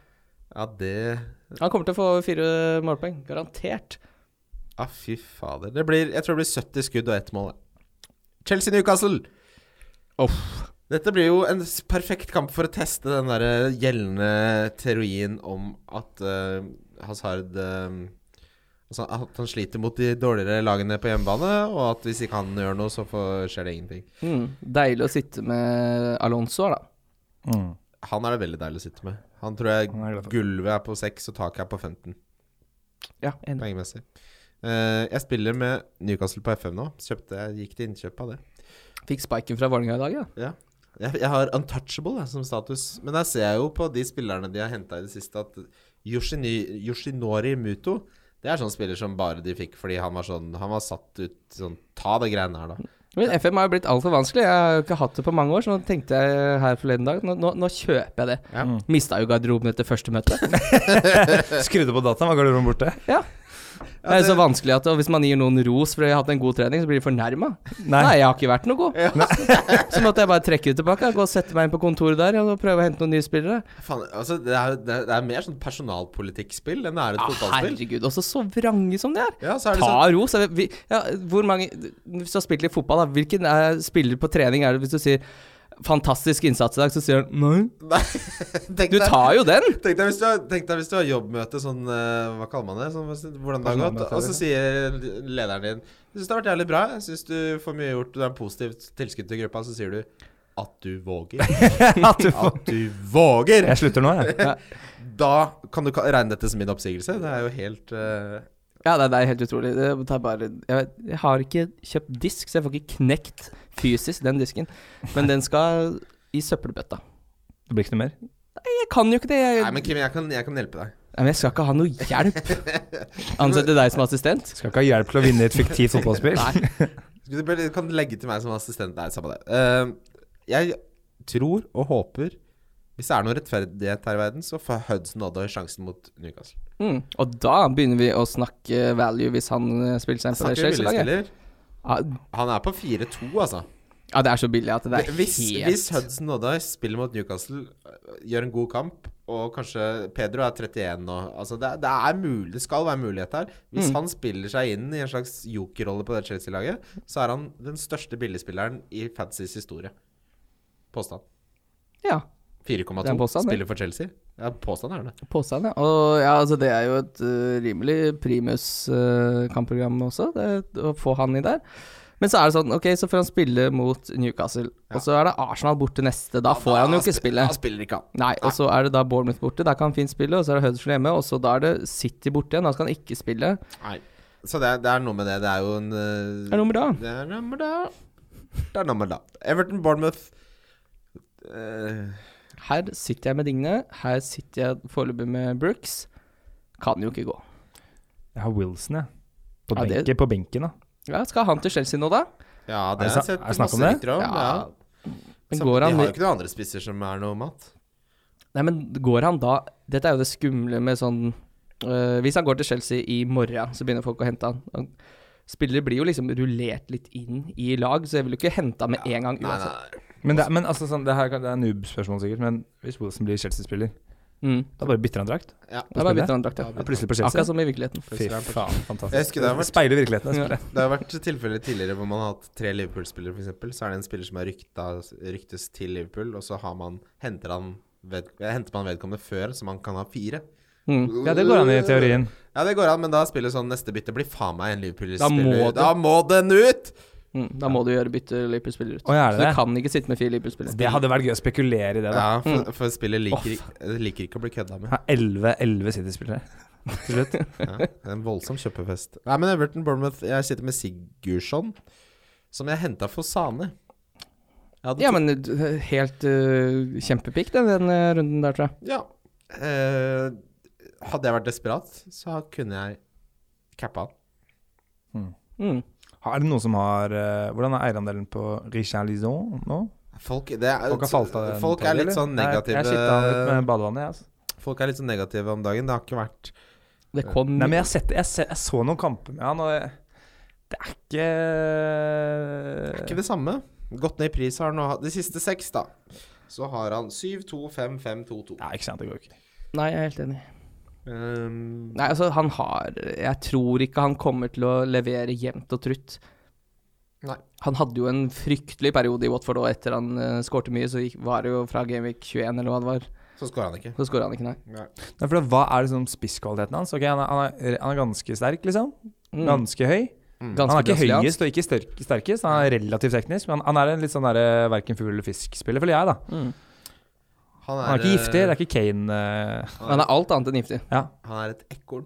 Speaker 3: Ja, det
Speaker 4: Han kommer til å få over fire målpoeng. Garantert.
Speaker 3: Ja, fy fader. Det blir, jeg tror det blir 70 skudd og ett mål. ja. Chelsea Newcastle. Dette blir jo en s- perfekt kamp for å teste den der gjeldende teorien om at eh, Hazard eh, Altså at han sliter mot de dårligere lagene på hjemmebane, og at hvis ikke han gjør noe, så får, skjer det ingenting.
Speaker 4: Mm. Deilig å sitte med Alonso her, da.
Speaker 6: Mm.
Speaker 3: Han er det veldig deilig å sitte med. Han tror jeg
Speaker 5: Han er glad for.
Speaker 3: gulvet er på 6 og taket er på 15.
Speaker 4: Ja, enig.
Speaker 3: poengmessig. Eh, jeg spiller med Newcastle på FM nå. Kjøpte, jeg gikk til innkjøp av det.
Speaker 4: Fikk spiken fra Vålerenga i dag, ja.
Speaker 3: Ja. Jeg, jeg har Untouchable jeg, som status. Men der ser jeg jo på de spillerne de har henta i det siste, at Yoshini, Yoshinori Muto Det er sånn spiller som bare de fikk fordi han var sånn Han var satt ut sånn Ta det greiene her, da.
Speaker 4: Men FM har jo blitt altfor vanskelig. Jeg har jo ikke hatt det på mange år, så nå tenkte jeg her forleden dag Nå, nå, nå kjøper jeg det.
Speaker 3: Ja.
Speaker 4: Mista jo garderoben etter første møte.
Speaker 5: Skrudde på dataen, var garderoben borte?
Speaker 4: Det er jo så vanskelig at og hvis man gir noen ros for å ha hatt en god trening, så blir de fornærma. Nei. jeg har ikke vært noe god. så måtte jeg bare trekke det tilbake. Gå og sette meg inn på kontoret der og prøve å hente noen nye spillere.
Speaker 3: Faen, altså, det, er, det, er, det er mer sånn personalpolitikkspill enn det er et
Speaker 4: Ah,
Speaker 3: fotballspill.
Speaker 4: herregud, også så vrange som de er.
Speaker 3: Ja, så er det
Speaker 4: Ta
Speaker 3: sånn
Speaker 4: ros. er det- vi- Ja, hvor mange Hvis du har spilt litt fotball, da, hvilken er, spiller på trening er det hvis du sier 'fantastisk innsats i dag', så sier han nei.
Speaker 3: sånn, Tenk
Speaker 4: Du
Speaker 3: deg-
Speaker 4: tar jo den!
Speaker 3: Tenk deg hvis du har, tenk deg hvis du har jobbmøte sånn eh, Hva kaller man det? Sånn, hvordan det har gått. Og så sier lederen din Jeg syns det har vært jævlig bra. Jeg syns du får mye gjort. Du er en positiv tilskudd til gruppa. Så sier du at du våger.
Speaker 5: At du får-
Speaker 3: At du våger!
Speaker 5: Jeg slutter nå, jeg.
Speaker 3: Da kan du ka- regne dette som min oppsigelse. Det er jo helt eh,
Speaker 4: Ja, det, det er helt utrolig. Det det er bare, jeg, vet, jeg har ikke kjøpt disk, så jeg får ikke knekt fysisk den disken. Men den skal i søppelbøtta.
Speaker 5: Det blir ikke noe mer.
Speaker 4: Jeg kan jo ikke det. Jeg,
Speaker 3: Nei, men Kim, jeg kan, jeg kan hjelpe deg.
Speaker 4: Nei, men jeg skal ikke ha noe hjelp. Ansette deg som assistent?
Speaker 5: Skal ikke ha hjelp til å vinne i et fiktivt fotballspill.
Speaker 4: Nei.
Speaker 3: Skal Du bare- kan legge til meg som assistent. Nei, samme det. Eh, jeg tror og håper Hvis det er noe rettferdighet her i verden, så får Hudson Oddoy sjansen mot Newcastle.
Speaker 4: Mm. Og da begynner vi å snakke value hvis han eh, spiller seg inn på det
Speaker 3: Snakker vi
Speaker 4: Chelsea-laget.
Speaker 3: billigspiller?
Speaker 4: Ja,
Speaker 3: Han er på 4-2, altså.
Speaker 4: ja, det er så billig at det er
Speaker 3: Hvis,
Speaker 4: helt
Speaker 3: hvis Hudson Oddoy spiller mot Newcastle, øh, gjør en god kamp, og kanskje Pedro er 31 nå altså det, er- det er mulig, det skal være mulighet her.
Speaker 4: Mm.
Speaker 3: Hvis han spiller seg inn i en slags jokerrolle på det Chelsea-laget, så er han den største billigspilleren i Fantasys historie. Påstand.
Speaker 4: Ja.
Speaker 3: 4,2.
Speaker 4: Det er en påstand, det.
Speaker 3: Spiller for Chelsea. Ja, påstand er det.
Speaker 4: Påstand, ja. Og ja, altså, det er jo et eh, rimelig primus eh, kampprogram også, det, å få han i der. Men så er det sånn, ok, så får han spille mot Newcastle. Og så er det Arsenal borte neste. Da får han jo ikke
Speaker 3: sp-
Speaker 4: spille.
Speaker 3: Han spiller ikke, han.
Speaker 4: Nei, og så er det da Bournemouth borte, der kan han fint spille. Og så er det Huddersfield hjemme, og så da er det City borte igjen, da skal han ikke spille.
Speaker 3: Nei. Så det er, det er noe med det. Det er jo en eh,
Speaker 4: Det er noe med da.
Speaker 3: Det er nummer da. Det er nummer da. Everton Bournemouth Eh,
Speaker 4: Her sitter jeg med Digne. Her sitter jeg foreløpig med Brooks. Kan jo ikke gå.
Speaker 6: Jeg har Wilson, jeg. På,
Speaker 4: Ja, det-
Speaker 6: benken, på benken, da.
Speaker 4: Ja, skal han til Chelsea nå, da?
Speaker 3: Ja,
Speaker 6: Er det
Speaker 3: det har
Speaker 6: sa-
Speaker 3: jeg sett
Speaker 6: er det snakk om
Speaker 3: masse
Speaker 6: det?
Speaker 3: rykter om. Ja.
Speaker 4: Ja. Men
Speaker 3: Så
Speaker 4: går
Speaker 3: de
Speaker 4: han,
Speaker 3: har jo ikke noen andre spisser som er noe mat.
Speaker 4: nei, men går han da Dette er jo det skumle med sånn øh, Hvis han går til Chelsea i morgen, så begynner folk å hente han. han. Spillere blir jo liksom rullert litt inn i lag, så jeg vil jo ikke hente han med en gang
Speaker 3: Nei,
Speaker 4: uansett.
Speaker 3: nei.
Speaker 6: Men, det, er- men altså, sånn, det, her, kan- det er noob-spørsmål, sikkert. Men hvis Wilson blir Chelsea-spiller,
Speaker 4: Mm.
Speaker 6: da bare bytter han drakt?
Speaker 3: Ja.
Speaker 4: Da bare bytter han drakt,
Speaker 6: Er
Speaker 4: ja.
Speaker 6: plutselig på Chelsea?
Speaker 4: Akkurat som i virkeligheten.
Speaker 6: Fy faen, fantastisk.
Speaker 3: Jeg husker det har vært-
Speaker 6: Speiler virkeligheten, det
Speaker 4: Ja.
Speaker 6: spillet.
Speaker 3: Det har vært tilfeller tidligere hvor man har hatt tre Liverpool-spillere, f.eks. Så er det en spiller som er rykta, ryktes til Liverpool, og så har man, henter, han ved, eh, henter man vedkommende før, så man kan ha fire.
Speaker 4: Mm.
Speaker 6: Ja, det går an i teorien.
Speaker 3: Ja, det går an, men da spiller sånn neste bytte blir faen meg en
Speaker 4: Da må
Speaker 3: Liverpool-spiller.
Speaker 4: det.
Speaker 3: Da må den ut!
Speaker 4: Mm. Da må du gjøre bytte Liverpool-spillere ut.
Speaker 6: Å, er det
Speaker 4: så du
Speaker 6: det?
Speaker 4: kan ikke sitte med fire Liverpool-spillere.
Speaker 6: Det hadde vært gøy å spekulere i det, da.
Speaker 3: Ja, for, for spillet liker, ikke- liker ikke å bli kødda med.
Speaker 6: Ha 11-11 City-spillere til slutt.
Speaker 3: Ja, det er en voldsom kjøpefest. Nei, men Everton Bournemouth Jeg sitter med Sigurdsson, som jeg henta for Sane. Jeg hadde
Speaker 4: Ja, men øh, helt øh, kjempepikk den, den øh, runden der, tror jeg.
Speaker 3: Ja. Eh, hadde jeg vært desperat, så kunne jeg cappa han.
Speaker 4: Mm.
Speaker 6: Er det noen som har eh, Hvordan er eierandelen på Richard Lison nå?
Speaker 3: Folk, det er,
Speaker 6: Folk har falt av den
Speaker 3: folk
Speaker 6: toget,
Speaker 3: er litt
Speaker 6: eller?
Speaker 3: sånn
Speaker 6: Nei,
Speaker 3: negative
Speaker 6: Jeg sitter av litt med badevannet, jeg. Altså.
Speaker 3: Folk er litt sånn negative om dagen. Det har ikke vært
Speaker 4: Det kom
Speaker 6: Nei, men jeg, har sett, jeg, se- jeg så noen kamper med han, og jeg- det er ikke
Speaker 3: det er ikke det samme. Gått ned i pris har han nå hatt- De siste seks, da. Så har han 7-2-5-5-2-2.
Speaker 6: Nei, ikke sant, det går ikke.
Speaker 4: Nei, jeg er helt enig.
Speaker 3: Um,
Speaker 4: Nei, altså, han har Jeg tror ikke han kommer til å levere jevnt og trutt.
Speaker 3: Nei.
Speaker 4: Han hadde jo en fryktelig periode i Watford, og etter han uh, skårte mye, så gikk, var det jo fra Gameweek 21 eller hva det var,
Speaker 3: så skårer han ikke.
Speaker 4: så skåra han ikke, nei.
Speaker 3: Nei.
Speaker 6: Nei, for da, hva er liksom spisskvaliteten hans? Ok, han er, han, er, han er ganske sterk, liksom.
Speaker 4: Mm.
Speaker 6: Ganske høy.
Speaker 4: Ganske
Speaker 6: han er ikke
Speaker 4: brasiliansk.
Speaker 6: høyest og ikke størk, sterkest, han er relativt teknisk, men han, han er en litt sånn derre verken fugl eller fisk-spiller, føler jeg, da.
Speaker 4: Mm.
Speaker 6: Han er ikke giftig, det
Speaker 3: eh,
Speaker 6: er ikke Kane eh,
Speaker 4: altså. Han er alt annet enn giftig.
Speaker 6: Ja,
Speaker 3: Han er et ekorn.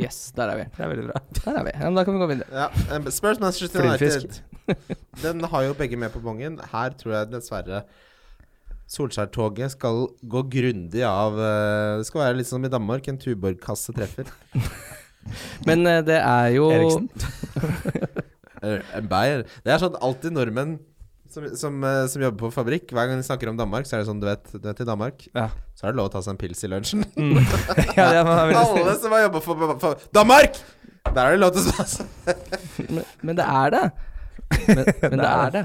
Speaker 4: Yes, der er vi.
Speaker 6: det er veldig bra.
Speaker 4: Der er vi. Ja, men da kan vi gå videre.
Speaker 3: Ja, eh, Spurs Manchester
Speaker 6: Flyfisk.
Speaker 3: United. Den har jo begge med på bongen. Her tror jeg dessverre Solskjær-toget skal gå grundig av eh, Det skal være litt som i Danmark, en Tuborg-kasse treffer.
Speaker 4: Men eh, det er jo
Speaker 6: Eriksen?
Speaker 3: Eh, En Bayer. Det er sånn alltid nordmenn som, som, eh, som jobber på fabrikk, hver gang de snakker om Danmark, så er det sånn, du vet, du vet i Danmark,
Speaker 6: Ja.
Speaker 3: så er det lov å ta seg en pils i lunsjen.
Speaker 6: ja, det er, han er veldig-
Speaker 3: Alle som har jobba for, for Danmark! Der er det lov til å ta seg
Speaker 4: Men, men det er det. Men, men det er det.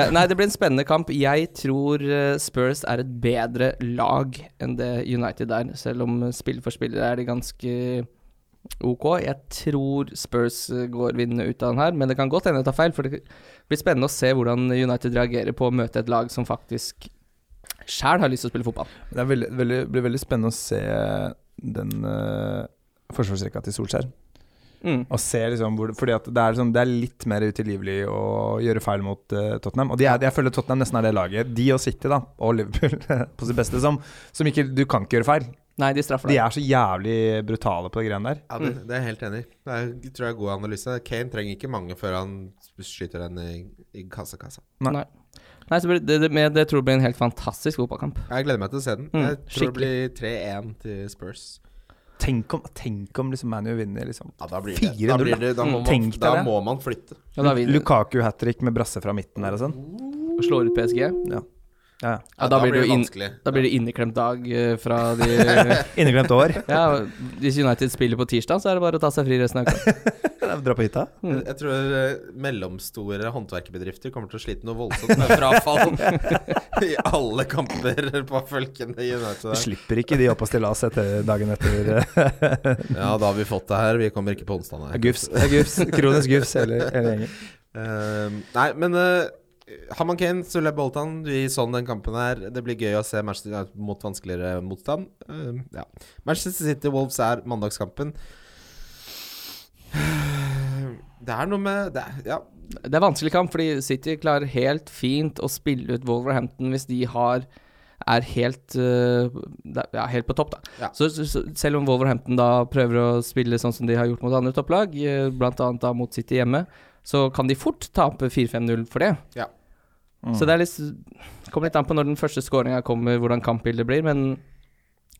Speaker 4: Eh, nei, det blir en spennende kamp. Jeg tror eh, Spurs er et bedre lag enn det United er, selv om eh, spill for spiller er de ganske ok. Jeg tror Spurs eh, går vinnende ut av den her, men det kan godt hende jeg tar feil. For det blir spennende å se hvordan United reagerer på å møte et lag som faktisk sjæl har lyst til å spille fotball.
Speaker 5: Det er veldig, veldig, blir veldig spennende å se den uh, forsvarsrekka til Solskjær.
Speaker 4: Mm.
Speaker 5: Og se liksom hvor, fordi at det er, sånn, det er litt mer utilgivelig å gjøre feil mot eh, Tottenham. Og de er, jeg føler Tottenham nesten er det laget, de og City da, og Liverpool på sitt beste, som, som ikke, du kan ikke gjøre feil.
Speaker 4: Nei, de straffer
Speaker 5: De
Speaker 4: deg.
Speaker 5: er så jævlig brutale på det greiene der.
Speaker 3: Ja, det, det er jeg helt enig i. Det er, jeg tror jeg er god analyse. Kane trenger ikke mange før han skyter den i, i kassa-kassa.
Speaker 5: Nei.
Speaker 4: Nei. Nei, så blir det, det, men det tror jeg blir en helt fantastisk fotballkamp.
Speaker 3: Jeg gleder meg til å se den.
Speaker 4: Mm,
Speaker 3: jeg tror det blir 3-1 til Spurs.
Speaker 6: Tenk om, tenk om liksom ManU vinner, liksom.
Speaker 3: Ja, da blir det. Da,
Speaker 6: 4-0,
Speaker 3: blir det, da, må,
Speaker 6: Mm.
Speaker 3: man,
Speaker 6: Tenk deg
Speaker 3: da
Speaker 6: det.
Speaker 3: må man flytte.
Speaker 4: Ja, da vinner
Speaker 6: Lukaku hat trick med brasse fra midten der og sånn.
Speaker 4: og slår ut PSG.
Speaker 6: Ja, ja.
Speaker 4: Ja, da, blir det jo inn,
Speaker 3: vanskelig.
Speaker 4: da blir det inneklemt dag eh, fra de
Speaker 6: Inneglemt år.
Speaker 4: Ja, hvis United spiller på tirsdag, så er det bare å ta seg fri resten av uka.
Speaker 6: Dra på hytta.
Speaker 3: Jeg, jeg tror eh, mellomstore håndverkerbedrifter kommer til å slite noe voldsomt med frafall i alle kamper på følgende i
Speaker 6: Du
Speaker 3: United.
Speaker 6: slipper ikke de opp og stillas etter dagen etter. eh,
Speaker 3: Ja, da har vi fått det her. Vi kommer ikke på onsdag, nei.
Speaker 6: Gufs. Ja, gufs. Kronisk gufs hele, hele gjengen.
Speaker 3: Ehm, nei, men uh, Haman Kane, Sulle Boltan, du gir sånn den kampen her. Det blir gøy å se Manchester United mot vanskeligere motstand. Ehm, ja. Manchester City Wolves er mandagskampen. Det er noe med det er, Ja,
Speaker 4: Det er vanskelig kamp, fordi City klarer helt fint å spille ut Wolverhampton hvis de har er helt, eh, det er- ja, helt på topp, da.
Speaker 3: Ja.
Speaker 4: Så, så, så selv om Wolverhampton da prøver å spille sånn som de har gjort mot andre topplag, eh, blant annet da mot City hjemme, så kan de fort tape 4-5-0 for det.
Speaker 3: Ja.
Speaker 4: Så det er litt kommer litt an på når den første skåringa kommer, hvordan kampbildet blir, men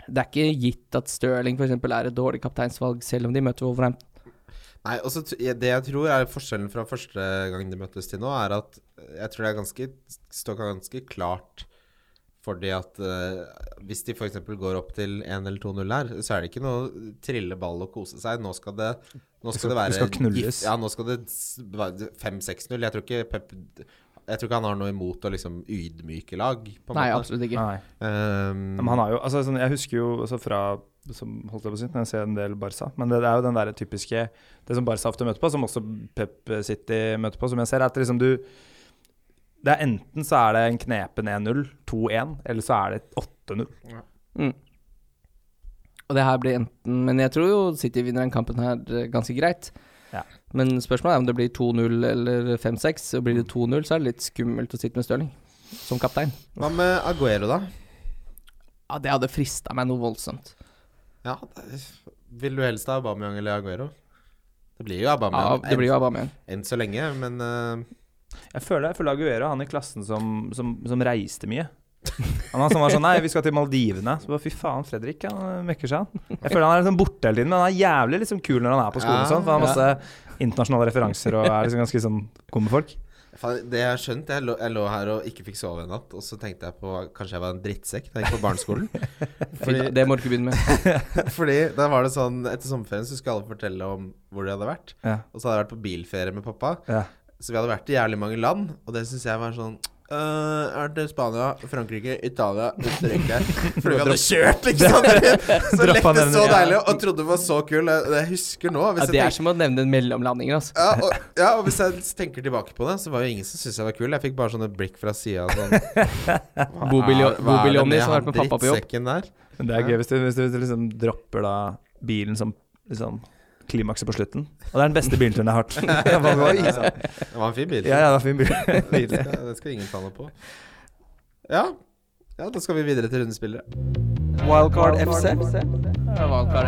Speaker 4: det er ikke gitt at Stirling f.eks. er et dårlig kapteinsvalg, selv om de møter Wolverhampton.
Speaker 3: Nei, og så t- jeg- Det jeg tror er forskjellen fra første gang de møttes til nå, er at eh, jeg tror det er ganske, står ganske klart fordi at eh, hvis de f.eks. går opp til 1 eller 2-0 her, så er det ikke noe trille ball og kose seg. Nå skal det, nå skal det være
Speaker 1: skal knulles.
Speaker 3: gift- Ja, nå skal det s- være 5-6-0. Jeg tror ikke Pep Jeg tror ikke han har noe imot å liksom ydmyke lag, på en
Speaker 4: Nei,
Speaker 3: måte.
Speaker 4: absolutt ikke.
Speaker 5: Nei.
Speaker 3: Ehm,
Speaker 5: Men han har jo, altså, sånn, jeg husker jo også fra som holdt jeg på å si, når jeg ser en del Barca, men det, det er jo den der typiske Det som Barca ofte møter på, som også Pep City møter på, som jeg ser, er at liksom du det er Enten så er det en knepen 1-0, 2-1, eller så er det 8-0.
Speaker 4: Og det her blir enten Men jeg tror jo City vinner den kampen her eh, ganske greit.
Speaker 5: Ja.
Speaker 4: Men spørsmålet er om det blir 2-0 eller 5-6. Og blir det 2-0, så er det litt skummelt å sitte med Stirling som kaptein.
Speaker 3: Hva med Aguero, da?
Speaker 4: Ja, det hadde frista meg noe voldsomt.
Speaker 3: Ja, det- Vil du helst ha Aubameyang eller Aguero? Det blir jo
Speaker 4: Ja,
Speaker 3: Aubameyang.
Speaker 4: det blir jo Aubameyang.
Speaker 3: Enn så lenge, men eh,
Speaker 5: Jeg føler, jeg føler Aguero, han i klassen som, som, som reiste mye. Han var sånn, var sånn Nei, vi skal til Maldivene. Så bare, Fy faen, Fredrik. Han øh, mekker seg, han. Jeg føler han er liksom borte hele tiden, men han er jævlig liksom kul når han er på skolen. og Sånn, for han har masse internasjonale referanser og er liksom ganske sånn god med folk.
Speaker 3: faen, det jeg har skjønt jeg lå, jeg lå her og ikke fikk sove en natt, og så tenkte jeg på Kanskje jeg var en drittsekk da jeg gikk på barneskolen.
Speaker 4: Fordi... Det må du ikke begynne med.
Speaker 3: Fordi da var det sånn Etter sommerferien så skulle alle fortelle om hvor de hadde vært.
Speaker 5: Ja.
Speaker 3: Og så hadde jeg vært på bilferie med pappa,
Speaker 5: Ja.
Speaker 3: så vi hadde vært i jævlig mange land, og det syns jeg var sånn øh, jeg har vært til Spania, Frankrike, Italia, Østerrike Fordi vi hadde kjørt, liksom! Så
Speaker 5: Droppa
Speaker 3: lekte
Speaker 5: nevne-
Speaker 3: så
Speaker 5: ja.
Speaker 3: deilig og trodde det var så kul. Jeg, jeg husker nå hvis
Speaker 4: Ja,
Speaker 3: jeg
Speaker 4: det
Speaker 3: tenker-
Speaker 4: er som å nevne en mellomlanding, altså.
Speaker 3: Ja og, ja, og hvis jeg tenker tilbake på det, så var jo ingen som syntes jeg var kul. Jeg fikk bare sånne blikk fra sida. Sånn, "Ah,
Speaker 4: Bobilio-
Speaker 3: Hva er det
Speaker 4: Bobiljoni
Speaker 3: med
Speaker 4: som har vært med
Speaker 3: han
Speaker 4: pappa på jobb.
Speaker 3: drittsekken Der?
Speaker 5: Men det er gøy hvis du, hvis du liksom dropper da bilen som liksom klimakset på slutten. Og det er den beste bilturen jeg har hatt. Ja, bare, oi, sant.
Speaker 3: Det var en fin bil.
Speaker 5: ja, ja, det var fin bil.
Speaker 3: det, skal, det skal ingen ta noe på. Ja. ja, da skal vi videre til rundespillere.
Speaker 1: Wildcard FC.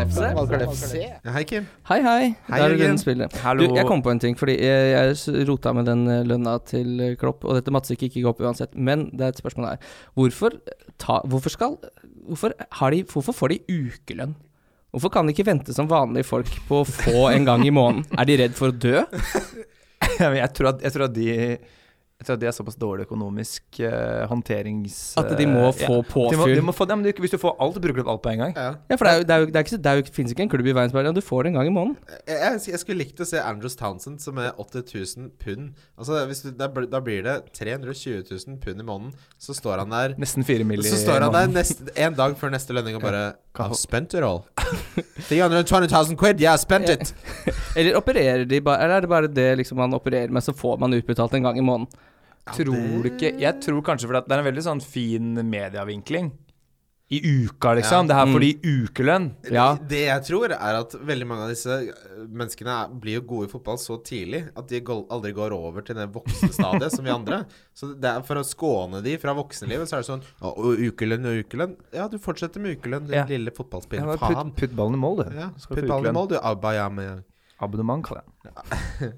Speaker 3: Ja, hei, Kim.
Speaker 4: Hei, hei.
Speaker 3: Hei,
Speaker 4: Der er
Speaker 3: Jørgen.
Speaker 4: rundspillet.
Speaker 5: Hallo.
Speaker 4: Du, jeg kom på en ting, fordi jeg, jeg s- rota med den eh, lønna til eh, Klopp, og dette måtte ikke gå opp uansett, men det er et spørsmål her. Hvorfor, ta, hvorfor skal hvorfor, har de, hvorfor får de ukelønn? Hvorfor kan de ikke vente som vanlige folk på å få en gang i måneden? Er de redd for å dø?
Speaker 5: Ja, men jeg, tror at, jeg, tror at de, jeg tror at de er såpass dårlig økonomisk eh, håndterings...
Speaker 4: At de må
Speaker 5: eh,
Speaker 4: få
Speaker 5: De må,
Speaker 4: påfyll?
Speaker 5: de må få, ja, men du, hvis du får alt, bruker du opp alt på en gang.
Speaker 3: Ja.
Speaker 4: Ja, for det, er, jo- det, er jo, det, er ikke, så- det er jo, finnes ikke en klubb i verdensverden, og du får det en gang i måneden.
Speaker 3: Jeg, jeg, jeg skulle likt å se Andrews Townsend som er 8000 pund. Altså, hvis du, da, bl- da blir det 320 000 pund i måneden. Så står han der
Speaker 5: Nesten fire mill.
Speaker 3: Så står han der neste, en dag før neste lønning og bare I've spent it all. 320,000 quid, yeah, I spent it.
Speaker 4: Eller opererer de bare Eller er det bare det liksom man opererer med, så får man utbetalt en gang i måneden?
Speaker 5: Tror du ikke Jeg tror kanskje fordi at det er en veldig sånn fin medievinkling. I uka, liksom. Det her får de ukelønn.
Speaker 4: Mm. Ja.
Speaker 3: Det jeg tror, er at veldig mange av disse eh, menneskene er- blir jo gode i fotball så tidlig at de gol- aldri går over til det voksne stadiet som vi andre. Så det er for å skåne de fra voksenlivet, så er det sånn «Å, å, Ukelønn og ukelønn. Ja, du fortsetter med ukelønn, din
Speaker 5: Ja.
Speaker 3: lille
Speaker 5: Ja,
Speaker 3: fotballspiller.
Speaker 5: men
Speaker 3: Faen.
Speaker 5: putt, putt ballen i mål, du.
Speaker 3: Ja,
Speaker 5: Skal
Speaker 3: putt
Speaker 5: få
Speaker 3: ballen i
Speaker 5: ukelønn.
Speaker 3: mål, du. Abayameyang.
Speaker 5: Abonnement, kaller jeg det.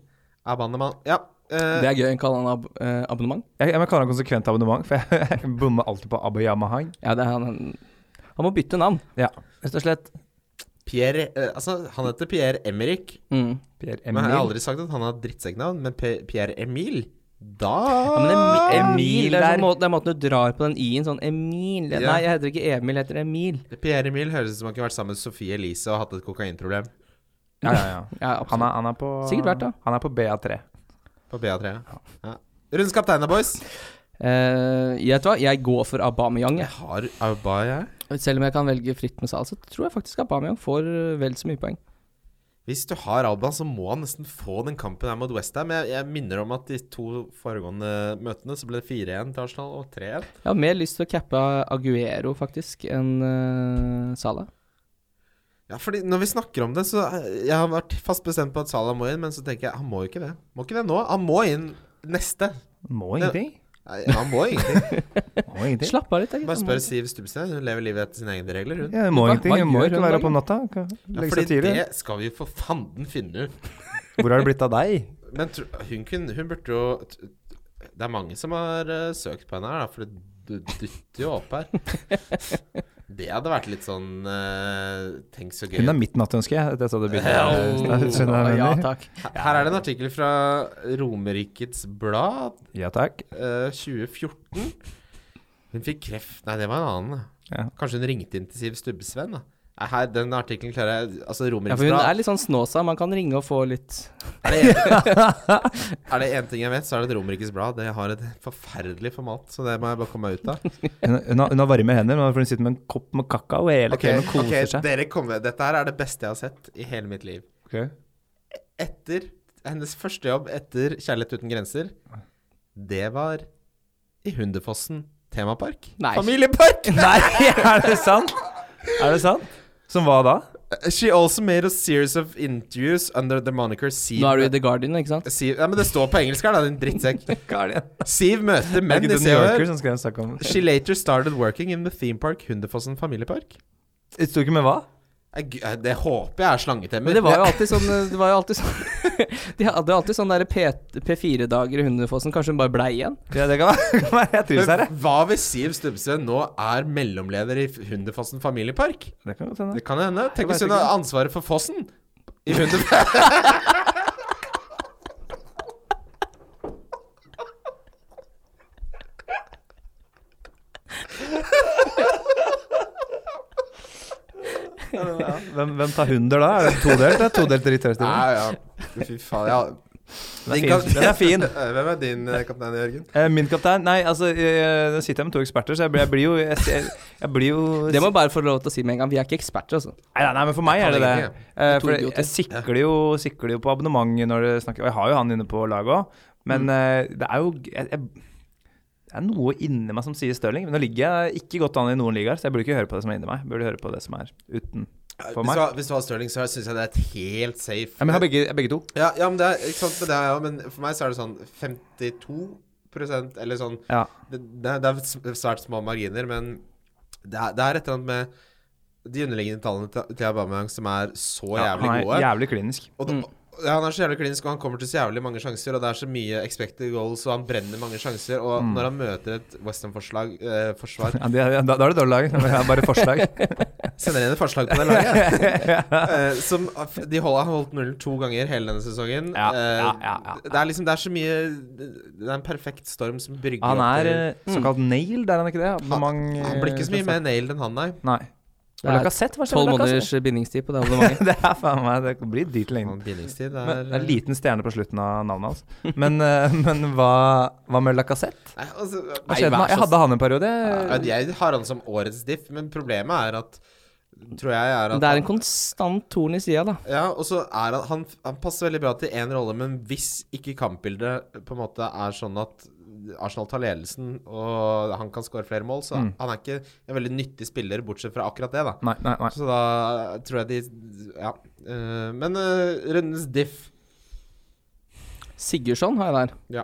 Speaker 3: Abandemann. Ja. eh,
Speaker 4: Det er gøy å kalle han ab eh, abonnement.
Speaker 5: Jeg, jeg må kalle det konsekvent abonnement, for jeg, jeg bommer alltid på Abayamahang.
Speaker 4: Ja, det er han, han Han må bytte navn.
Speaker 5: Ja, rett og slett.
Speaker 3: Pierre, eh, altså, han heter Pierre Emerick.
Speaker 4: Mm.
Speaker 5: Pierre
Speaker 3: Men jeg har
Speaker 5: Emil.
Speaker 3: aldri sagt at han har drittsekknavn, men P Pierre Emil Da
Speaker 4: Ja, men Emi-
Speaker 5: Emil
Speaker 4: Ah, Emil, det er,
Speaker 5: der.
Speaker 4: sånn måte, det er måten du drar på den i-en, sånn Emil
Speaker 3: Ja.
Speaker 4: Nei, jeg heter ikke Emil, jeg heter Emil.
Speaker 3: Pierre Emil høres ut som han kunne vært sammen med Sofie Elise og hatt et kokainproblem
Speaker 5: Ja, ja, ja.
Speaker 4: Ja,
Speaker 5: Han
Speaker 4: absolutt.
Speaker 5: er, han er på
Speaker 4: Sikkert vært, da.
Speaker 5: Han er på BA3.
Speaker 3: på BA3. Ja. Rundens kapteiner, boys.
Speaker 4: Eh, jeg vet hva, jeg går for Aubameyang. jeg.
Speaker 3: Jeg har Aubaya.
Speaker 4: Selv om jeg kan velge fritt med sal, så tror jeg faktisk Aubameyang får eh, vel så mye poeng.
Speaker 3: Hvis du har Alban, så må han nesten få den kampen her mot Westham. Jeg, jeg minner om at de to foregående møtene så ble det 4-1 til Arsenal og 3-1.
Speaker 4: Jeg har mer lyst til å cappe Aguero, faktisk, enn uh, Salah.
Speaker 3: Ja, fordi når vi snakker om det, så eh, Jeg har vært fast bestemt på at Salah må inn, men så tenker jeg han må jo ikke det. Må ikke det nå. Han må inn neste.
Speaker 5: Må ingenting.
Speaker 3: Nei, han må ingenting.
Speaker 4: Slapp av litt, da.
Speaker 3: Bare spør Siv Stubbestein. Hun lever livet etter sine egne regler, hun.
Speaker 5: Ja, hun må
Speaker 4: Hva-
Speaker 5: ingenting.
Speaker 4: hva
Speaker 5: Hun må
Speaker 4: gjør
Speaker 5: ikke
Speaker 4: hun
Speaker 5: være
Speaker 4: da?
Speaker 5: oppe om natta. hun kan
Speaker 3: Ja,
Speaker 5: Legge
Speaker 3: fordi
Speaker 5: seg tidlig.
Speaker 3: det skal vi for fanden finne ut.
Speaker 5: Hvor har det blitt av deg?
Speaker 3: Men tro- hun kunne Hun burde jo Det er mange som har eh, søkt på henne her, da, for det du dytter jo opp her. Det hadde vært litt sånn eh, Tenk så gøy.
Speaker 5: Hun er mitt nattønske. Jeg sa det
Speaker 3: Au.
Speaker 5: begynte. Skjønner jeg hva jeg
Speaker 4: Ja,
Speaker 5: mener?
Speaker 4: takk.
Speaker 3: Her her er det en artikkel fra Romerrikets Blad
Speaker 5: Ja takk.
Speaker 3: eh, 2014. Hun fikk kreft Nei, det var en annen. da.
Speaker 5: Ja.
Speaker 3: Kanskje hun ringte inn til Siv Stubbesvenn, da. Nei, Her, den artikkelen klarer jeg Altså,
Speaker 4: Ja,
Speaker 3: Romerrikets
Speaker 4: for hun er
Speaker 3: Blad
Speaker 4: litt sånn snåsa. Man kan ringe og få litt
Speaker 3: Er det én ting jeg vet, så er det at Romerrikes Blad Det har et forferdelig format, så det må jeg bare komme meg ut av.
Speaker 5: Hun, hun, har, hun har varme hender, men for hun sitter med en kopp med kakao hele
Speaker 3: Ok,
Speaker 5: kvelden og koser
Speaker 3: ok,
Speaker 5: seg.
Speaker 3: dere kommer Dette her er det beste jeg har sett i hele mitt liv.
Speaker 5: Ok.
Speaker 3: Etter hennes første jobb etter Kjærlighet uten grenser, det var i Hunderfossen temapark.
Speaker 4: Nei.
Speaker 3: Familiepark!
Speaker 5: Nei, er det sant? Er det sant? Som hva da?
Speaker 3: She also made a series of interviews under the moniker Siv
Speaker 4: Nå er du i The Guardian, ikke sant?
Speaker 3: Siv, ja, men Det står på engelsk her, da, din drittsekk.
Speaker 5: Guardian.
Speaker 3: Siv møter
Speaker 5: Er
Speaker 3: menn
Speaker 5: det
Speaker 3: i
Speaker 5: ikke The
Speaker 3: Se
Speaker 5: New
Speaker 3: og
Speaker 5: Yorker sånn?
Speaker 3: Hør.
Speaker 5: som skrev en sak om
Speaker 3: She later started working in the theme park Hunderfossen familiepark.
Speaker 5: Det sto ikke med hva?
Speaker 3: Eh, gu- eh, Det håper jeg er slangetemmer.
Speaker 4: Men det var jo alltid sånn Det var jo alltid sånn De hadde alltid sånn derre P- P4-dager i Hundefossen. Kanskje hun bare blei igjen?
Speaker 5: Ja, det kan være. kan være. Jeg trives her, jeg.
Speaker 3: Men hva hvis Siv Stubbsøen nå er mellomleder i Hunderfossen familiepark?
Speaker 5: Det kan godt hende.
Speaker 3: Det kan hende. Tenk hvis
Speaker 5: vet
Speaker 3: hun
Speaker 5: ikke.
Speaker 3: har ansvaret for fossen i Hunde...
Speaker 5: Hvem, hvem tar hunder da? Er det todelt? Det er todelt drittøystilling.
Speaker 3: ja. Fy faen. Ja.
Speaker 5: Den er fin. Den er fin.
Speaker 3: Hvem er din eh, kaptein, Jørgen?
Speaker 5: Eh, Min kaptein? Nei, altså, eh, nå sitter jeg med to eksperter, så jeg blir, jeg blir jo Jeg, jeg, jeg blir jo
Speaker 4: Det må jeg bare få lov til å si med en gang. Vi er ikke eksperter, altså.
Speaker 5: Nei, nei, men for meg er det det.
Speaker 3: Jeg kan
Speaker 5: Eh,
Speaker 4: To
Speaker 5: for
Speaker 4: idioter.
Speaker 5: jeg sikler jo, sikler jo på abonnementet når det snakker Og jeg har jo han inne på laget òg, men eh, det er jo jeg, jeg, Det er noe inni meg som sier Stirling. Men nå ligger jeg ikke godt an i noen ligaer, så jeg burde ikke høre på det som er inni meg. Jeg burde høre på det som er uten. For
Speaker 3: Hvis
Speaker 5: meg?
Speaker 3: du, har, hvis du har Stirling, så syns jeg det er et helt safe
Speaker 5: Ja, men jeg har begge, jeg har begge to.
Speaker 3: ja, ja, men det er ikke sant, men, det er, ja, men for meg så er det sånn 52 eller sånn
Speaker 5: Ja.
Speaker 3: det, det, er, det er s- svært små marginer, men det er, det er et eller annet med de underliggende tallene til til Aubameyang som er så jævlig
Speaker 5: han er
Speaker 3: gode.
Speaker 5: jævlig klinisk.
Speaker 3: Og da, ja, han er så jævlig klinisk, og han kommer til så jævlig mange sjanser. Og det er så mye expected goals, og han brenner mange sjanser. Og
Speaker 5: Mm.
Speaker 3: når han møter et Western-forsvar eh, forsvar,
Speaker 5: Ja, det, er- da, da er det dårlig lag. Det er bare forslag.
Speaker 3: Sender inn et forslag på det laget. Eh, som, de holder, han har holdt nullen to ganger hele denne sesongen.
Speaker 5: Ja,
Speaker 3: Eh,
Speaker 5: ja, ja, ja.
Speaker 3: Det er liksom Det er så mye Det er en perfekt storm som brygger
Speaker 5: Han
Speaker 3: opp
Speaker 5: er
Speaker 3: til
Speaker 5: eh, såkalt nailed, er han ikke det? Abonnement
Speaker 3: Han blir ikke så mye mer nailed enn han, nei.
Speaker 5: Nei.
Speaker 4: Det er
Speaker 5: Lacassette, hva skjer
Speaker 4: Tolv
Speaker 5: med
Speaker 4: måneders
Speaker 5: Lacassette?
Speaker 4: bindingstid på det abonnementet.
Speaker 5: Det er faen meg Det blir dyrt i lengden.
Speaker 3: Han Bindingstid er,
Speaker 5: Men, det er en liten stjerne på slutten av navnet hans. Men, eh, men hva, hva med Lacassette?
Speaker 3: Nei, altså,
Speaker 5: Hva skjedde med han? Jeg hadde han en periode.
Speaker 3: nei, Jeg har han som årets diff, men problemet er at Tror jeg er at
Speaker 4: Men Det er en konstant torn i sida, da.
Speaker 3: Ja, og så er han, han Han passer veldig bra til én rolle, men hvis ikke kampbildet på en måte er sånn at Arsenal tar ledelsen og han kan skåre flere mål, så han er ikke en veldig nyttig spiller, bortsett fra akkurat det, da.
Speaker 5: Nei, nei, nei.
Speaker 3: Så da tror jeg de Ja. Eh, men eh, rundens diff
Speaker 4: Sigurdsson har jeg der,
Speaker 3: Ja.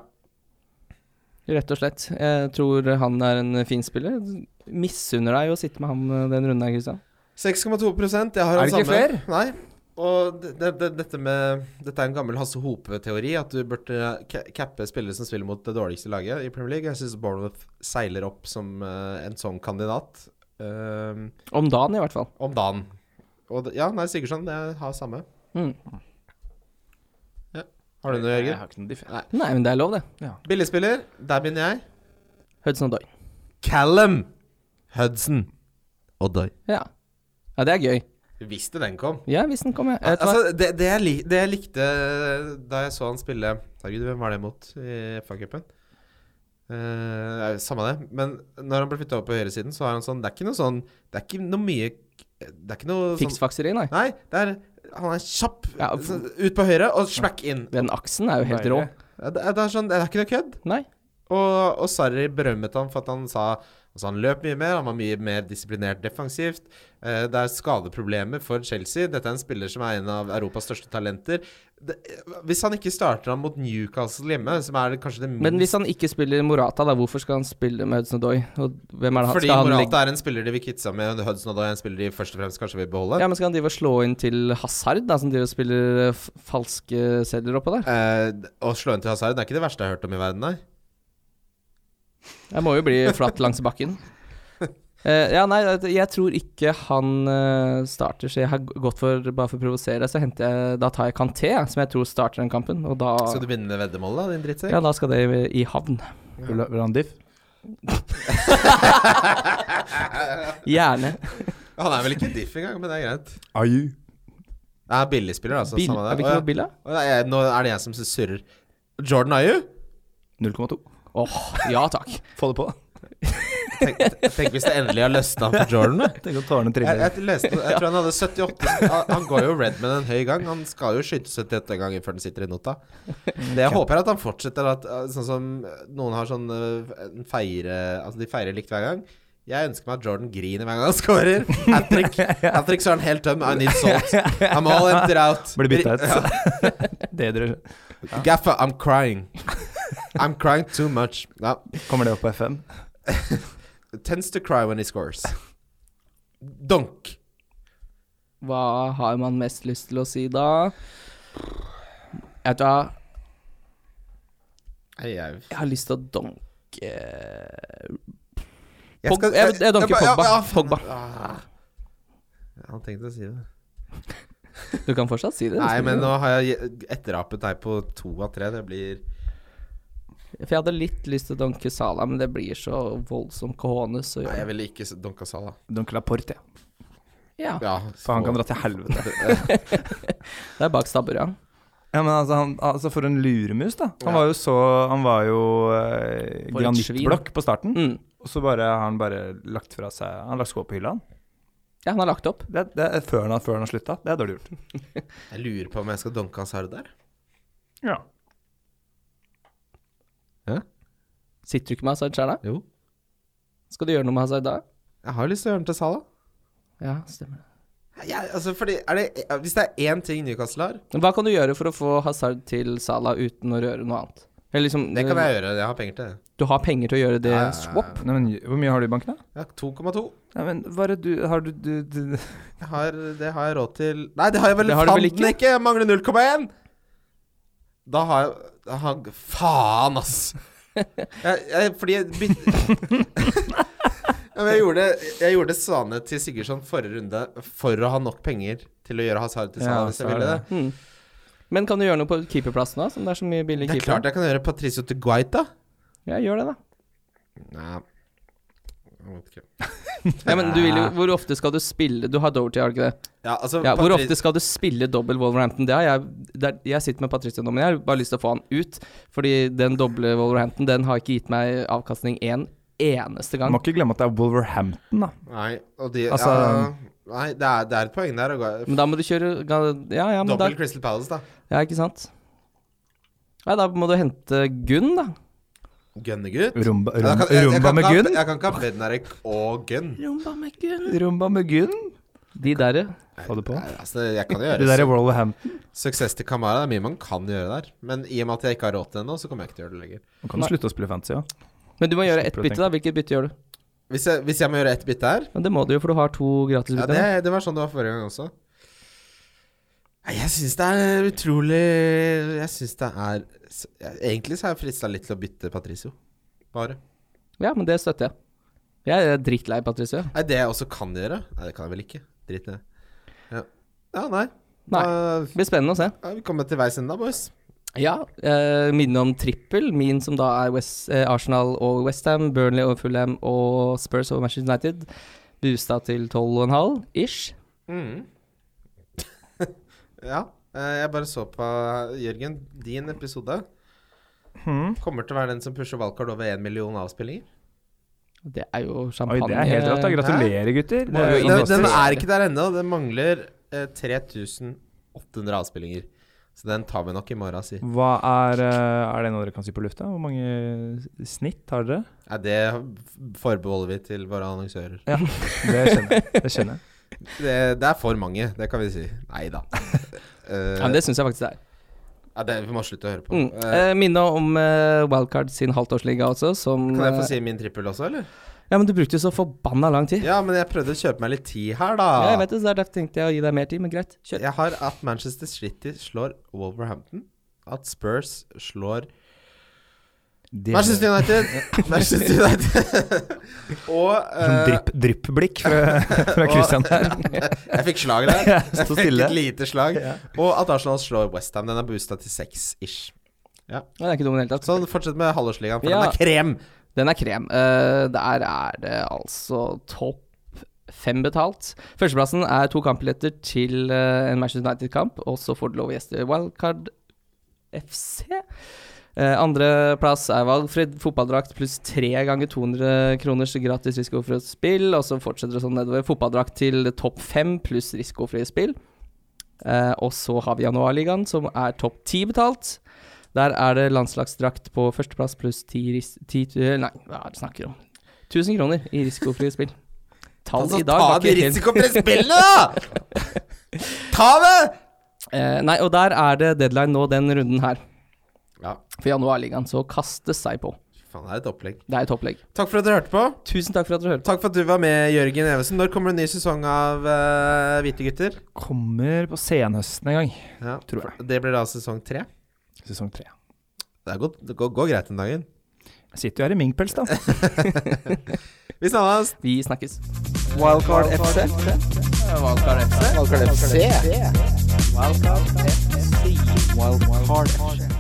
Speaker 4: rett og slett. Jeg tror han er en fin spiller. Misunner deg å sitte med han eh, den runden her, Kristian.
Speaker 3: 6,2 Jeg har
Speaker 5: Er
Speaker 3: han
Speaker 5: det ikke
Speaker 3: samme.
Speaker 5: flere?
Speaker 3: Nei. Og det, det, det, dette med Dette er en gammel Hasse Hope-teori, at du burde ca- cappe spillere som spiller mot det dårligste laget i Premier League. Jeg syns Bournemouth seiler opp som eh, en sånn kandidat eh,
Speaker 4: Om dagen, i hvert fall.
Speaker 3: om dagen. Og det, ja, nei, Sigurdsson, jeg har samme.
Speaker 4: Mm.
Speaker 3: Ja. Har du noe, Jørgen?
Speaker 5: ikke noe diff.
Speaker 4: Nei, men det er lov, det.
Speaker 3: Billigspiller, der begynner jeg.
Speaker 4: Hudson Odoi.
Speaker 3: Callum Hudson Odoi.
Speaker 4: Ja. ja, det er gøy.
Speaker 3: Visste den kom.
Speaker 4: Ja, hvis den kommer. Jeg vet hva-
Speaker 3: Altså, det, det, jeg lik, det jeg likte eh, da jeg så han spille Herregud, hvem var det mot i FA-cupen? Eh, samme det. Men når han ble flytta over på høyresiden, så har han sånn Det er ikke noe sånn Det er ikke noe mye Det er ikke noe sånn
Speaker 4: Fiksfakseri, nei.
Speaker 3: Nei, det er Han er kjapp
Speaker 4: Ja,
Speaker 3: så, ut på høyre og smack inn.
Speaker 4: Den aksen er jo helt rå.
Speaker 3: Ja, Det, er- det er sånn Det er ikke noe kødd.
Speaker 4: Nei.
Speaker 3: Og, og Sarri berømmet ham for at han sa Altså Han løp mye mer, han var mye mer disiplinert defensivt. Eh, Det er skadeproblemer for Chelsea. Dette er en spiller som er en av Europas største talenter. Det, eh, hvis han ikke starter han mot Newcastle hjemme, som er kanskje det
Speaker 4: Men
Speaker 3: minst
Speaker 4: hvis han ikke spiller Morata, da, hvorfor skal han spille med Hudson Odoi? Og hvem er det han
Speaker 3: Fordi
Speaker 4: skal han legge-
Speaker 3: Morata er en spiller de vil kvitte seg med, og Hudson Odoi er en spiller de først og fremst kanskje vil beholde.
Speaker 4: Ja, men skal han drive og slå inn til Hazard, da, som driver og spiller eh, f falske sedler oppå der?
Speaker 3: Eh, å slå inn til Hazard det er ikke det verste jeg har hørt om i verden, nei.
Speaker 4: Jeg må jo bli flatt langs bakken. Eh, ja, nei, jeg tror ikke han eh, starter, så jeg har g- gått for Bare for å provosere, så henter jeg Da tar jeg Kanté, jeg, som jeg tror starter den kampen, og da
Speaker 3: Skal du begynne med veddemål, da, din drittsekk?
Speaker 4: Ja, da skal det i- i havn.
Speaker 5: Vil du ha en diff?
Speaker 4: Gjerne.
Speaker 3: Han er vel ikke diff engang, men det er greit.
Speaker 5: Aju.
Speaker 3: Det er billigspiller, altså.
Speaker 4: Bil,
Speaker 3: samme det.
Speaker 4: er det
Speaker 3: Å,
Speaker 4: ikke
Speaker 3: ja.
Speaker 4: noe Billa?
Speaker 3: Å, nei, jeg- Nå er det jeg som surrer. Jordan Ayu?
Speaker 5: 0,2.
Speaker 4: Åh, ja takk.
Speaker 5: Få det på.
Speaker 3: Tenk, tenk hvis det endelig har løsna for Jordan. da.
Speaker 5: Tenk om tårene
Speaker 3: Jeg,
Speaker 5: triller.
Speaker 3: jeg, leste, jeg tror han hadde 78 Han- Han går jo Redman en høy gang. Han skal jo skyte 78 ganger før den sitter i nota. Det jeg håper, er at han fortsetter at uh, Sånn som uh, noen har sånn uh, en feire Altså, de feirer likt hver gang. Jeg ønsker meg at Jordan griner hver gang han scorer. Hat trick, Hat trick, så er han helt tøm. I need salt. I'm all emptied out.
Speaker 5: Blir bytta ut.
Speaker 3: Ja.
Speaker 5: Det dere
Speaker 3: Gaffa, I'm crying. I'm crying too much. Ja.
Speaker 5: Kommer det opp på FM?
Speaker 3: Tends to cry when he scores. Donk.
Speaker 4: Hva har man mest lyst til å si da? Jeg vet hva,
Speaker 3: Jeg,
Speaker 4: jeg har lyst til å donke
Speaker 3: jeg,
Speaker 4: Pog- jeg- jeg dunker
Speaker 3: ba-
Speaker 4: Pogba.
Speaker 3: ja, faen.
Speaker 4: Pogba.
Speaker 3: Ah. Jeg hadde tenkt å si det.
Speaker 4: Du kan fortsatt si det. det
Speaker 3: Nei,
Speaker 4: spiller
Speaker 3: men
Speaker 4: ingen
Speaker 3: nå har jeg etterapet deg på to av tre. Det blir
Speaker 4: rolle. For jeg hadde litt lyst til å donke Sala, men det blir så voldsom cojones å
Speaker 3: Nei, jeg
Speaker 4: gjøre.
Speaker 3: ville ikke s- dunka Salah.
Speaker 5: Dunkel Laporte, ja.
Speaker 4: Ja,
Speaker 3: Ja,
Speaker 5: For han
Speaker 3: så-
Speaker 5: kan dra til helvete.
Speaker 4: det er bak stabburet. ja.
Speaker 5: Ja, men altså, han, altså For en luremus, da. Han
Speaker 3: Ja.
Speaker 5: var jo så Han var jo eh,
Speaker 4: For et
Speaker 5: granittblokk på starten,
Speaker 4: Mm.
Speaker 5: og så bare har han bare lagt fra seg Han har lagt skoa på hylla, han.
Speaker 4: Ja, han har lagt opp.
Speaker 5: Det, det er før han, før han har slutta. Det er dårlig gjort.
Speaker 3: Jeg lurer på om jeg skal dunke Hazard der.
Speaker 5: Ja.
Speaker 4: Sitter du ikke med Hazard sjøl, da?
Speaker 3: Jo.
Speaker 4: Skal du gjøre noe med Hazard da?
Speaker 3: Jeg har lyst til å gjøre den til Salah.
Speaker 4: Ja, stemmer det.
Speaker 3: Ja, altså, fordi, er det, hvis det er én ting Newcastle har
Speaker 4: Men hva kan du gjøre for å få Hazard til Sala uten å røre noe annet? Eller liksom
Speaker 3: Det kan jeg gjøre. Jeg har penger til det.
Speaker 4: Du har penger til å gjøre det
Speaker 3: Ja, ja, ja.
Speaker 4: swap?
Speaker 5: Nei, men, hvor mye har du i banken, da?
Speaker 3: Ja, 2,2.
Speaker 5: Nei, men hva er det du Har du, du, du
Speaker 3: Jeg har, det har jeg råd til Nei, det har jeg vel
Speaker 4: Det har du
Speaker 3: faen
Speaker 4: vel
Speaker 3: ikke.
Speaker 4: ikke?
Speaker 3: Jeg mangler 0,1! Da har jeg da har, Faen, ass! Jeg, jeg, fordi jeg byt... ja, men jeg, gjorde, jeg gjorde Svane til Sigurdsson forrige runde for å ha nok penger til å gjøre Hazard til Sala
Speaker 5: Ja,
Speaker 3: hvis jeg
Speaker 5: så er
Speaker 3: ville det.
Speaker 5: det.
Speaker 4: Mm. Men kan du gjøre noe på keeperplassen da, som det er så mye
Speaker 3: Det
Speaker 4: billig
Speaker 3: er klart
Speaker 4: keeper?
Speaker 3: jeg kan gjøre Patricio til Guaita.
Speaker 4: Ja, gjør det, da.
Speaker 3: Nei jeg vet ikke.
Speaker 4: Ja, men du vil jo, Hvor ofte skal du spille Du har Doherty, har du ikke det?
Speaker 3: Ja, altså,
Speaker 4: Ja, hvor
Speaker 3: Patri-
Speaker 4: ofte skal du spille dobbel Wolverhampton? Det har jeg, det er, jeg sitter med Patricia nå, men jeg har bare lyst til å få han ut. Fordi den doble Wolverhampton Den har ikke gitt meg avkastning én eneste gang.
Speaker 5: Må ikke glemme at det er Wolverhampton, da.
Speaker 3: Nei, og de,
Speaker 5: Altså-
Speaker 3: ja, nei det, er, det er et poeng der. å gå-
Speaker 4: Men da må du kjøre Ja, ja, men da
Speaker 3: Dobbel Crystal Palace, da.
Speaker 4: Ja, ikke sant? Nei, da må du hente Gunn, da.
Speaker 3: Gunnegutt.
Speaker 5: Rumba,
Speaker 3: Ja, da
Speaker 5: rumba,
Speaker 3: kan- jeg- jeg
Speaker 5: rumba
Speaker 3: kan
Speaker 5: med
Speaker 3: ikke ha-
Speaker 5: Gunn?
Speaker 3: Jeg kan ikke ha Bednarek og Gunn.
Speaker 4: Rumba med Gunn.
Speaker 5: Rumba med Gunn?
Speaker 4: De derre.
Speaker 5: Få det på.
Speaker 3: Nei, altså, jeg kan jo
Speaker 5: Det der
Speaker 3: gjøre
Speaker 5: er Wolverhampton.
Speaker 3: Suksess til Kamara. Det er mye man kan gjøre der. Men i og med at jeg ikke har råd til det nå, så kommer jeg ikke til å gjøre det lenger.
Speaker 5: Man kan
Speaker 4: Nei.
Speaker 5: jo slutte å spille fantasy, ja.
Speaker 4: Men du må gjøre ett
Speaker 5: Slipper å
Speaker 4: bytte, da. Hvilket bytte gjør du?
Speaker 3: Hvis jeg, hvis jeg må gjøre ett bytte her
Speaker 4: Men det må du jo, for du har to
Speaker 3: ja,
Speaker 4: gratisbytter.
Speaker 3: det, det var sånn det var forrige gang også. Nei, Jeg syns det er utrolig Jeg syns det er jeg- Egentlig så er jeg frista litt til å bytte Patricio. Bare.
Speaker 4: ja. men det støtter jeg. Jeg er drittlei Patricia.
Speaker 3: Nei, det jeg også kan gjøre Nei, det kan jeg vel ikke. Drit i det. Ja. ja, nei.
Speaker 4: Nei.
Speaker 3: Da
Speaker 4: Det blir spennende å se.
Speaker 3: er vi kommet til veis ende, da, boys.
Speaker 4: Ja, eh, minne om trippel. Min som da er West, eh, Arsenal og Westham, Burnley og Fulham og Spurs og Manchester United. Boosta til 12,5 ish.
Speaker 3: Ja. eh, Jeg bare så på Jørgen, din episode
Speaker 5: Hmm.
Speaker 3: kommer til å være den som pusher valgkart over 1 million avspillinger.
Speaker 4: Det er jo
Speaker 5: Oi,
Speaker 4: champagne.
Speaker 5: det er helt rått. da. Gratulerer, gutter. Det er jo
Speaker 3: Den, den
Speaker 5: fantastisk.
Speaker 3: er ikke der ennå. Det mangler eh, 3800 avspillinger. Så den tar vi nok i morgen, si.
Speaker 5: Hva er, eh, er det noe dere kan si på lufta? Hvor mange snitt har dere?
Speaker 3: Nei, det forbeholder vi til våre annonsører.
Speaker 5: Det skjønner jeg. Det skjønner jeg.
Speaker 3: Det, det er for mange, det kan vi si. Nei da. Eh,
Speaker 4: Ja, men det syns jeg faktisk det er.
Speaker 3: ja, det, vi må slutte å høre på.
Speaker 4: Mm.
Speaker 3: Eh,
Speaker 4: Eh, minne om eh, Wildcard sin halvtårsliga også, som
Speaker 3: kan jeg få
Speaker 4: eh,
Speaker 3: si min trippel også, eller?
Speaker 4: Ja, men du brukte jo så forbanna lang tid.
Speaker 3: Ja, men jeg prøvde å kjøpe meg litt tid her, da.
Speaker 4: Ja, jeg vet det, så derfor tenkte jeg å gi deg mer tid, men greit. Kjør.
Speaker 3: Jeg har at Manchester City slår Wolverhampton. At Spurs slår Manchester United! Manchester United. og
Speaker 5: Sånn
Speaker 3: eh,
Speaker 5: drypp- dryppblikk fra, fra Christian her.
Speaker 3: Jeg fikk slag der.
Speaker 5: Stå
Speaker 3: Fikk
Speaker 5: stille.
Speaker 3: et lite slag. Og at Arsenal slår Westham. Den er boosta til seks ish.
Speaker 4: Den er ikke dum i det hele tatt.
Speaker 3: Sånn, fortsett med halvårsligaen, for
Speaker 4: Ja.
Speaker 3: den er krem!
Speaker 4: Den er krem. Eh, der er det altså topp fem betalt. Førsteplassen er to kampbilletter til eh, en Manchester United-kamp, og så får du lov å gjeste Wildcard FC. Eh, Andreplass er valgfritt fotballdrakt pluss tre ganger 200 kroners gratis risikofritt spill, og så fortsetter det sånn nedover. Fotballdrakt til topp fem pluss risikofrie spill. Eh, og så har vi Januarligaen, som er topp ti betalt. Der er det landslagsdrakt på førsteplass pluss ti ris... Ti, eh, nei, hva er det jeg snakker om? 1000 kroner i risikofrie spill. Tall
Speaker 3: Altså,
Speaker 4: i dag
Speaker 3: ta
Speaker 4: var
Speaker 3: de
Speaker 4: ikke helt
Speaker 3: risikofrie spillene, da! ta det!
Speaker 4: eh, Nei, og der er det deadline nå, den runden her.
Speaker 3: Ja,
Speaker 4: For Januarligaen, så kastes seg på.
Speaker 3: fy faen, det er et opplegg.
Speaker 4: Det er et opplegg.
Speaker 3: Takk for at dere hørte på.
Speaker 4: Tusen takk for at dere hørte på.
Speaker 3: Takk for at du var med, Jørgen Evesen. Når kommer det en ny sesong av eh, Hvite gutter?
Speaker 5: Kommer på senhøsten en gang.
Speaker 3: Ja,
Speaker 5: Tror jeg.
Speaker 3: Det blir da sesong tre.
Speaker 5: Sesong tre.
Speaker 3: Det, er godt, det går, går greit den dagen.
Speaker 5: Jeg sitter jo her i minkpels, da.
Speaker 3: Vi snakkes!
Speaker 4: Vi snakkes.
Speaker 1: Wildcard FC. Wildcard FC. Wildcard FC. Wildcard FC.